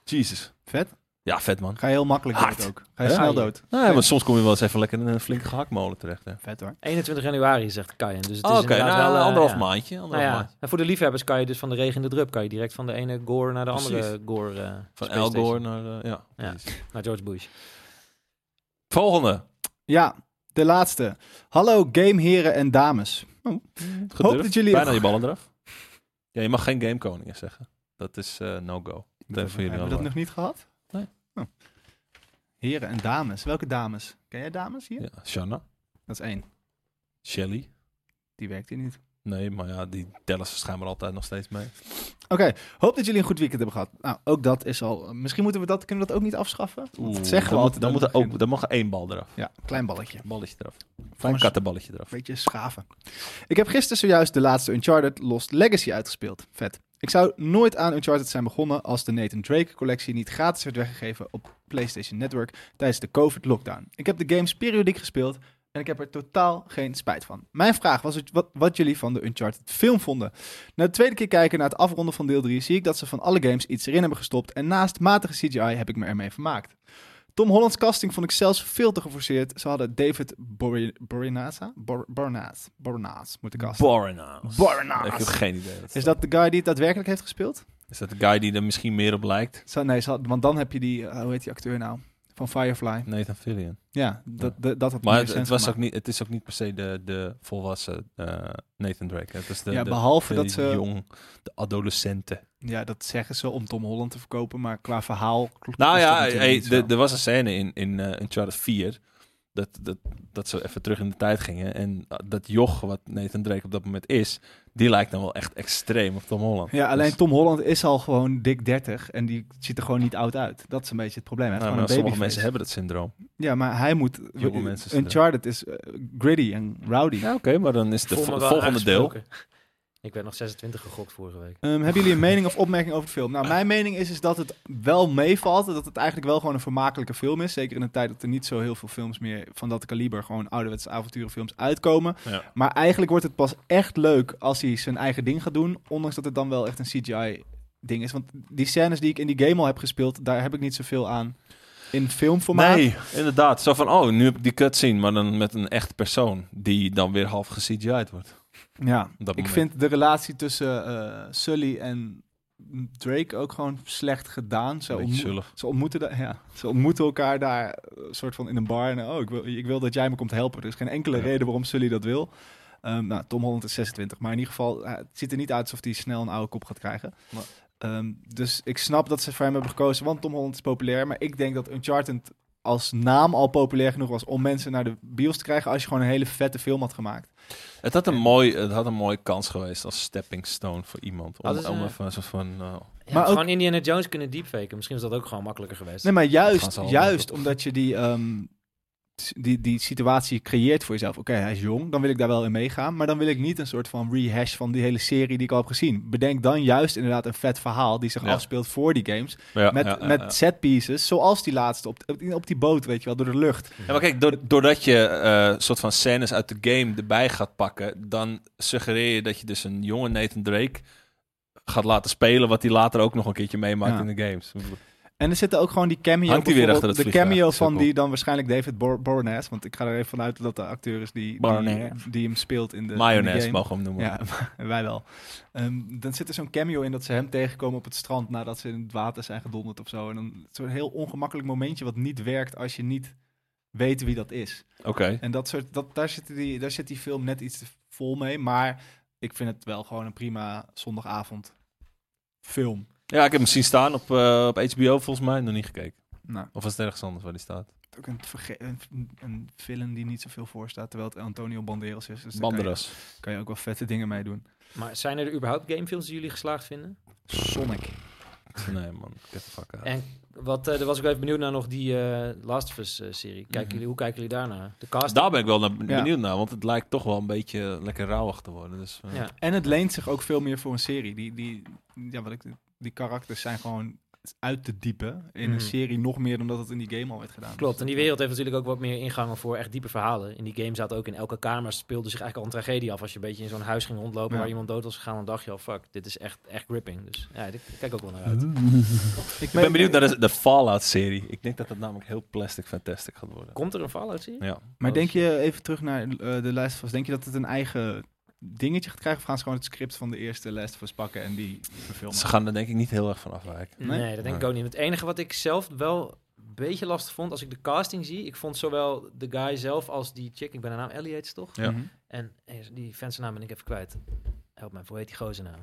Speaker 2: Jesus.
Speaker 1: Vet.
Speaker 2: Ja, vet man.
Speaker 1: Ga je heel makkelijk
Speaker 2: Hard.
Speaker 1: dood ook. Ga je
Speaker 2: Ja.
Speaker 1: snel dood.
Speaker 2: Nou ja, maar soms kom je wel eens even lekker in een flinke gehaktmolen terecht. hè.
Speaker 3: 21 januari, zegt Kayen. Dus het is
Speaker 2: Oké,
Speaker 3: inderdaad
Speaker 2: nou,
Speaker 3: wel... eh,
Speaker 2: anderhalf
Speaker 3: ja.
Speaker 2: maandje.
Speaker 3: Nou
Speaker 2: Anderhalf
Speaker 3: ja,
Speaker 2: maandje.
Speaker 3: en voor de liefhebbers kan je dus van de regen in de drup... kan je direct van de ene gore naar de andere
Speaker 2: Precies.
Speaker 3: gore... eh,
Speaker 2: Van
Speaker 3: space
Speaker 2: Al Gore
Speaker 3: station,
Speaker 2: naar... eh, ja,
Speaker 3: Ja.
Speaker 2: precies.
Speaker 3: Naar George Bush.
Speaker 2: Volgende.
Speaker 1: Ja, de laatste. Hallo gameheren en dames.
Speaker 2: Gedurfd.
Speaker 1: Hoop dat jullie-
Speaker 2: Bijna je ballen eraf. Ja, je mag geen gamekoningen zeggen. Dat is eh, no-go. Dat hebben jullie
Speaker 1: Hebben we
Speaker 2: allemaal.
Speaker 1: dat nog niet gehad?
Speaker 2: eh, Nee.
Speaker 1: Oh. Heren en dames. Welke dames? Ken jij dames hier?
Speaker 2: Ja, Shanna,
Speaker 1: Dat is één.
Speaker 2: Shelly,
Speaker 1: die werkt hier niet.
Speaker 2: Nee, maar ja, die tellen ze schijnbaar altijd nog steeds mee.
Speaker 1: Oké, hoop dat jullie een goed weekend hebben gehad. Nou, ook dat is al... Misschien moeten we dat, kunnen we dat ook niet afschaffen? Want
Speaker 2: Oeh,
Speaker 1: dat zeggen we
Speaker 2: dan,
Speaker 1: altijd.
Speaker 2: moet, dan, moet er
Speaker 1: aan het
Speaker 2: ook, dan mag er één bal eraf.
Speaker 1: begin. Ja, klein balletje.
Speaker 2: Balletje eraf. Een
Speaker 1: Volgens-
Speaker 2: kattenballetje eraf.
Speaker 1: Beetje schaven. Ik heb gisteren zojuist de laatste Uncharted Lost Legacy uitgespeeld. Vet. Ik zou nooit aan Uncharted zijn begonnen als de Nathan Drake collectie niet gratis werd weggegeven op PlayStation Network tijdens de COVID-lockdown. Ik heb de games periodiek gespeeld en ik heb er totaal geen spijt van. Mijn vraag was het- wat, wat jullie van de Uncharted film vonden. Na de tweede keer kijken naar het afronden van deel 3 zie ik dat ze van alle games iets erin hebben gestopt en naast matige CGI heb ik me ermee vermaakt. Tom Hollands casting vond ik zelfs veel te geforceerd. Ze hadden David Bori- Borinasa? Bor Bornaas. Bornaas moeten casten.
Speaker 2: Borenaas.
Speaker 1: Borenaas.
Speaker 2: Ik heb geen idee. wat het
Speaker 1: is dat de guy die het daadwerkelijk heeft gespeeld?
Speaker 2: is dat de guy die er misschien meer op lijkt?
Speaker 1: Zo, nee, ze had- want dan heb je die... eh, hoe heet die acteur nou? Van Firefly.
Speaker 2: Nathan Fillion.
Speaker 1: Ja, dat, dat, dat had
Speaker 2: Maar
Speaker 1: meer
Speaker 2: het, het
Speaker 1: sens
Speaker 2: was ook
Speaker 1: gemaakt.
Speaker 2: niet, het is ook niet per se de, de volwassen eh, Nathan Drake. hè. Het is de,
Speaker 1: ja,
Speaker 2: de,
Speaker 1: behalve
Speaker 2: de
Speaker 1: dat ze...
Speaker 2: jong, de adolescenten.
Speaker 1: Ja, dat zeggen ze om Tom Holland te verkopen, maar qua verhaal... klopt-
Speaker 2: Nou
Speaker 1: is dat
Speaker 2: ja,
Speaker 1: natuurlijk
Speaker 2: hey,
Speaker 1: niet zo.
Speaker 2: de- er was een scène in, in eh Uncharted 4 dat, dat, dat ze even terug in de tijd gingen. En eh, dat joch wat Nathan Drake op dat moment is, die lijkt dan wel echt extreem op Tom Holland.
Speaker 1: Ja, alleen
Speaker 2: Dus-
Speaker 1: Tom Holland is al gewoon dik 30 en die ziet er gewoon niet oud uit. Dat is een beetje het probleem. Hij heeft
Speaker 2: Nou, maar
Speaker 1: gewoon een babyface.
Speaker 2: sommige mensen hebben dat syndroom.
Speaker 1: Ja, maar hij moet...
Speaker 2: Jonge mensen zijn
Speaker 1: Uncharted is eh, gritty en rowdy.
Speaker 2: Ja, oké, maar dan is het
Speaker 3: Voel me wel
Speaker 2: volgende deel.
Speaker 3: aangesproken. Ik werd nog 26 gegokt vorige week.
Speaker 1: Ehm, hebben jullie een mening of opmerking over de film? Nou, mijn mening is, is dat het wel meevalt. en Dat het eigenlijk wel gewoon een vermakelijke film is. Zeker in een tijd dat er niet zo heel veel films meer van dat kaliber... gewoon ouderwetse avonturenfilms uitkomen.
Speaker 2: Ja.
Speaker 1: Maar eigenlijk wordt het pas echt leuk als hij zijn eigen ding gaat doen. Ondanks dat het dan wel echt een CGI-ding is. Want die scènes die ik in die game al heb gespeeld... daar heb ik niet zoveel aan in filmformaat.
Speaker 2: Nee, inderdaad. Zo van, oh, nu heb ik die cutscene, maar dan met een echt persoon die dan weer half ge-CGI'd wordt.
Speaker 1: Ja,
Speaker 2: Op
Speaker 1: ik
Speaker 2: dat moment.
Speaker 1: vind de relatie tussen eh, Sully en Drake ook gewoon slecht gedaan. Ze,
Speaker 2: Een beetje
Speaker 1: ontmo-
Speaker 2: zullig.
Speaker 1: ze, ontmoeten, da- ja, ze ontmoeten elkaar daar eh, soort van in een bar. En oh, ik wil, ik wil dat jij me komt helpen. Er is geen enkele
Speaker 2: Ja.
Speaker 1: reden waarom Sully dat wil. Ehm, nou, Tom Holland is 26, maar in ieder geval, eh, het ziet er niet uit alsof hij snel een oude kop gaat krijgen.
Speaker 2: Maar-
Speaker 1: Ehm, dus ik snap dat ze voor hem hebben gekozen, want Tom Holland is populair. Maar ik denk dat Uncharted als naam al populair genoeg was om mensen naar de bios te krijgen als je gewoon een hele vette film had gemaakt.
Speaker 2: Het had, een mooi, het had een mooie kans geweest als stepping stone voor iemand. Om,
Speaker 3: Hadden ze-
Speaker 2: om even een soort van... eh,
Speaker 3: Ja,
Speaker 1: Maar ook-
Speaker 3: gewoon Indiana Jones kunnen deepfaken. Misschien is dat ook gewoon makkelijker geweest.
Speaker 1: Nee, maar
Speaker 2: gaan ze
Speaker 1: juist,
Speaker 2: allemaal
Speaker 1: juist
Speaker 2: doen.
Speaker 1: omdat je die, ehm, s- die, die situatie creëert voor jezelf. Oké, hij is jong, dan wil ik daar wel in meegaan. Maar dan wil ik niet een soort van rehash van die hele serie die ik al heb gezien. Bedenk dan juist inderdaad een vet verhaal die zich
Speaker 2: Ja.
Speaker 1: afspeelt voor die games.
Speaker 2: ja,
Speaker 1: met
Speaker 2: ja, ja,
Speaker 1: met
Speaker 2: ja.
Speaker 1: set pieces, zoals die laatste op, op, die- op die boot, weet je wel, door de lucht.
Speaker 2: Ja, maar kijk, doord- doordat je eh soort van scènes uit de game erbij gaat pakken, dan suggereer je dat je dus een jonge Nathan Drake gaat laten spelen, wat hij later ook nog een keertje meemaakt
Speaker 1: Ja.
Speaker 2: in de games.
Speaker 1: En er zitten ook gewoon die cameo.
Speaker 2: Hangt die weer
Speaker 1: bijvoorbeeld,
Speaker 2: achter het
Speaker 1: De
Speaker 2: vliegtuig.
Speaker 1: cameo
Speaker 2: Is wel
Speaker 1: van
Speaker 2: cool.
Speaker 1: die dan waarschijnlijk David Bor Boreanaz, Want ik ga er even vanuit dat de acteur is die, die,
Speaker 2: Boreanaz.
Speaker 1: die hem speelt in de. in de
Speaker 2: Mayonaise
Speaker 1: game.
Speaker 2: eh, mogen we hem noemen.
Speaker 1: Ja, wij wel. Ehm, dan zit er zo'n cameo in dat ze hem tegenkomen op het strand nadat ze in het water zijn gedonderd of zo. En dan zo'n heel ongemakkelijk momentje wat niet werkt als je niet weet wie dat is.
Speaker 2: Oké.
Speaker 1: En dat soort, dat, daar, zit die, daar zit die film net iets te vol mee. Maar ik vind het wel gewoon een prima zondagavond film.
Speaker 2: Ja, ik heb hem zien staan op, eh, op HBO volgens mij, nog niet gekeken.
Speaker 1: Nou,
Speaker 2: Of was het ergens anders waar die staat?
Speaker 1: ook een, verge- een, een film die niet zoveel voorstaat, terwijl het Antonio Banderas is. Dus daar kan je,
Speaker 2: Banderas.
Speaker 1: kan je ook wel vette dingen mee doen.
Speaker 3: Maar zijn er überhaupt gamefilms die jullie geslaagd vinden?
Speaker 1: Sonic.
Speaker 2: Nee man, get the fuck out.
Speaker 3: En wat, eh daar was ik even benieuwd naar nog die eh, Last of Us eh, serie. Kijken
Speaker 2: Mhm.
Speaker 3: jullie, hoe kijken jullie daarnaar? De cast?
Speaker 2: Daar ben ik wel naar,
Speaker 1: Ja.
Speaker 2: benieuwd naar, want het lijkt toch wel een beetje lekker rauwig te worden. Dus, eh,
Speaker 3: Ja.
Speaker 1: En het leent zich ook veel meer voor een serie. Die, die, ja, wat ik, die karakters zijn gewoon uit te diepen in
Speaker 3: Mhm.
Speaker 1: een serie nog meer dan dat het in die game al werd gedaan.
Speaker 3: Klopt,
Speaker 1: Dus
Speaker 3: en die
Speaker 1: dat-
Speaker 3: wereld heeft natuurlijk ook wat meer ingangen voor echt diepe verhalen. In die game zaten ook in elke kamer speelde zich eigenlijk al een tragedie af. Als je een beetje in zo'n huis ging rondlopen
Speaker 1: Ja.
Speaker 3: waar iemand dood was gegaan, dan dacht je al, fuck, dit is echt, echt gripping. Dus ja, ik kijk ook wel naar uit.
Speaker 1: eh, Ik
Speaker 2: Ik ben benieuwd naar de, de Fallout-serie. Ik denk dat dat namelijk heel plastic fantastic gaat worden.
Speaker 3: Komt er een Fallout serie?
Speaker 2: Ja.
Speaker 1: Maar
Speaker 2: Oh,
Speaker 1: denk
Speaker 2: shit.
Speaker 1: je even terug naar eh, de Last of Us, denk je dat het een eigen dingetje gaat krijgen of gaan ze gewoon het script van de eerste Last of Us pakken en die verfilmen?
Speaker 2: Ze gaan er denk ik niet heel erg van afwijken.
Speaker 1: Nee?
Speaker 3: Nee, dat denk ik
Speaker 2: Nee.
Speaker 3: ook niet. Het enige wat ik zelf wel een beetje lastig vond als ik de casting zie. Ik vond zowel de guy zelf als die chick, ik ben haar naam Ellie heet ze toch?
Speaker 2: Ja.
Speaker 1: Mhm.
Speaker 3: En eh, die fans naam ben ik even kwijt. Help mij, hoe heet die gozer nou?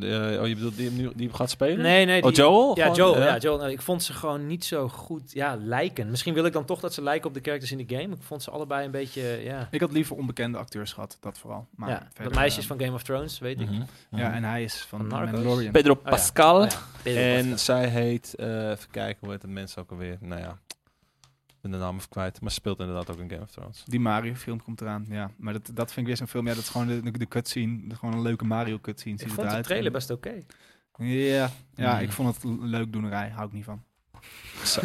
Speaker 2: Eh, eh, oh, je bedoelt die, hem nu- die hem gaat spelen?
Speaker 3: Nee, nee.
Speaker 2: Oh,
Speaker 3: die-
Speaker 2: Joel?
Speaker 3: Ja,
Speaker 2: Gewoon,
Speaker 3: Joel.
Speaker 2: ja.
Speaker 3: Ja, Joel. Nou, ik vond ze gewoon niet zo goed ja, lijken. Misschien wil ik dan toch dat ze lijken op de characters in de game. Ik vond ze allebei een beetje, ja...
Speaker 1: Ik had liever onbekende acteurs gehad, dat vooral. Maar
Speaker 3: ja,
Speaker 1: verder,
Speaker 3: dat meisje is
Speaker 1: eh,
Speaker 3: van Game of Thrones, weet ik.
Speaker 2: Mhm.
Speaker 1: Ja, en hij is van,
Speaker 3: Van Narcos?
Speaker 1: Mandalorian.
Speaker 2: Pedro
Speaker 3: ja.
Speaker 2: Pascal.
Speaker 3: Oh ja, Pedro
Speaker 2: En
Speaker 3: Pascal.
Speaker 2: zij heet, eh, even kijken hoe heet het mens ook alweer. Nou ja, ik ben de naam even kwijt. Maar ze speelt inderdaad ook in Game of Thrones.
Speaker 1: Die Mario-film komt eraan, ja. Maar dat, dat vind ik weer zo'n film. Ja, dat is gewoon de, de, de cutscene. Dat is gewoon een leuke Mario-cutscene. ziet
Speaker 3: Ik
Speaker 1: het
Speaker 3: vond de
Speaker 1: eruit.
Speaker 3: trailer best oké.
Speaker 1: Ja, ja
Speaker 2: Mm.
Speaker 1: ik vond het l- leuk doenerij. Hou ik niet van.
Speaker 2: Zo.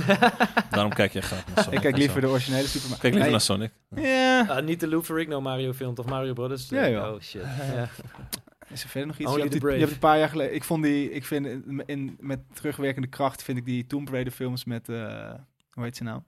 Speaker 2: Daarom kijk je graag naar Sonic.
Speaker 1: ik kijk
Speaker 2: en
Speaker 1: liever
Speaker 2: zo.
Speaker 1: de originele Super Mario.
Speaker 2: Kijk liever naar Sonic.
Speaker 1: Ja.
Speaker 3: Ah, niet de Lou Ferrigno Mario film, of Mario Brothers?
Speaker 1: Ja, ja.
Speaker 3: Oh shit. Ja.
Speaker 1: Is er verder nog iets?
Speaker 3: Only
Speaker 1: Je hebt, die- je
Speaker 3: the brave.
Speaker 1: hebt een paar jaar geleden... Ik vond die... Ik vind in, in- met terugwerkende kracht vind ik die Tomb Raider films met... eh, hoe heet ze nou?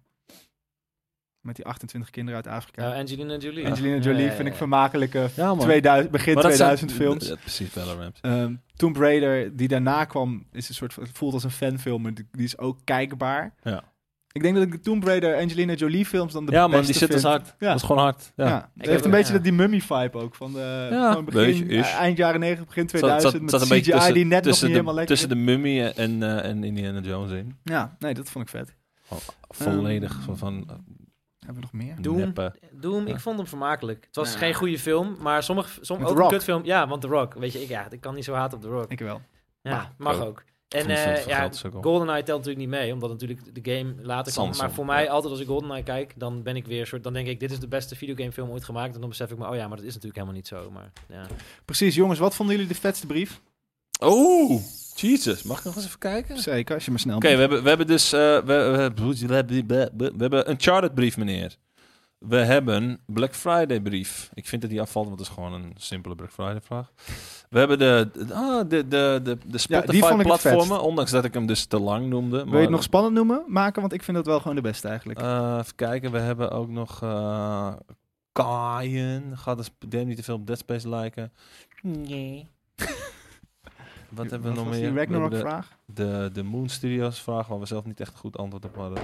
Speaker 1: Met die 28 kinderen uit Afrika.
Speaker 3: Nou, Angelina Jolie.
Speaker 1: Angelina
Speaker 3: Ja,
Speaker 1: Jolie
Speaker 3: ja, ja,
Speaker 1: vind ik
Speaker 3: ja.
Speaker 1: vermakelijke...
Speaker 2: Ja, man.
Speaker 1: 2000, begin 2000 films.
Speaker 2: precies, Valorant.
Speaker 1: Ehm, Tomb Raider, die daarna kwam, is een soort van, het voelt als een fanfilm, maar die die is ook kijkbaar.
Speaker 2: Ja.
Speaker 1: Ik denk dat ik de Tomb Raider, Angelina Jolie films dan de
Speaker 2: Ja, man,
Speaker 1: beste
Speaker 2: die zit
Speaker 1: vind.
Speaker 2: dus hard.
Speaker 1: Ja.
Speaker 2: Dat is gewoon hard.
Speaker 1: Ja.
Speaker 2: Ja.
Speaker 1: Het heeft een
Speaker 3: ook-
Speaker 1: beetje
Speaker 3: ja.
Speaker 1: dat die mummy vibe ook van de
Speaker 2: Ja,
Speaker 1: van begin,
Speaker 2: beetje is.
Speaker 1: eind jaren 90, begin
Speaker 2: Het zat-
Speaker 1: 2000
Speaker 2: zat-
Speaker 1: met
Speaker 2: zat een
Speaker 1: CGI
Speaker 2: beetje tussen-
Speaker 1: die net nog niet
Speaker 2: tussen de,
Speaker 1: helemaal lekker
Speaker 2: Tussen de Mummy en, eh, en Indiana Jones in.
Speaker 1: Ja, nee, dat vond ik vet.
Speaker 2: Volledig van, van eh,
Speaker 1: Hebben we nog meer?
Speaker 3: Doom.
Speaker 2: neppe.
Speaker 3: Doom, ik
Speaker 2: Ja.
Speaker 3: vond hem vermakelijk. Het was
Speaker 1: Ja.
Speaker 3: geen goede film, maar sommige, som,
Speaker 1: Met
Speaker 3: ook
Speaker 1: The
Speaker 3: een
Speaker 1: Rock.
Speaker 3: kutfilm. Ja, want The Rock. Weet je, ik, ja, ik kan niet zo haten op The Rock.
Speaker 1: Ik wel.
Speaker 3: Ja,
Speaker 1: mag.
Speaker 3: mag
Speaker 2: Ik
Speaker 3: ook. En
Speaker 2: vond het
Speaker 3: eh,
Speaker 2: zelfs een
Speaker 3: ja,
Speaker 2: geldsukkel.
Speaker 3: GoldenEye telt natuurlijk niet mee, omdat natuurlijk de game later komt.
Speaker 2: Samsung,
Speaker 3: Maar voor mij,
Speaker 2: ja.
Speaker 3: altijd als ik GoldenEye kijk, dan ben ik weer soort... Dan denk ik, dit is de beste videogamefilm ooit gemaakt. En dan besef ik me, oh ja, maar dat is natuurlijk helemaal niet zo. Maar ja.
Speaker 1: Precies, jongens, wat vonden jullie de vetste brief?
Speaker 2: Oh, Jesus. Mag ik nog eens even kijken? Oké,
Speaker 1: Zeker, als je maar snel
Speaker 2: we, hebben, we hebben dus... eh, we, we, we hebben een Chartered-brief, meneer. We hebben Black Friday-brief. Ik vind dat die afvalt, want het is gewoon een simpele Black Friday-vraag. We hebben de, de- ah, de, de, de, de
Speaker 1: vond ik het
Speaker 2: Spotify-platformen,
Speaker 1: vetst.
Speaker 2: ondanks dat ik hem dus te lang noemde.
Speaker 1: Wil
Speaker 2: maar-
Speaker 1: je het nog spannend noemen? Maken, want ik vind dat wel gewoon de beste eigenlijk.
Speaker 2: Eh, even kijken, we hebben ook nog eh Kaaien. Gaat het game niet te veel op Dead Space lijken? Nee. Wat hebben we nog
Speaker 1: was
Speaker 2: meer?
Speaker 1: Die
Speaker 2: We hebben de,
Speaker 1: Ragnarok-vraag?
Speaker 2: de, de Moon Studios vraag, waar we zelf niet echt een goed antwoord op hadden.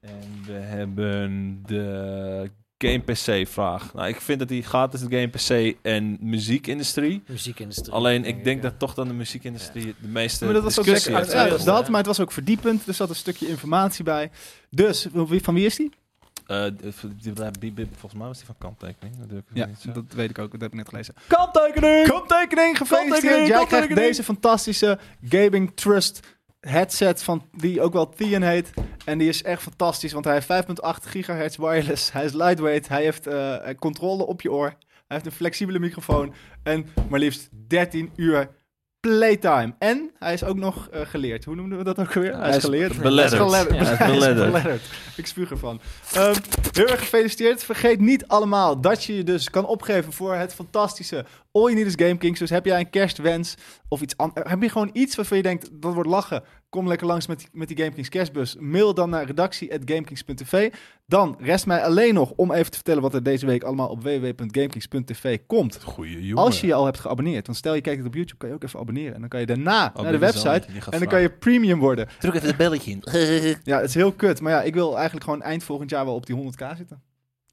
Speaker 2: En we hebben de Game PC vraag. Nou, ik vind dat die gaat tussen de Game PC en muziekindustrie.
Speaker 3: Muziekindustrie.
Speaker 2: Alleen, ik denk
Speaker 3: ja.
Speaker 2: dat toch dan de muziekindustrie de meeste
Speaker 1: Maar dat was ook
Speaker 2: discussie
Speaker 1: lekker
Speaker 3: heeft.
Speaker 1: ja,
Speaker 3: Ja.
Speaker 1: dat, maar het was ook verdiepend. Er zat een stukje informatie bij. Dus, wie- van wie is die?
Speaker 2: Eh, die- die- die- Volgens mij was die van kanttekening. Dat doe ik
Speaker 1: Ja,
Speaker 2: niet zo.
Speaker 1: dat weet ik ook. Dat heb ik net gelezen.
Speaker 2: Kanttekening!
Speaker 1: Kanttekening, gefeliciteerd.
Speaker 2: Kanttekening,
Speaker 1: Jij krijgt
Speaker 2: kanttekening.
Speaker 1: deze fantastische Gaming Trust headset van die ook wel Theon heet. En die is echt fantastisch, want hij heeft 5.8 gigahertz wireless. Hij is lightweight. Hij heeft eh, controle op je oor. Hij heeft een flexibele microfoon. En maar liefst 13 uur playtime. En hij is ook nog eh, geleerd. Hoe noemden we dat ook weer?
Speaker 2: Ja,
Speaker 1: hij is geleerd.
Speaker 2: beledderd.
Speaker 1: Hij is geledderd.
Speaker 2: Ja, hij is
Speaker 1: Hij is
Speaker 2: beledderd.
Speaker 1: beledderd. Ik spuug ervan. Ehm, heel erg gefeliciteerd. Vergeet niet allemaal dat je je dus kan opgeven voor het fantastische All You Need Is Game Kings. Dus heb jij een kerstwens of iets anders? Heb je gewoon iets waarvan je denkt, dat wordt lachen? Kom lekker langs met, die- met die GameKings kerstbus. Mail dan naar redactie.gamekings.tv. Dan rest mij alleen nog om even te vertellen wat er deze week allemaal op www.gamekings.tv komt.
Speaker 2: Goeie jongen.
Speaker 1: Als je je al hebt geabonneerd. Want stel je kijkt het op YouTube, kan je ook even abonneren. En dan kan je daarna naar de
Speaker 2: Abonneer
Speaker 1: website.
Speaker 2: zal niet, je gaat
Speaker 1: En dan kan je premium worden.
Speaker 2: Druk even het belletje in.
Speaker 1: Ja, het is heel kut. Maar ja, ik wil eigenlijk gewoon eind volgend jaar wel op die 100k zitten.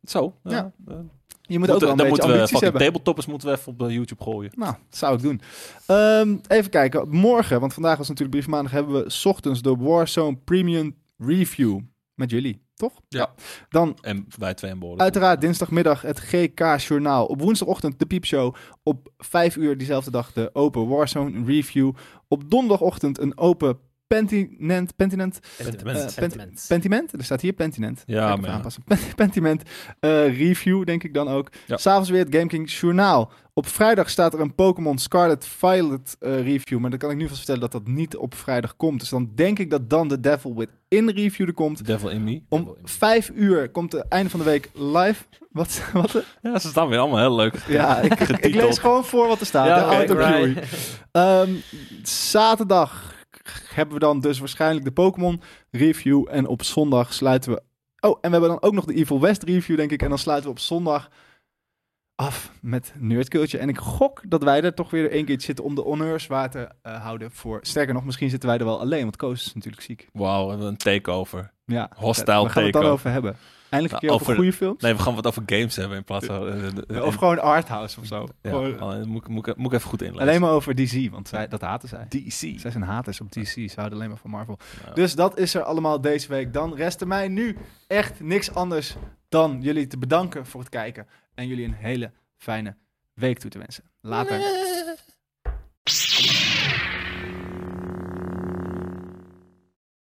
Speaker 2: Zo.
Speaker 1: Ja.
Speaker 2: Ja. Eh,
Speaker 1: Je moet ook wel een
Speaker 2: dan
Speaker 1: beetje
Speaker 2: moeten we
Speaker 1: ambities
Speaker 2: fucking
Speaker 1: hebben.
Speaker 2: tabletoppers moeten we even op eh, YouTube gooien.
Speaker 1: Nou, dat zou ik doen. Ehm, even kijken. Morgen, want vandaag was natuurlijk brief maandag, hebben we 's ochtends de Warzone Premium Review. Met jullie, toch?
Speaker 2: Ja.
Speaker 1: Dan
Speaker 2: En wij twee aan boord.
Speaker 1: uiteraard dinsdagmiddag het GK Journaal. Op woensdagochtend de Piepshow. Op 5 uur diezelfde dag de Open Warzone Review. Op donderdagochtend een Open Pentinent. Pentinent?
Speaker 2: Pentiment.
Speaker 1: Eh, Pent- Pentiment? Er staat hier Pentinent.
Speaker 2: Ja,
Speaker 1: Ga ik even
Speaker 2: maar ja.
Speaker 1: aanpassen. Pen- Pentiment eh, review, denk ik dan ook.
Speaker 2: Ja.
Speaker 1: S'avonds weer het Game King Journaal. Op vrijdag staat er een Pokémon Scarlet Violet eh, review. Maar dan kan ik nu vast vertellen dat dat niet op vrijdag komt. Dus dan denk ik dat dan de Devil Within review er komt.
Speaker 2: The Devil in me.
Speaker 1: Om vijf uur komt het einde van de week live. Wat? wat
Speaker 2: Ja, ze staan weer allemaal heel leuk.
Speaker 1: ja, ik, ik- ik lees
Speaker 2: Getiteld.
Speaker 1: gewoon voor wat er staat.
Speaker 2: Ja,
Speaker 1: de
Speaker 2: oké.
Speaker 1: autocue. Ehm, zaterdag hebben we dan dus waarschijnlijk de Pokémon review. En op zondag sluiten we. Oh, en we hebben dan ook nog de Evil West review, denk ik. En dan sluiten we op zondag af met Nerdculture. En ik gok dat wij er toch weer één keer zitten om de honneurs waar te eh, houden. Voor. Sterker nog, misschien zitten wij er wel alleen, want Koos is natuurlijk ziek.
Speaker 2: Wauw, we hebben een takeover.
Speaker 1: Ja,
Speaker 2: Hostile
Speaker 1: we gaan het dan
Speaker 2: takeover.
Speaker 1: over hebben. Eindelijk een keer
Speaker 2: Nou,
Speaker 1: over
Speaker 2: over-
Speaker 1: goede films.
Speaker 2: Nee, we gaan wat over games hebben in plaats van... eh, de- de-
Speaker 1: of gewoon arthouse of zo.
Speaker 2: Ja,
Speaker 1: Gewoon-
Speaker 2: alleen moet, ik- moet, ik- moet ik even goed inlezen.
Speaker 1: alleen maar over DC, want zij, dat haten zij.
Speaker 2: DC.
Speaker 1: Zij zijn haters op DC, ze houden alleen maar van Marvel.
Speaker 2: Nou.
Speaker 1: Dus dat is er allemaal deze week. Dan rest er mij nu echt niks anders dan jullie te bedanken voor het kijken. En jullie een hele fijne week toe te wensen. Later.
Speaker 2: Later.